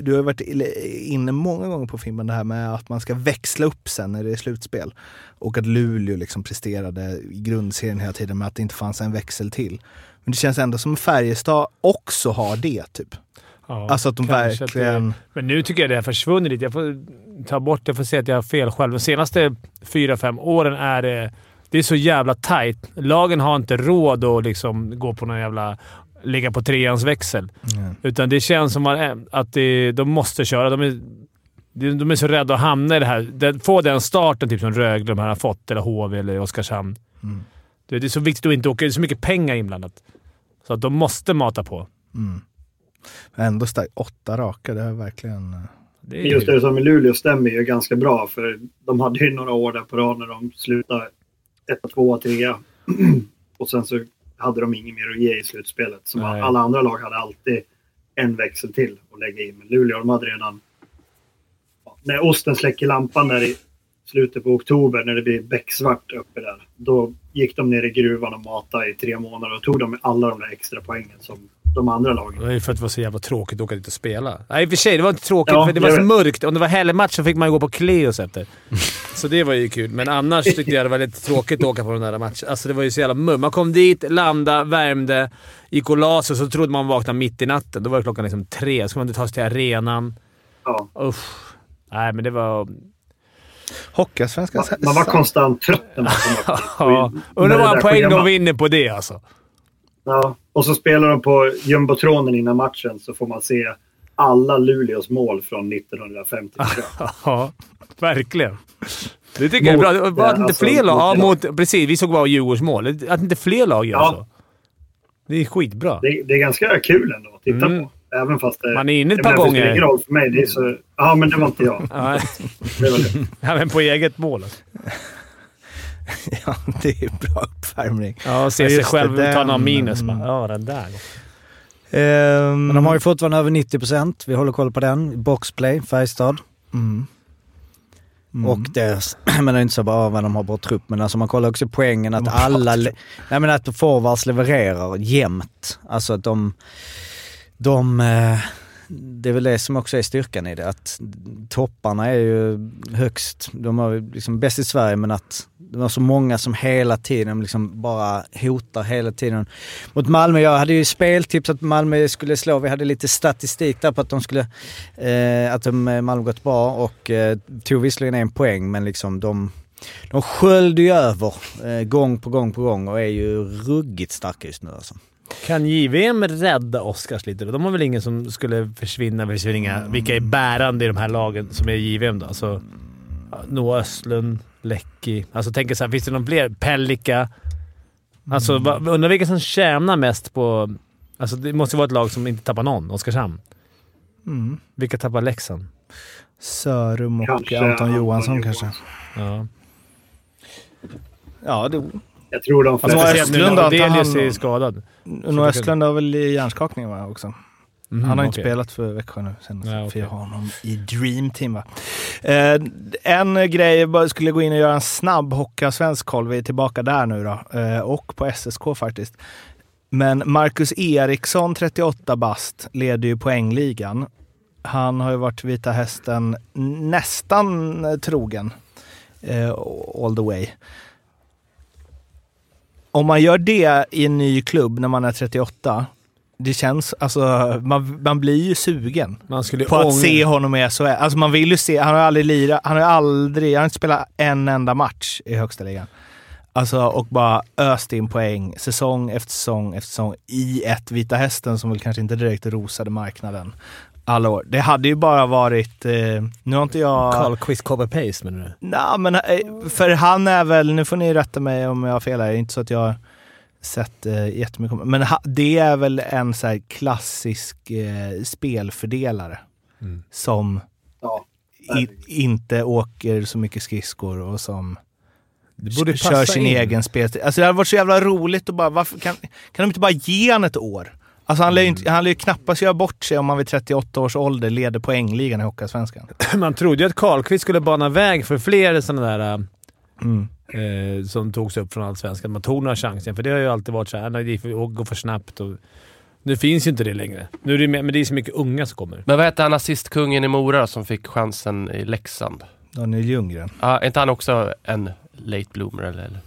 Speaker 8: du har ju varit inne många gånger på Finland det här med att man ska växla upp sen när det är slutspel. Och att Luleå liksom presterade i grundserien hela tiden med att det inte fanns en växel till. Men det känns ändå som Färjestad också har det typ.
Speaker 1: Ja,
Speaker 8: alltså att de
Speaker 1: kanske att det-
Speaker 8: verkligen...
Speaker 1: Men nu tycker jag det har försvunnit lite. Jag får ta bort det för att se att jag har fel själv. De senaste fyra, fem åren är det... Det är så jävla tight. Lagen har inte råd att liksom gå på någon jävla... Ligga på treans växel.
Speaker 8: Nej.
Speaker 1: Utan det känns som att- att det, de måste köra. De är, de de är så rädda att hamna i det här. Den- Få den starten typ som Rögle de här har fått, eller HV eller Oskarshamn.
Speaker 8: Mm.
Speaker 1: Det det är så viktigt att inte åka. Det är så mycket pengar inblandat. Så att de måste mata på.
Speaker 8: Mm. Ändå starkt. Åtta raka, det är verkligen...
Speaker 1: Det är-
Speaker 9: Just det som i Luleå stämmer ju ganska bra för de hade ju några år där på rad när de slutade 1, 2, 3 och sen så hade de inget mer att ge i slutspelet. Så
Speaker 1: Nej.
Speaker 9: alla andra lag hade alltid en växel till att lägga in. Men Luleå, de hade redan... Ja, när osten släcker lampan där i slutet på oktober när det blir becksvart uppe där. Då gick de ner i gruvan och matade i tre månader och tog de alla de där extra poängen som de andra lagen.
Speaker 1: Det är för att det var så jävla tråkigt att åka dit och spela. Nej, i och för sig. Det var inte tråkigt,
Speaker 9: Ja,
Speaker 1: för det
Speaker 9: jag
Speaker 1: var så
Speaker 9: vet.
Speaker 1: mörkt. Om det var helgmatch så fick man ju gå på Kleos efter. Så det var ju kul, men annars tyckte jag det var lite tråkigt att åka på den där matchen. Alltså det var ju så jävla mum. Man kom dit, landade, värmde, gick och la sig, så trodde man vaknade mitt i natten. Då var det klockan liksom tre. Så skulle man inte ta sig till arenan.
Speaker 9: Ja.
Speaker 1: Usch. Nej, men det var...
Speaker 8: Hockeyallsvenskan...
Speaker 1: Man-
Speaker 9: Man var konstant trött när man kom upp dit.
Speaker 1: Ja. Undrar hur många poäng de vinner på det alltså.
Speaker 9: Ja, och så spelar de på jumbotronen innan matchen så får man se alla Luleås mål från 1950.
Speaker 1: Ja, verkligen. Det tycker jag är bra.
Speaker 9: Mot-
Speaker 1: Bara att inte
Speaker 9: alltså,
Speaker 1: fler lag... Ja,
Speaker 9: mot-
Speaker 1: mot, precis. Vi såg bara Djurgårds mål. Att inte fler lag gör
Speaker 9: Ja.
Speaker 1: så. Det är skitbra.
Speaker 9: Det, det är ganska kul ändå att titta på. Även fast det,
Speaker 1: Mm. Man är inne ett
Speaker 9: jag
Speaker 1: par gånger.
Speaker 9: menar, Det spelar ingen roll för mig. Det är så, ja, men det var inte jag.
Speaker 1: Nej.
Speaker 9: Det var det.
Speaker 1: Ja, men på eget mål alltså.
Speaker 8: ja, det är bra uppvärmning.
Speaker 1: Ja, se sig
Speaker 8: just
Speaker 1: själv
Speaker 8: det,
Speaker 1: ta några
Speaker 8: den-
Speaker 1: minus. Bara, ja, den där.
Speaker 2: Men de har ju fortfarande över 90%. Vi håller koll på den. Boxplay, Färjestad.
Speaker 8: Mm. Mm.
Speaker 2: Och det, men det är inte så bara vad de har bra trupp, men alltså man kollar också poängen att alla... le- Nej men att forwards levererar jämt. Alltså att de... de eh, det är väl det som också är styrkan i det, att topparna är ju högst. De är ju liksom bäst i Sverige men att det var så många som hela tiden liksom bara hotar hela tiden. Mot Malmö, jag hade ju speltips att Malmö skulle slå. Vi hade lite statistik där på att de skulle... Eh, att de, eh, Malmö gått bra och eh, tog visserligen en poäng men liksom de... De sköljde ju över eh, gång på gång på gång och är ju ruggigt starka just nu alltså.
Speaker 1: Kan JVM rädda Oscars lite? då? De har väl ingen som skulle försvinna? Vi ser
Speaker 8: Mm.
Speaker 1: inga- Vilka är bärande i de här lagen som är JVM då? Alltså, ja, Noah Östlund, Lecky. Alltså, tänk så här, finns det någon fler? Pellika? Alltså,
Speaker 8: Mm.
Speaker 1: va- undrar vilka som tjänar mest på... Alltså, det måste ju vara ett lag som inte tappar någon. Oskarshamn.
Speaker 8: Mm.
Speaker 1: Vilka tappar Leksand?
Speaker 8: Sörum och
Speaker 9: Kanske
Speaker 8: Anton
Speaker 9: Anton
Speaker 8: Johansson kanske.
Speaker 1: Ja.
Speaker 8: Ja, det...
Speaker 9: Jag tror de
Speaker 8: Alltså,
Speaker 1: Speciellt nu när
Speaker 8: Östlund har inte
Speaker 1: Odelius är
Speaker 8: han...
Speaker 1: skadad.
Speaker 8: Nå Östlund har väl hjärnskakning va, också?
Speaker 1: Mhm,
Speaker 8: han har inte
Speaker 1: okej.
Speaker 8: spelat för Växjö nu senast,
Speaker 1: Ja, okej.
Speaker 8: för jag har honom i Dream Team va. Eh, en grej, jag bara skulle gå in och göra en snabb svensk koll. Vi är tillbaka där nu då. Eh, och på SSK faktiskt. Men Marcus Eriksson, 38 bast, leder ju poängligan. Han har ju varit Vita Hästen nästan eh, trogen. Eh, all the way. Om man gör det i en ny klubb när man är 38, det känns, alltså man, man blir ju sugen
Speaker 1: Man skulle
Speaker 8: på att
Speaker 1: ångra-
Speaker 8: se honom i SHL. Alltså man vill ju se, han har ju aldrig lirat, han har ju aldrig, han har inte spelat en enda match i högsta ligan. Alltså och bara öst in poäng säsong efter säsong efter säsong i ett Vita Hästen som väl kanske inte direkt rosade marknaden alla år. Det hade ju bara varit, eh, nu har inte jag...
Speaker 1: Carlquist copy-paste menar du?
Speaker 8: Nej, men eh, för han är väl, nu får ni rätta mig om jag har fel här, det är inte så att jag har sett eh, jättemycket, om- men ha, det är väl en så här klassisk eh, spelfördelare som
Speaker 12: Mm.
Speaker 9: Ja.
Speaker 8: i, inte åker så mycket skridskor och som Det
Speaker 12: borde
Speaker 8: kör
Speaker 12: passa
Speaker 8: sin
Speaker 12: in.
Speaker 8: egen spelstil. Alltså det hade varit så jävla roligt att bara... Varför, kan, kan de inte bara ge han ett år? Alltså han lär ju,
Speaker 12: Mm.
Speaker 8: inte, han lär ju knappast göra bort sig om han vid 38 års ålder leder poängligan i Hockeyallsvenskan.
Speaker 1: Man trodde ju att Karlqvist skulle bana väg för fler sådana där äh,
Speaker 9: Mm.
Speaker 1: eh, som togs upp från Allsvenskan. Man tog några chanser, för det har ju alltid varit så här. "Nej, Det gick för- och går för snabbt. Och, nu finns ju inte det längre. Nu är det, mer- men det är så mycket unga som kommer.
Speaker 10: Men vad hette han assistkungen i Mora som fick chansen i Leksand?
Speaker 8: Daniel Ljunggren.
Speaker 10: Ja, är inte han också en late bloomer eller? eller?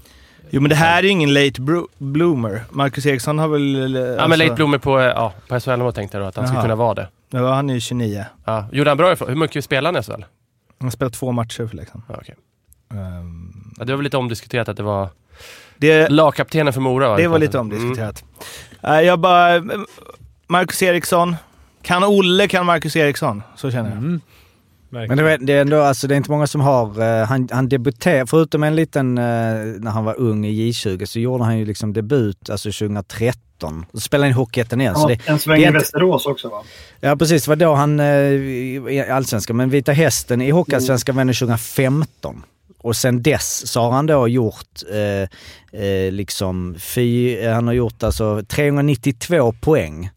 Speaker 8: Jo, men det här är ju ingen late bro- bloomer. Marcus Eriksson har väl...
Speaker 10: ja, men late bloomer på, eh, ja, på SHL-nivå tänkte jag då att han skulle
Speaker 8: Alltså- Jaha.
Speaker 10: kunna vara det.
Speaker 8: Ja, han är ju 29.
Speaker 10: Ja. Gjorde han bra ifrån? Hur mycket spelade han i SHL?
Speaker 8: Han spelar två matcher för Leksand.
Speaker 10: Ja, okay.
Speaker 8: Ehm,
Speaker 10: ja, det var väl lite omdiskuterat att det var
Speaker 8: det,
Speaker 10: lagkaptenen för Mora.
Speaker 8: Eh, Det var lite omdiskuterat. Eh, Jag bara... eh, Marcus Eriksson. Kan Olle kan Marcus Eriksson. Så känner
Speaker 1: Mm.
Speaker 8: jag.
Speaker 2: Men det är, det är ändå, alltså det är inte många som har... eh, han, han debuterade, förutom en liten, eh, när han var ung i J20, så gjorde han ju liksom debut alltså 2013. Då spelade han i Hockeyettan igen. så
Speaker 9: Ja,
Speaker 1: Alltså,
Speaker 2: det,
Speaker 9: en
Speaker 2: det
Speaker 9: sväng
Speaker 2: är
Speaker 9: i
Speaker 2: inte-
Speaker 9: Västerås också va?
Speaker 2: Ja precis, det var då han eh, i Allsvenskan. Men Vita Hästen i Hockeyallsvenskan var ändå 2015. Och sen dess så har han då gjort eh, eh, liksom fy, eh, han har gjort alltså 392 poäng.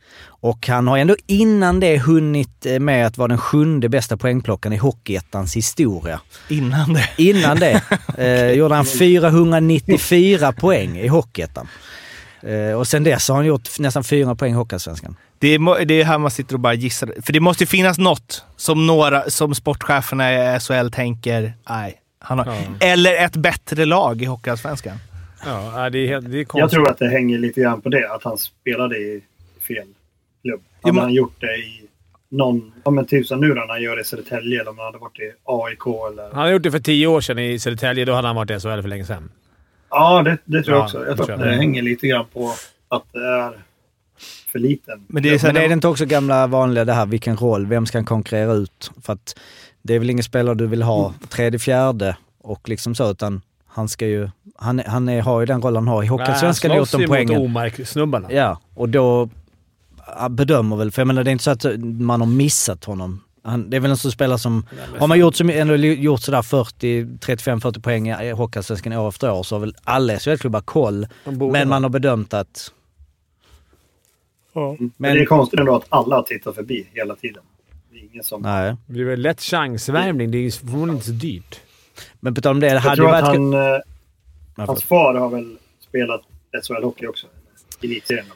Speaker 2: Och han har ändå innan det hunnit eh, med att vara den sjunde bästa poängplockaren i Hockeyettans historia.
Speaker 8: Innan det?
Speaker 2: Innan det eh, gjorde han 494 poäng i Hockeyettan. Eh, och sen dess har han gjort f- nästan 400 poäng i Hockeyallsvenskan.
Speaker 8: Det är, mo- det är här man sitter och bara gissar. För det måste ju finnas något som, några, som sportcheferna i SHL tänker, nej. Han har,
Speaker 1: Ja.
Speaker 8: Eller ett bättre lag i Hockeyallsvenskan.
Speaker 1: Ja, det är, helt- det är konstigt.
Speaker 9: Jag tror att det hänger lite grann på det, att han spelade i fel klubb. Hade han gjort det i någon... Ja men typ som nu då när han gör det i Södertälje eller om han hade varit i AIK eller...
Speaker 1: Han har gjort det för tio år sedan i Södertälje. Då hade han varit i SHL för länge sedan.
Speaker 9: Ja, det, det
Speaker 1: Ja,
Speaker 9: tror jag också.
Speaker 1: det
Speaker 9: Jag tror
Speaker 1: tror
Speaker 9: att
Speaker 1: jag.
Speaker 9: det hänger lite grann på att det är för liten.
Speaker 8: Men
Speaker 2: Men är det inte också gamla vanliga det här, vilken roll, vem ska han konkurrera ut? För att det är väl ingen spelare du vill ha tredje, fjärde och liksom så, utan han ska ju... Han, är- han är, har ju den roll han har i Hockeyallsvenskan,
Speaker 1: Nej,
Speaker 2: gjort de
Speaker 1: Han Äh, slåss ju mot
Speaker 2: poängen.
Speaker 1: Omark-snubbarna.
Speaker 2: Ja, och då ja, bedömer väl, för jag menar det är inte så att man har missat honom. Han, det är väl en sån spelare som... Har man gjort, som, ändå gjort sådär 40, 35-40 poäng i Hockeyallsvenskan år efter år så har väl alla SHL-klubbar koll.
Speaker 9: De borde
Speaker 2: Men
Speaker 9: ha.
Speaker 2: man har bedömt att...
Speaker 9: Men, det är konstigt ändå att alla tittar förbi hela tiden. Det är ingen som...
Speaker 2: Nej.
Speaker 1: Det är väl lätt chansvärmning. Det är ju förmodligen inte så dyrt.
Speaker 2: Men på tal om det,
Speaker 9: Jag tror att han, eh, hans far har väl spelat SHL-hockey också. Elitserien.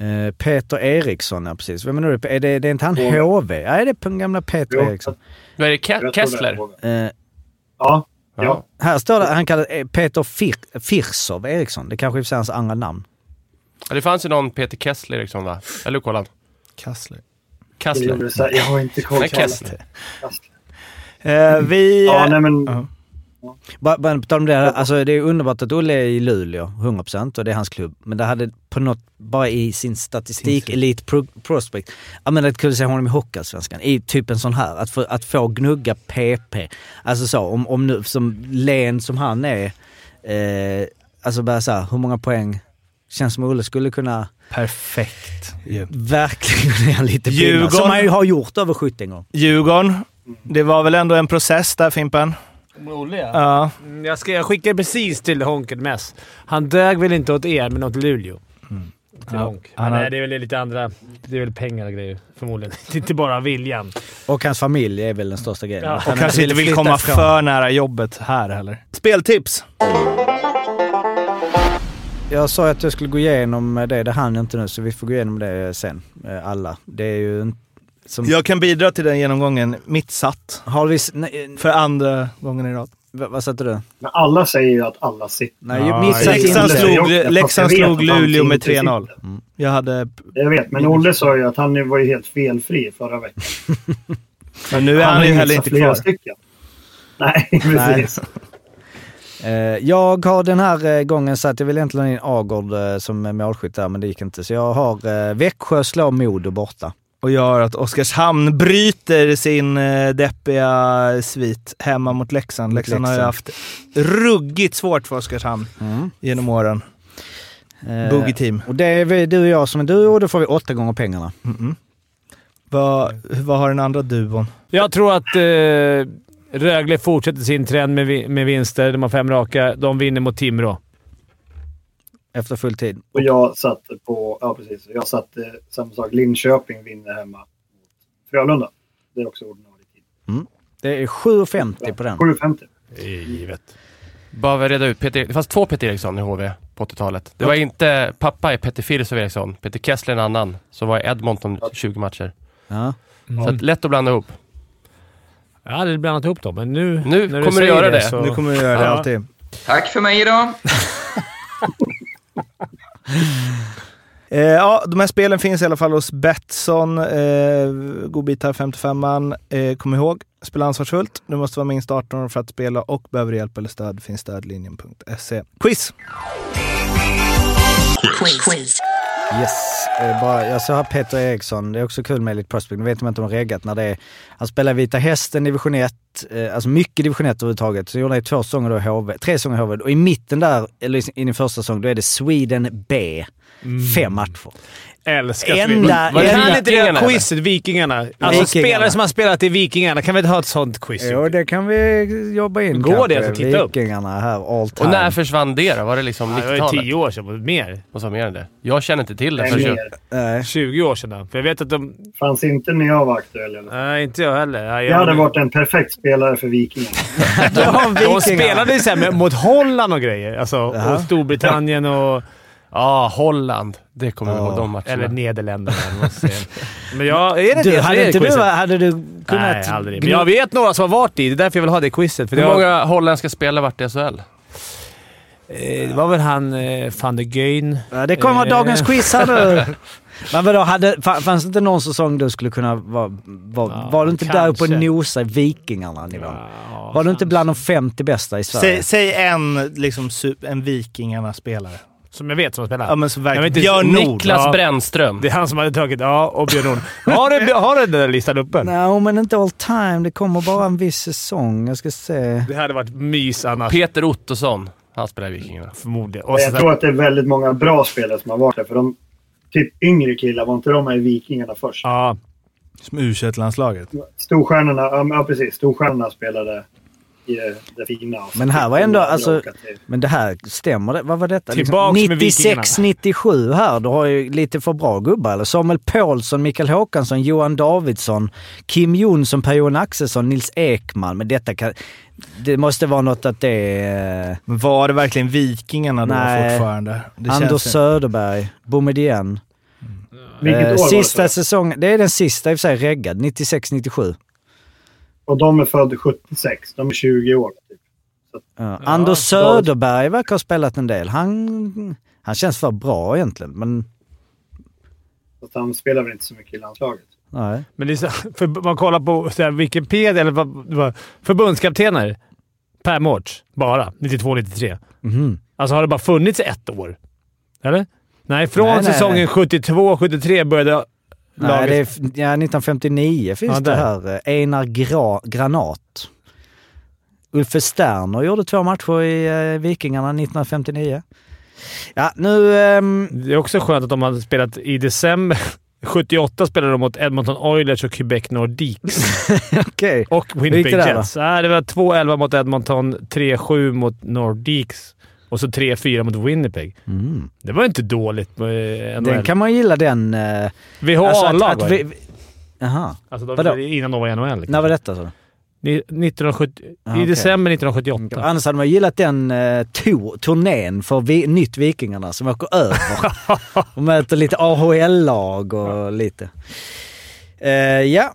Speaker 2: Eh, Peter Eriksson, ja precis. Vem är det? Är det, det är inte han
Speaker 9: Jo.
Speaker 2: HV? Nej, det är den gamla Peter
Speaker 9: Jo.
Speaker 2: Eriksson.
Speaker 10: Mm. Vad är det?
Speaker 9: tror
Speaker 10: Ke-
Speaker 9: det är
Speaker 10: Kessler?
Speaker 2: Eh,
Speaker 9: Ja. ja.
Speaker 2: Här står det, han kallar eh, Peter Fir- Firsov Eriksson. Det kanske är hans andra namn.
Speaker 10: Ja, det fanns ju någon Peter Kessler Eriksson va? Eller hur kollade han?
Speaker 8: Kassler.
Speaker 10: Kassler.
Speaker 9: Jag har inte koll
Speaker 10: Nej,
Speaker 9: på alla.
Speaker 10: Kessler.
Speaker 8: Eh, vi...
Speaker 9: Ja, nej men...
Speaker 2: Bara bara på tal om det, här, alltså det är underbart att Olle är i Luleå, 100% och det är hans klubb. Men det hade på något, bara i sin statistik, Elite pro, Prospect, ja men att kunna se honom i Hockeyallsvenskan, i typ en sån här. Att få, att få gnugga PP. Alltså så, om, om nu, som len som han är, eh, alltså bara så här, hur många poäng känns som Olle skulle kunna...
Speaker 8: Perfekt.
Speaker 2: Verkligen är han lite pinnar.
Speaker 8: Djurgården-
Speaker 2: Som han ju har gjort över 70 gånger.
Speaker 8: Djurgården. Det var väl ändå en process där, Fimpen? Ja.
Speaker 1: Mm, Jag, ska, jag skickade precis till Honken Mess. Han dög väl inte åt er, men åt Luleå. Till
Speaker 8: Ja,
Speaker 1: Honk.
Speaker 8: han
Speaker 1: Men,
Speaker 8: har-
Speaker 1: nej, det är väl lite andra... Det är väl pengar och grejer förmodligen. Det är inte bara viljan.
Speaker 2: Och hans familj är väl den största grejen.
Speaker 1: Ja.
Speaker 2: Att
Speaker 8: Och
Speaker 2: han
Speaker 8: kanske inte
Speaker 2: ville
Speaker 8: vill
Speaker 2: flytta
Speaker 8: komma
Speaker 2: ifrån.
Speaker 8: för nära jobbet här heller. Speltips!
Speaker 2: Jag sa att jag skulle gå igenom det. Det hann jag inte nu, så vi får gå igenom det sen. eh, Alla. Det är ju... en- Som...
Speaker 8: Jag kan bidra till den genomgången. Mitt satt.
Speaker 2: Har vi... s- Nej,
Speaker 8: För andra gången i rad.
Speaker 2: v- vad satte du?
Speaker 9: Men alla säger ju att alla sitter.
Speaker 2: Nej, ju- mitt satt
Speaker 8: Leksand
Speaker 2: inte.
Speaker 8: slog,
Speaker 9: Jag- jag-
Speaker 8: Leksand
Speaker 9: jag vet
Speaker 8: slog
Speaker 9: att han
Speaker 8: Luleå med
Speaker 9: inte
Speaker 8: 3-0.
Speaker 9: Mm.
Speaker 8: Jag hade...
Speaker 9: Jag vet, men Olle sa ju att han var ju helt felfri förra veckan.
Speaker 8: Men nu är han,
Speaker 9: har
Speaker 8: ju
Speaker 9: missat
Speaker 8: heller inte
Speaker 9: flera
Speaker 8: kvar.
Speaker 9: Stycken. Nej, precis.
Speaker 2: Eh, Jag har den här eh, gången satt, jag vill egentligen ha in Agård eh, som eh, målskytt där, men det gick inte. Så jag har eh, Växjö slår Modo borta.
Speaker 8: Och gör att Oskarshamn bryter sin eh, deppiga svit hemma mot Leksand. Leksand har ju haft
Speaker 2: Leksand.
Speaker 8: ruggigt svårt för Oskarshamn genom åren.
Speaker 2: Eh,
Speaker 8: Mm. Boogie team.
Speaker 2: Och det är vi, du och jag som är duo, och då får vi åtta gånger pengarna.
Speaker 8: Vad, vad har den andra duon?
Speaker 1: Jag tror att eh, Rögle fortsätter sin trend med, vi- med vinster. De har fem raka. De vinner mot Timrå.
Speaker 2: Efter full tid.
Speaker 9: Och jag satte på, ja precis, jag satte samma sak. Linköping vinner hemma mot Frölunda. Det är också ordinarie.
Speaker 2: Det är 7,50 på den.
Speaker 9: 7,50.
Speaker 1: Givet.
Speaker 10: Bara reda ut. Peter, det fanns två Peter Eriksson i HV på 80-talet. Det var inte... Pappa är Peter Filisow Eriksson. Peter Kessler är en annan, som var i Edmonton 20 matcher.
Speaker 2: Ja.
Speaker 1: Mm.
Speaker 10: Så att, lätt att blanda ihop.
Speaker 1: Jag har aldrig blandat ihop dem, men nu... när
Speaker 10: Nu kommer du
Speaker 1: säger
Speaker 10: göra det.
Speaker 1: så-
Speaker 10: Nu kommer du göra det, alltid.
Speaker 12: Tack för mig idag.
Speaker 8: Eh, ja, de här spelen finns i alla fall hos Betsson. Eh, godbitar 55an. Eh, kom ihåg, spela ansvarsfullt. Du måste vara minst 18 år för att spela och behöver du hjälp eller stöd finns stödlinjen.se. Quiz!
Speaker 5: Quiz.
Speaker 2: Yes. Eh, Bara, jag såg här Peter Eriksson, det är också kul med Elite Prospect. Nu vet man inte om de har reggat när det är... Han spelar i Vita Hästen, Division 1, eh, alltså mycket Division 1 överhuvudtaget. Så gjorde han ju två säsonger då i HV, tre säsonger i HV. Och i mitten där, eller i- in i första säsongen, då är det Sweden B. Fem matcher.
Speaker 1: Älskar
Speaker 2: Enda-
Speaker 1: Sweden.
Speaker 2: Var det
Speaker 1: Kan
Speaker 2: enda-
Speaker 1: inte det här
Speaker 2: Vikingarna,
Speaker 1: quizet, Vikingarna? Alltså
Speaker 2: Vikingarna.
Speaker 1: spelare som har spelat i Vikingarna. Kan vi inte ha ett sånt quiz?
Speaker 2: Jo, det kan vi jobba in
Speaker 1: Går
Speaker 2: kanske.
Speaker 1: det att titta upp?
Speaker 2: Vikingarna här, all time.
Speaker 10: Och när försvann det då? Var det liksom
Speaker 1: Ja, det var ju
Speaker 10: 90-talet?
Speaker 1: 10 år sedan. Mer.
Speaker 10: Och så mer än det. Jag känner inte till det.
Speaker 1: Nej,
Speaker 10: förrän jag-
Speaker 1: mer. 20 år sedan. då. För jag vet att de...
Speaker 9: Fanns inte när jag var aktuell. Eller?
Speaker 1: Nej, inte jag heller. Nej,
Speaker 9: Det
Speaker 1: jag-
Speaker 9: hade varit en perfekt spelare för Vikingarna.
Speaker 1: De,
Speaker 9: Vikingarna.
Speaker 1: de spelade ju så här med- mot Holland och grejer. Alltså,
Speaker 9: Ja.
Speaker 1: och Storbritannien och...
Speaker 10: Ja, Holland. Det kommer jag ihåg, de matcherna.
Speaker 1: Eller Nederländerna, eller vad man säger. Men jag, är det
Speaker 2: Du,
Speaker 1: det som är
Speaker 2: hade, inte du,
Speaker 1: quizet?
Speaker 2: hade du kunnat...
Speaker 1: Nej, aldrig. Men jag vet några som har varit i. Det är därför jag vill ha det quizet. För det
Speaker 10: Hur
Speaker 1: har-
Speaker 10: många holländska spelare vart i SHL?
Speaker 1: Eh, Det var väl han eh, van der Geyn.
Speaker 2: Ja, det kommer vara dagens
Speaker 1: Eh.
Speaker 2: quiz här nu. Men vadå, hade, fa- fanns det inte någon säsong du skulle kunna vara... Var, var du inte där uppe och
Speaker 8: kanske.
Speaker 2: nosa i Vikingarna nivån? var du inte bland de 50 bästa i
Speaker 8: Säg,
Speaker 2: Sverige?
Speaker 8: säg en, liksom, sup- en Vikingarna-spelare.
Speaker 1: Som jag vet som spelar.
Speaker 8: Ja, men så verkligen.
Speaker 1: Jag vet inte-
Speaker 8: Björn Nord.
Speaker 1: Ja.
Speaker 10: Brännström.
Speaker 1: Det är han som hade tagit... Ja, och Björn Nord. Har du, har du den där listan uppe?
Speaker 2: Nej, men inte all time. Det kommer bara en viss säsong. Jag ska se.
Speaker 1: Det hade varit mys annars.
Speaker 10: Peter Ottosson. Han spelar i Vikingarna.
Speaker 1: Förmodligen.
Speaker 9: Men jag tror att det är väldigt många bra spelare som har varit där. För de typ yngre killar, var inte de med i Vikingarna först?
Speaker 1: Ja.
Speaker 8: Som u landslaget
Speaker 9: Storstjärnorna, ja, men- ja precis. Storstjärnorna spelade i det, det fina.
Speaker 2: Men här var ändå... Alltså, men det här, stämmer det? Vad var detta?
Speaker 9: Tillbaks med
Speaker 2: 96, 97 här. Du har ju lite för bra gubbar. Eller? Samuel Paulsson, Mikael Håkansson, Johan Davidsson, Kim Jonsson, Per-Johan Axelsson, Nils Ekman. Men detta kan... Det måste vara något att det är...
Speaker 8: Men var det verkligen Vikingarna då
Speaker 2: Nej.
Speaker 8: fortfarande? Det känns
Speaker 2: Anders
Speaker 8: ju-
Speaker 2: Söderberg, Boumedienne.
Speaker 9: Vilket
Speaker 2: Eh,
Speaker 9: år var det, sa
Speaker 2: sista
Speaker 9: du?
Speaker 2: säsongen. Det är den sista i och för sig reggad. 96-97.
Speaker 9: Och de är födda 76. De är 20 år. Typ.
Speaker 2: Ja. Anders Söderberg verkar ha spelat en del. Han, han känns för bra egentligen, men
Speaker 9: Så att han spelar väl inte så mycket i landslaget.
Speaker 2: nej.
Speaker 1: Men det är så, för, man kollar på så här, Wikipedia, eller vad, vad, förbundskaptener per Mårts bara, 92-93.
Speaker 2: Mhm.
Speaker 1: Alltså har det bara funnits ett år? Eller? Nej, från
Speaker 2: Nej, nej, nej.
Speaker 1: säsongen 72-73 började laget...
Speaker 2: nej det är, f- ja, 1959 finns
Speaker 1: Ja,
Speaker 2: det
Speaker 1: där.
Speaker 2: här. eh, Einar Gra, Granat. Ulfe Sterner gjorde två matcher i eh, Vikingarna 1959. Ja, nu... ehm,
Speaker 1: Det är också skönt att de hade spelat i december. 78 spelade de mot Edmonton Oilers och Quebec Nordiques.
Speaker 2: Okej.
Speaker 1: Och
Speaker 2: Hur gick det
Speaker 1: Winnipeg
Speaker 2: där då?
Speaker 1: Jets. Nej, det var 2-11 mot Edmonton, 3-7 mot Nordiques och så 3-4 mot Winnipeg.
Speaker 2: Mm.
Speaker 1: Det var inte dåligt eh, med NHL.
Speaker 2: Den kan man gilla den... eh,
Speaker 1: Vi har
Speaker 2: alltså att-
Speaker 1: A-lag,
Speaker 2: att
Speaker 1: va?
Speaker 2: vi- vi- Jaha.
Speaker 1: Alltså
Speaker 2: Vadå?
Speaker 1: de, innan de var i NHL.
Speaker 2: När var detta? Så?
Speaker 1: Ni- 1970,
Speaker 2: Ah, okej. Mm,
Speaker 1: I december 1978.
Speaker 2: Annars hade man gillat den eh, to- turnén för vi- Nytt Vikingarna som åker över och möter lite AHL-lag och lite. Eh, ja.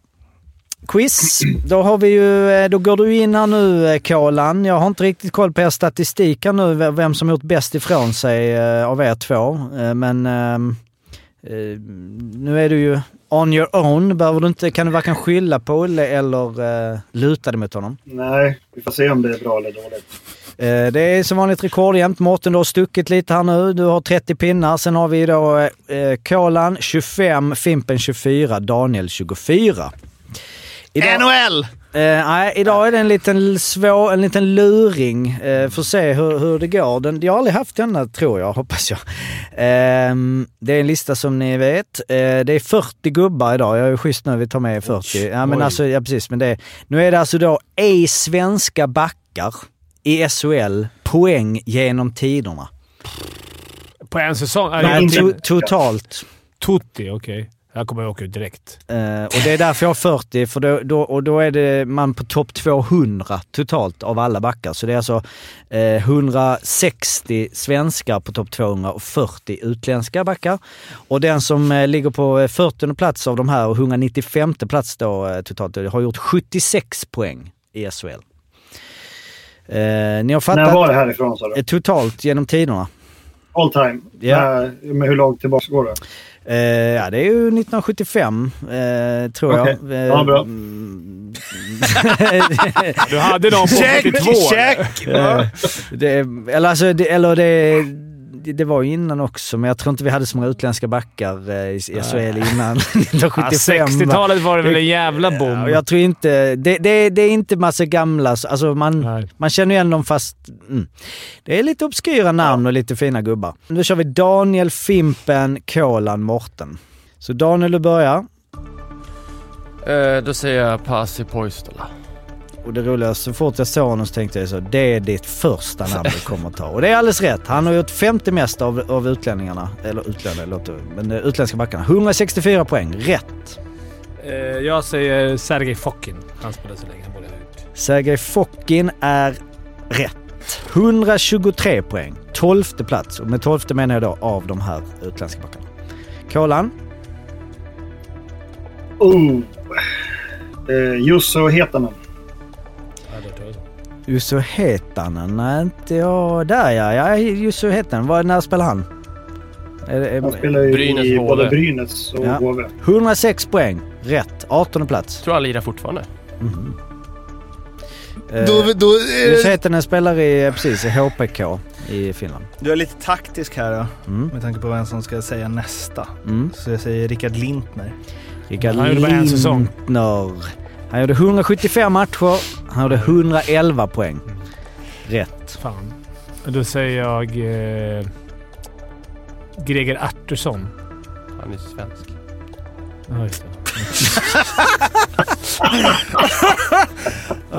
Speaker 2: Quiz. Då, har vi ju, eh, då går du in här nu, eh, Kolan. Jag har inte riktigt koll på er statistik här nu, v- vem som gjort bäst ifrån sig eh, av er två. Eh, men ehm, eh, nu är du ju on your own. Behöver du inte, kan du varken skylla på Olle eller eh, luta dig mot honom.
Speaker 9: Nej, vi får se om det är bra eller dåligt.
Speaker 2: Eh, Det är som vanligt rekordjämnt. Mårten, du har stuckit lite här nu. Du har 30 pinnar. Sen har vi då eh, Kolan 25, Fimpen 24, Daniel 24. Idag...
Speaker 8: NHL!
Speaker 2: Eh, nej, idag är det en liten svår, en liten luring. Eh, får se hur, hur det går. Den, jag har aldrig haft denna tror jag, hoppas jag. Ehm, det är en lista som ni vet. Eh, det är 40 gubbar idag. Jag är ju schysst nu, vi tar med 40. Ja, men
Speaker 12: oj.
Speaker 2: alltså, ja, precis. Men det, nu är det alltså då ej svenska backar i SHL poäng genom tiderna.
Speaker 1: På en säsong?
Speaker 2: Nej, to- totalt.
Speaker 1: Totti, okej. Jag kommer åka ut direkt.
Speaker 2: Eh, och det är därför jag har 40, för då, då, och då är det man på topp 200 totalt av alla backar. Så det är alltså eh, 160 svenskar på topp 200 och 40 utländska backar. Och den som eh, ligger på eh, 40 plats av de här och 195 plats då eh, totalt har gjort 76 poäng i SHL. Eh, ni har fattat?
Speaker 9: När var det härifrån, sa du?
Speaker 2: Eh, Totalt genom tiderna.
Speaker 9: All time.
Speaker 2: Ja.
Speaker 9: Eh, Men hur långt tillbaka går det?
Speaker 2: Eh, ja, det är ju 1975, eh, tror
Speaker 9: Okej.
Speaker 2: jag. Eh,
Speaker 9: Ja, bra.
Speaker 1: Du hade någon på
Speaker 2: Check,
Speaker 1: 82.
Speaker 2: check! Eh, det, är- eller alltså, det, eller det, det, det var ju innan också, men jag tror inte vi hade så många utländska backar eh, i i SHL innan 1975.
Speaker 1: Ja,
Speaker 2: va?
Speaker 1: 60-talet var det väl en jävla boom.
Speaker 2: Ah, Ja, och jag tror inte... Det, det, det är inte massa gamla... så- Alltså man, man känner ju igen dem fast... Mm. Det är lite obskyra namn och lite fina gubbar. Nu kör vi Daniel Fimpen Kolan Morten. Så Daniel, du börjar.
Speaker 10: Eh, då säger jag pass i Poistola.
Speaker 2: Och det roliga, så fort jag såg honom så tänkte jag så, det är ditt första namn du kommer ta. Och det är alldeles rätt. Han har gjort 50 mest av, av utlänningarna, eller utlänningar låter men eh, utländska backarna. 164 poäng, rätt.
Speaker 1: Eh, jag säger Sergej Fokin. Han spelade så länge. Han borde ha gjort.
Speaker 2: Sergej Fokin är rätt. 123 poäng, 12 plats. Och med 12 menar jag då av de här utländska backarna. Kolan,
Speaker 9: Oh. Eh, Jusso Hietanen.
Speaker 2: Jussi Heitanen, nej inte jag. Där ja, ja Jussi Heitanen. Vad- När spelar han? Är det- är-
Speaker 9: Han spelar ju
Speaker 10: Brynäs
Speaker 9: i
Speaker 10: HV.
Speaker 9: både Brynäs och HV.
Speaker 2: 106 poäng. Rätt. 18 plats.
Speaker 10: Tror han lirar fortfarande.
Speaker 8: Då- då- eh.
Speaker 2: Jussi Heitanen spelar i, eh, precis, i HPK i Finland.
Speaker 8: Du är lite taktisk här då,
Speaker 2: Mm.
Speaker 8: med tanke på vem som ska säga nästa.
Speaker 2: Mm.
Speaker 8: Så jag säger Rickard Lintner.
Speaker 2: Rickard
Speaker 8: Han gjorde bara en säsong.
Speaker 2: Lindner. Han gjorde 175 matcher. Han gjorde 111 poäng. Rätt.
Speaker 1: Fan. Då säger jag eh, Greger Artursson.
Speaker 10: Han är svensk.
Speaker 1: Ja, just det.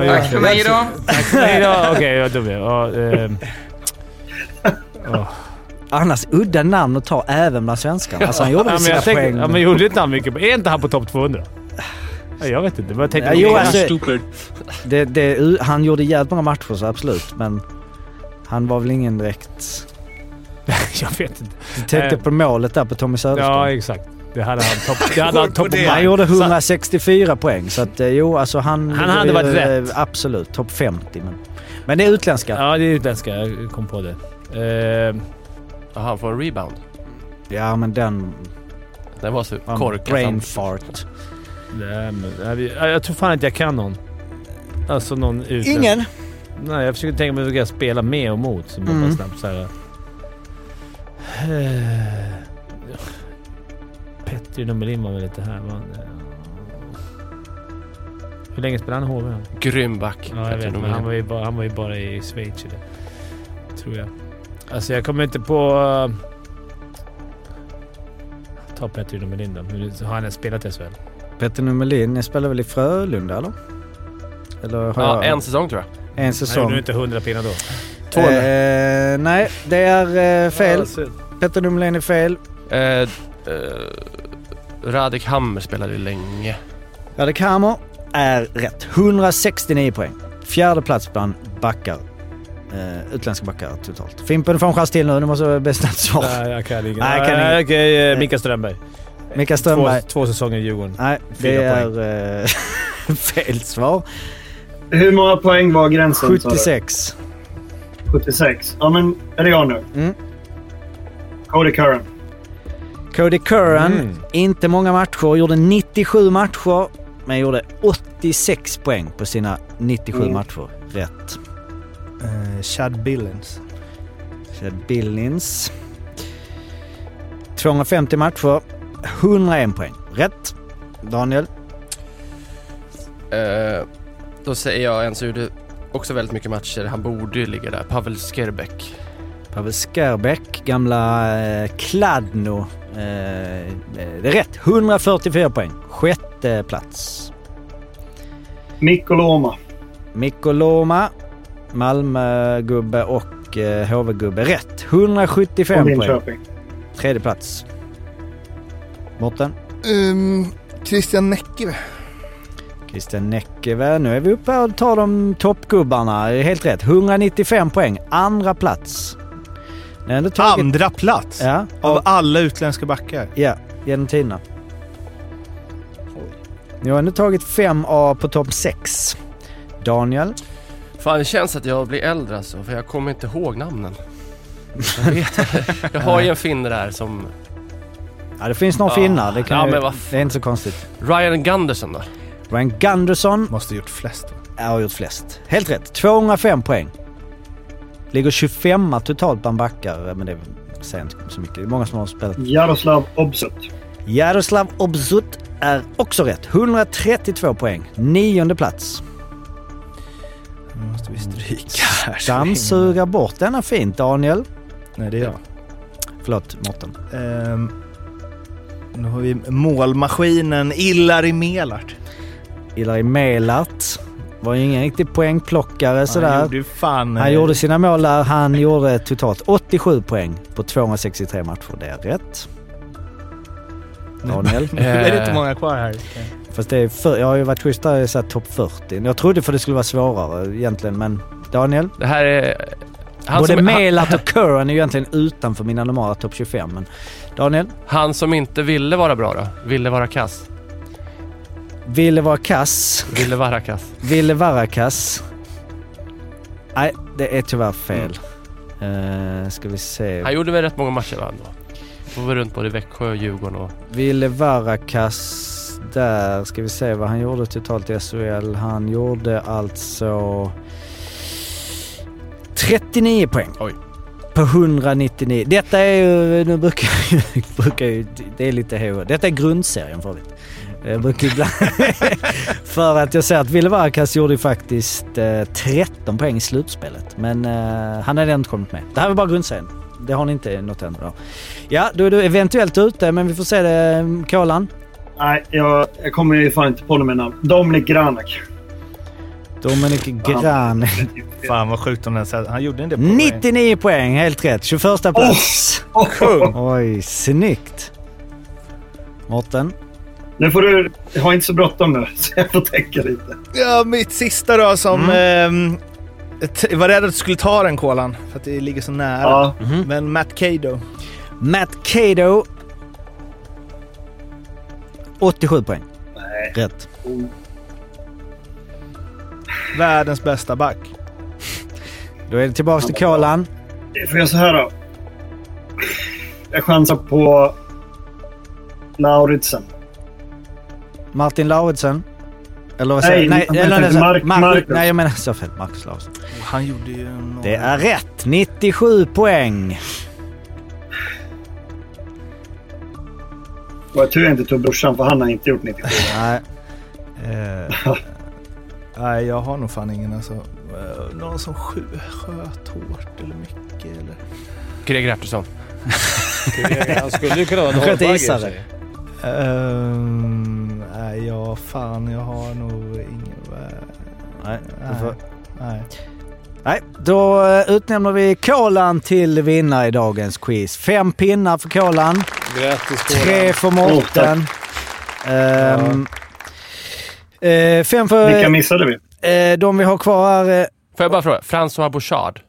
Speaker 10: Tack för mig då.
Speaker 1: Tack för mig då. Okej, jag är dum. Ja, ehm. Ja.
Speaker 2: Annars udda namn att ta även bland svenskarna. Alltså han gjorde väl
Speaker 1: ja, men
Speaker 2: sina
Speaker 1: jag tänkte-
Speaker 2: poäng.
Speaker 1: Ja, men gjorde inte han mycket? Är inte han på topp 200? Ja, jag vet inte. Men jag tänkte...
Speaker 2: Ja, jo, alltså, det, det, han gjorde jävligt många matcher så absolut, men han var väl ingen direkt...
Speaker 1: jag vet inte.
Speaker 2: Du tänkte
Speaker 1: Eh,
Speaker 2: på målet där på Tommy Söderström.
Speaker 1: Ja, exakt. Det hade han topp... Det hade han topp of mind.
Speaker 2: Han gjorde
Speaker 1: Så-
Speaker 2: 164 poäng, så att, eh, jo, alltså han...
Speaker 1: Han hade varit
Speaker 2: eh,
Speaker 1: rätt.
Speaker 2: Absolut, topp 50. Men, men det är utländska.
Speaker 1: Ja, det är utländska. Jag kom på det. Ehm.
Speaker 10: han får en rebound.
Speaker 2: Ja, men den...
Speaker 10: Den var så
Speaker 2: Fan,
Speaker 10: korkad.
Speaker 2: Brain fart.
Speaker 1: Nej, men, nej, vi- jag, jag tror fan inte jag kan någon. Alltså någon utländsk.
Speaker 2: Ingen?
Speaker 1: Nej, jag försöker tänka mig vilka jag spelar med och mot. Så bara
Speaker 2: Mm.
Speaker 1: snabbt så här. Eh, Petri Nummelin var väl lite här. va? Hur länge spelade han i HV?
Speaker 10: Grym back.
Speaker 1: Ja, jag
Speaker 10: Petri
Speaker 1: vet, men
Speaker 10: Nummelin.
Speaker 1: han, var ju bara, han var ju bara i Schweiz. Eller? Tror jag. Alltså jag kommer inte på... eh, ta Petri Nummelin då. Hur- Har han ens spelat i SHL?
Speaker 2: Petter Numelin, ni spelar väl i Frölunda, eller? eller har
Speaker 10: Ja,
Speaker 2: jag-
Speaker 10: en säsong tror jag.
Speaker 2: En säsong.
Speaker 1: gjorde inte 100 pinnar då.
Speaker 10: 200.
Speaker 2: Eh, nej, det är eh, fel. Petter Numelin är fel.
Speaker 10: Eh, eh, Radek Hammer spelade ju länge.
Speaker 2: Radek Hammer är rätt. 169 poäng. Fjärde plats bland backar. Eh, utländska backar totalt. Fimpen, du får en chans till nu. Du måste ha bästa svar.
Speaker 1: Nej, jag kan inget.
Speaker 2: Nej, jag kan
Speaker 1: Nej,
Speaker 2: inget.
Speaker 1: Okej, eh, Mika Strömberg.
Speaker 2: Mika Strömberg.
Speaker 1: Två, två säsonger i Djurgården.
Speaker 2: Nej, det
Speaker 1: Fyra
Speaker 2: är eh, fel svar.
Speaker 9: Hur många poäng var gränsen? sa du?
Speaker 2: 76.
Speaker 9: 76. Ja, men är det jag nu?
Speaker 2: Mm.
Speaker 9: Cody Curran.
Speaker 2: Cody Curran,
Speaker 9: Mm.
Speaker 2: inte många matcher. Gjorde 97 matcher, men gjorde 86 poäng på sina 97
Speaker 8: Mm.
Speaker 2: matcher. Rätt.
Speaker 8: Eh, Chad Billings.
Speaker 2: Chad Billings. 250 matcher, 101 poäng. Rätt. Daniel?
Speaker 10: Eh, Då säger jag en som gjorde också väldigt mycket matcher. Han borde ju ligga där. Pavel Skerbeck.
Speaker 2: Pavel Skerbeck, gamla eh, Kladno. Eh, det är rätt. 144 poäng. Sjätte plats.
Speaker 9: Mikko Loma.
Speaker 2: Mikko Loma, Malmögubbe och eh, HV-gubbe. Rätt. 175
Speaker 9: Och
Speaker 2: poäng.
Speaker 9: Linköping.
Speaker 2: Tredje plats. Mårten.
Speaker 12: Um, Christian Näcke.
Speaker 2: Christian Näckeve. Nu är vi uppe och tar de toppgubbarna. Helt rätt. 195 poäng. Andra plats. Nu har ändå tagit-
Speaker 8: Andra plats?
Speaker 2: Ja.
Speaker 8: Av alla utländska backar?
Speaker 2: Ja, genom tiderna. Nu har jag nu tagit fem A på topp sex. Daniel.
Speaker 10: Fan, det känns att jag blir äldre alltså, för jag kommer inte ihåg namnen. Jag, vet, jag har ju en finne där som...
Speaker 2: Ja, det finns några
Speaker 10: Ja.
Speaker 2: finnar. Det, kan
Speaker 10: Ja,
Speaker 2: ju-
Speaker 10: men vad
Speaker 2: det är inte så konstigt.
Speaker 10: Ryan Gunderson då?
Speaker 2: Ryan Gunderson.
Speaker 8: Måste ha gjort flest.
Speaker 2: Ja, har gjort flest. Helt rätt. 205 poäng. Ligger 25 totalt bland backar, eh, men det säger inte så mycket. Det är många som har spelat.
Speaker 9: Jaroslav Obsut.
Speaker 2: Jaroslav Obzut är också rätt. 132 poäng. Nionde plats.
Speaker 8: Nu måste vi stryka här.
Speaker 2: Dammsuga bort denna fint, Daniel.
Speaker 8: Nej, det är jag.
Speaker 2: Förlåt, Mårten.
Speaker 8: Ehm, nu har vi målmaskinen Ilari Melart.
Speaker 2: Ilari Melart. Var ju ingen riktig poängplockare sådär.
Speaker 8: Han gjorde ju fan... eh,
Speaker 2: Han gjorde sina mål där. Han gjorde totalt 87 poäng på 263 matcher. Det är rätt. Daniel?
Speaker 8: Nu är det inte många kvar här.
Speaker 2: Fast det är för, jag har ju varit schysst där och satt topp 40. Jag trodde för det skulle vara svårare egentligen, men Daniel?
Speaker 10: Det här är... Han
Speaker 2: Både
Speaker 10: som,
Speaker 2: Melart och Curran är ju egentligen utanför mina normala topp 25, men Daniel?
Speaker 10: han som inte ville vara bra då? Ville vara kass?
Speaker 2: Ville vara kass.
Speaker 10: Ville vara kass.
Speaker 2: Ville Varakas. Nej, det är tyvärr fel. Mm. ska vi se.
Speaker 10: Han gjorde väl rätt många matcher va? ändå? Får väl runt både Växjö och Djurgården och...
Speaker 2: Ville Varakas där. Ska vi se vad han gjorde totalt i SHL. Han gjorde alltså 39 poäng.
Speaker 10: Oj.
Speaker 2: På 199. Detta är ju, nu brukar jag ju- brukar ju, det är lite hej och hå. Detta är grundserien för övrigt. Jag brukar ibland, för att jag säger att Ville Varkas gjorde ju faktiskt eh, 13 poäng i slutspelet. Men eh, han hade ändå inte kommit med. Det här var bara grundserien. Det har ni inte nått ännu då. Ja, då är du eventuellt ute, men vi får se det. mm, Kolan.
Speaker 9: Nej, jag, jag kommer ju fan inte på något med namn. Dominik Granak.
Speaker 2: Dominik Gran.
Speaker 8: Fan vad sjukt om den sa- Han gjorde inte det på
Speaker 2: 99 poäng, helt rätt. 21 plats.
Speaker 9: Oh!
Speaker 2: Oj, snyggt. Mårten.
Speaker 9: Nu får du... Jag har inte så bråttom nu, så jag får tänka lite.
Speaker 8: Ja, mitt sista då som... ehm, t- var rädd att du skulle ta den kolan för att det ligger så nära.
Speaker 9: Ja.
Speaker 8: Men Matt Cato.
Speaker 2: Matt Cato. 87 poäng. Rätt.
Speaker 8: Världens bästa back.
Speaker 2: Då är det tillbaka till Kolan.
Speaker 9: Får jag så här då? Jag chansar på Lauritsen.
Speaker 2: Martin Lauritsen. Eller vad
Speaker 9: Nej,
Speaker 2: säger
Speaker 9: jag menar
Speaker 2: eller
Speaker 9: inte
Speaker 2: så-
Speaker 9: Mark- Marcus.
Speaker 2: Nej, jag menar så fel. Marcus Lauritsen.
Speaker 8: Han gjorde ju... Någon...
Speaker 2: Det är rätt. 97 poäng.
Speaker 9: Och jag tur jag inte tog brorsan, för han har inte gjort 94.
Speaker 2: Nej.
Speaker 8: Eh, nej, jag har nog fan ingen alltså. Eh, någon som sju, sköt hårt eller mycket eller...
Speaker 10: Greger Artursson.
Speaker 1: Han skulle ju kunna vara en
Speaker 2: Han sköt
Speaker 1: hårdbagge i och
Speaker 2: isare.
Speaker 1: för sig.
Speaker 8: Ehm, nej, jag fan, jag har nog ingen... eh,
Speaker 2: Nej,
Speaker 8: nej,
Speaker 2: du får-
Speaker 8: nej.
Speaker 2: Nej, då eh, utnämner vi Kolan till vinnare i dagens quiz. Fem pinnar för Kolan.
Speaker 1: Grattis Kolan.
Speaker 2: Tre för
Speaker 1: Oh, tack.
Speaker 2: Mårten. Ehm, eh, fem för...
Speaker 10: Vilka missade vi?
Speaker 2: Eh, de vi har kvar eh, är...
Speaker 10: Får jag bara fråga? François Bouchard?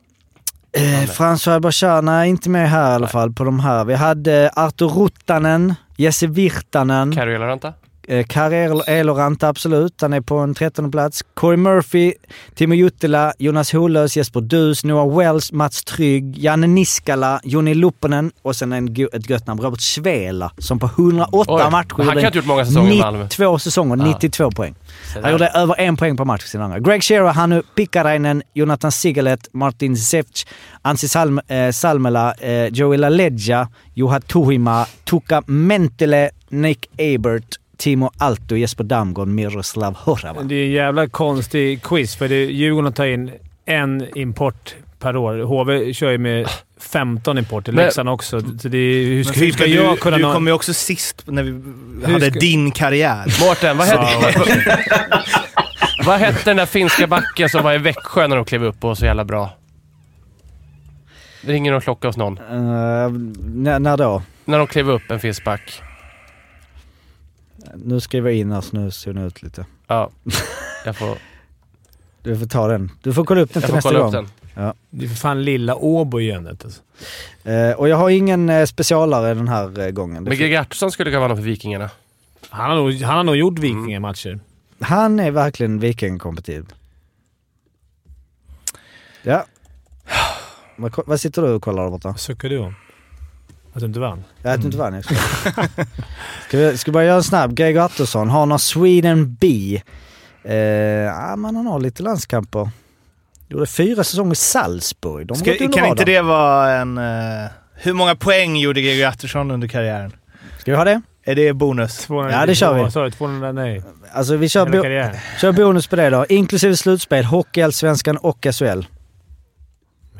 Speaker 2: Eh, François Bachar, nej inte med här i alla fall på de här. Vi hade eh, Arto Ruttanen, Jesse Virtanen.
Speaker 10: Carro Eloranta?
Speaker 2: Eh, Karel Eloranta, absolut. Han är på en trettonde plats. Corey Murphy, Timo Juttila, Jonas Holös, Jesper Dus, Noah Wells, Mats Trygg, Janne Niskala, Jonny Lupponen och sen en, go- ett gött namn, Robert Svela, som på 108 matcher
Speaker 10: Oj, han kan
Speaker 2: gjorde
Speaker 10: ha gjort många säsonger i Malmö.
Speaker 2: 92 säsonger,
Speaker 10: Ja.
Speaker 2: 92 poäng.
Speaker 10: där.
Speaker 2: Han gjorde över en poäng per match sin andra. Greg Shearer, Hannu Pikkarainen, Jonathan Sigelet, Martin Zevc, Ansi Salm, eh, Salmela, eh, Joey LaLeggia, Juha Tuhima, Tuka Mentele, Nick Ebert, Timo Alto, Jesper Damgård, Miroslav Horava.
Speaker 1: Det är en jävla konstig quiz, för det är Djurgården tar in en import per år. HV kör ju med 15 importer.
Speaker 8: Men-
Speaker 1: Leksand också. Så det är, hur ska,
Speaker 8: Men
Speaker 1: hur ska
Speaker 8: Fimpen,
Speaker 1: jag
Speaker 8: du,
Speaker 1: kunna...
Speaker 8: Du
Speaker 1: nå-
Speaker 8: kom ju också sist när vi
Speaker 1: Hur
Speaker 8: hade
Speaker 1: ska-
Speaker 8: din karriär.
Speaker 10: Mårten, vad
Speaker 8: hette...
Speaker 10: Vad hette den där finska backen som var i Växjö när de klev upp och var så jävla bra? Det ringer någon klocka hos någon.
Speaker 2: Eh, när, när då?
Speaker 10: När de klev upp, en finsk back.
Speaker 2: Nu skriver jag in här så nu zonar jag ut lite.
Speaker 10: Ja. Jag får...
Speaker 2: Du får ta den. Du får kolla upp den
Speaker 1: Jag
Speaker 2: till
Speaker 1: får
Speaker 2: nästa
Speaker 1: kolla
Speaker 2: gång.
Speaker 1: upp
Speaker 2: den. Ja.
Speaker 1: Det är för fan lilla Åbo i ämnet alltså.
Speaker 2: Eh, och jag har ingen eh, specialare den här eh, gången. Det
Speaker 10: Men
Speaker 2: får-
Speaker 10: Gerhardsson skulle kunna vara någon för Vikingarna.
Speaker 1: Han har nog, han har nog gjort Vikingamatcher.
Speaker 2: Han är verkligen vikingkompatibel. Ja. Vad, ko- vad sitter du och kollar där borta?
Speaker 1: Suckar du om? Att du inte vann?
Speaker 2: Jag att du inte vann, jag skojar. ska, vi, ska vi bara göra en snabb? Gregor Attersson, har någon Sweden B? Eh, ja, men han har lite landskamper. Gjorde fyra säsonger i Salzburg. De
Speaker 8: Ska,
Speaker 2: går under
Speaker 8: kan inte
Speaker 2: radarn.
Speaker 8: det vara en... eh, hur många poäng gjorde Gregor Attersson under karriären?
Speaker 2: Ska vi ha det?
Speaker 8: Är det bonus?
Speaker 2: Ja, det kör vi.
Speaker 1: Vad sa du? 200? Nej.
Speaker 2: Alltså vi kör,
Speaker 1: Hela
Speaker 2: bo-
Speaker 1: karriären.
Speaker 2: kör bonus på det då. Inklusive slutspel, hockey, allsvenskan och SHL.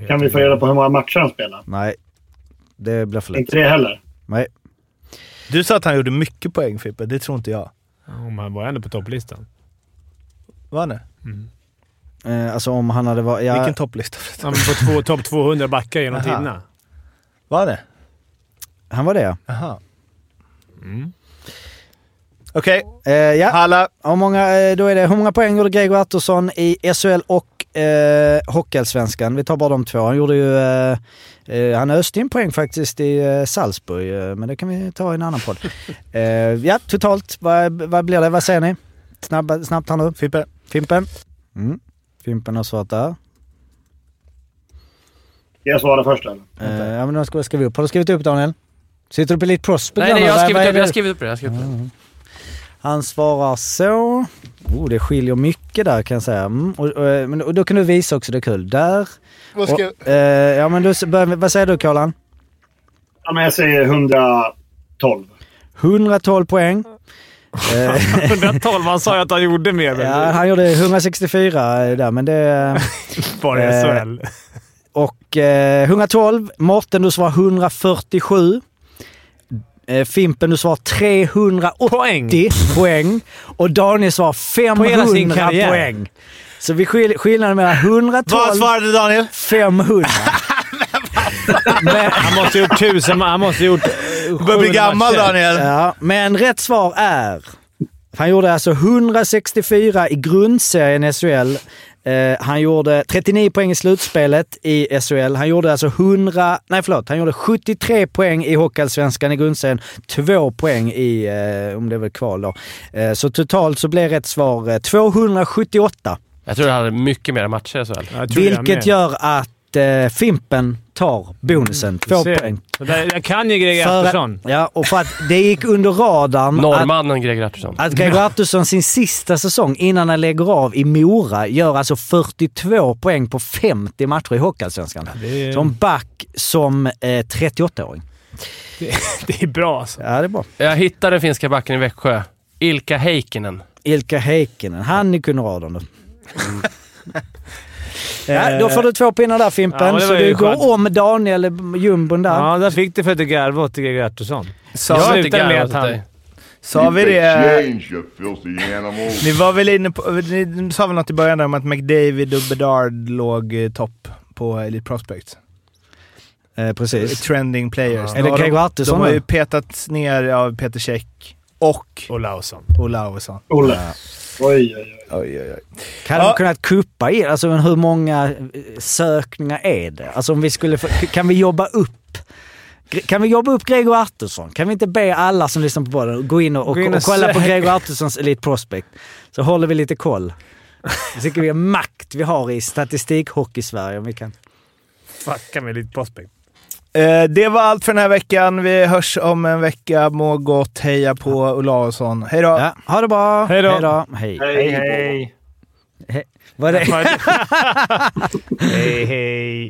Speaker 9: Kan vi få reda på hur många matcher han spelar?
Speaker 2: Nej, det blir för lätt.
Speaker 9: Inte det heller.
Speaker 2: Nej.
Speaker 8: Du sa att han gjorde mycket poäng, Fippe. Det tror inte jag.
Speaker 1: Om han var ändå på topplistan.
Speaker 8: Var det?
Speaker 2: Eh, alltså om han hade varit... Ja,
Speaker 8: Vilken topplista?
Speaker 1: Han var på två- topp 200 backar genom
Speaker 8: Aha.
Speaker 1: tiderna.
Speaker 8: Var det?
Speaker 2: Han var det
Speaker 8: Jaha. Okej.
Speaker 2: Eh, ja. Halla. Hur många, eh, då är det, hur många poäng gjorde Gregor Attersson i SHL och eh, Hockeyallsvenskan? Vi tar bara de två. Han gjorde ju... Eh, eh, han öste in poäng faktiskt i eh, Salzburg, eh, men det kan vi ta i en annan podd. eh, ja, totalt. Vad, vad blir det? Vad säger ni? Snabba, snabbt här nu.
Speaker 8: Fimpen.
Speaker 2: Fimpen. Mm. Fimpen har svarat där.
Speaker 9: Ska jag svara först eller?
Speaker 2: Eh, ja, men då ska jag skriva upp. Har du skrivit upp Daniel? Sitter du på Elite Prospect?
Speaker 10: Nej, nej,
Speaker 2: Daniel?
Speaker 10: jag har
Speaker 2: Vad- vad
Speaker 10: skrivit
Speaker 2: är
Speaker 10: upp det. Jag har
Speaker 2: det?
Speaker 10: skrivit upp det. Jag har skrivit upp det.
Speaker 2: Han svarar så. Oh, det skiljer mycket där kan jag säga. Mm. Och, och, eh, men- och då kan du visa också, det är kul. Där.
Speaker 9: Vad ska-
Speaker 2: och, eh, ja, men du, börjar med- vad säger du Kolan?
Speaker 9: Ja, men jag säger 112.
Speaker 2: 112 poäng. Eh,
Speaker 1: 112. Han sa ju att han gjorde mer.
Speaker 2: ja, han gjorde 164 där, men det...
Speaker 1: Bara
Speaker 2: eh,
Speaker 1: SHL.
Speaker 2: Och eh, 112. Mårten, du svarar 147. Eh, Fimpen, du svarar 380 poäng. Och Daniel svarar 500
Speaker 1: hela sin karriär.
Speaker 2: poäng. Så vi skil- skillnaden mellan 112...
Speaker 1: Vad svarade
Speaker 8: Daniel?
Speaker 2: 500.
Speaker 1: Han måste ha gjort tusen ma- Han måste ha gjort... eh, 700 matcher.
Speaker 2: Ja, men rätt svar är... Han gjorde alltså 164 i grundserien i SHL. Eh, han gjorde 39 poäng i slutspelet i SHL. Han gjorde alltså 100... Nej, förlåt. Han gjorde 73 poäng i Hockeyallsvenskan i grundserien. Två poäng i, eh, om det var kval då. Eh, så totalt så blev rätt svar eh, 278.
Speaker 10: Jag tror han hade mycket mer matcher i SHL.
Speaker 2: Vilket gör att eh, Fimpen tar bonusen. Två
Speaker 1: ser.
Speaker 2: poäng.
Speaker 1: Så där- Jag kan ju Greger
Speaker 2: För-
Speaker 1: Attersson.
Speaker 2: Ja, och för att det gick under radarn Mm, att,
Speaker 10: Norrmannen Greger Attersson.
Speaker 2: att Gregor Artursson sin sista säsong innan han lägger av i Mora gör alltså 42 poäng på 50 matcher i Hockeyallsvenskan.
Speaker 1: det är-
Speaker 2: Som back som eh, 38-åring.
Speaker 1: Det är bra alltså.
Speaker 2: Ja, det är bra.
Speaker 10: Jag hittade den finska backen i Växjö. Ilka Heikkinen.
Speaker 2: Ilka Heikkinen. Han gick under radarn då. Ja, Eh, då får du två pinnar där
Speaker 1: Ja,
Speaker 2: Fimpen,
Speaker 1: men det
Speaker 2: så
Speaker 1: var ju
Speaker 2: du
Speaker 1: skönt.
Speaker 2: går om Daniel jumbon där.
Speaker 1: Ja, där fick du för att du garvade åt Greger Attersson.
Speaker 8: Sa
Speaker 1: Jag
Speaker 8: jag inte
Speaker 1: slutar med
Speaker 8: garvat
Speaker 1: att
Speaker 8: åt
Speaker 1: han...
Speaker 8: dig? Sa vi det? eh,
Speaker 13: det?
Speaker 8: Ni var väl inne på... Ni, ni sa väl något i början där om att McDavid och Bedard låg eh, topp på Elite Prospect?
Speaker 2: Eh, precis.
Speaker 8: Trending players.
Speaker 2: Ja. Är det
Speaker 8: Ja,
Speaker 2: Gregor
Speaker 8: de-
Speaker 2: Attersson
Speaker 8: De har
Speaker 2: då?
Speaker 8: ju petats ner av Peter Käck och...
Speaker 1: Olausson.
Speaker 8: Olausson.
Speaker 9: Olle.
Speaker 8: Ja.
Speaker 9: Oj, oj, oj.
Speaker 8: oj, oj, oj.
Speaker 2: Kan de kunnat kuppa er? Alltså men hur många eh, sökningar är det? Alltså om vi skulle få, kan vi jobba upp? Gre- Kan vi jobba upp Gregor Artursson? Kan vi inte be alla som lyssnar på podden att gå in och, och,
Speaker 1: Gå in och
Speaker 2: och, kolla på
Speaker 1: sök.
Speaker 2: Gregor Arturssons Elite Prospect? Så håller vi lite koll. Jag tycker vi är makt vi har i statistikhockey-Sverige om vi kan.
Speaker 1: Fucka med lite prospect.
Speaker 8: Eh, det var allt för den här veckan. Vi hörs om en vecka. Må gott. Heja på Olausson. Hej då!
Speaker 2: ha det bra!
Speaker 8: Hej då.
Speaker 2: Hej.
Speaker 8: Hej,
Speaker 1: hej.
Speaker 2: He- Vad är det?
Speaker 1: hej, hej.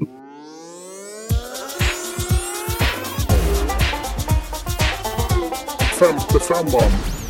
Speaker 13: Femte femman.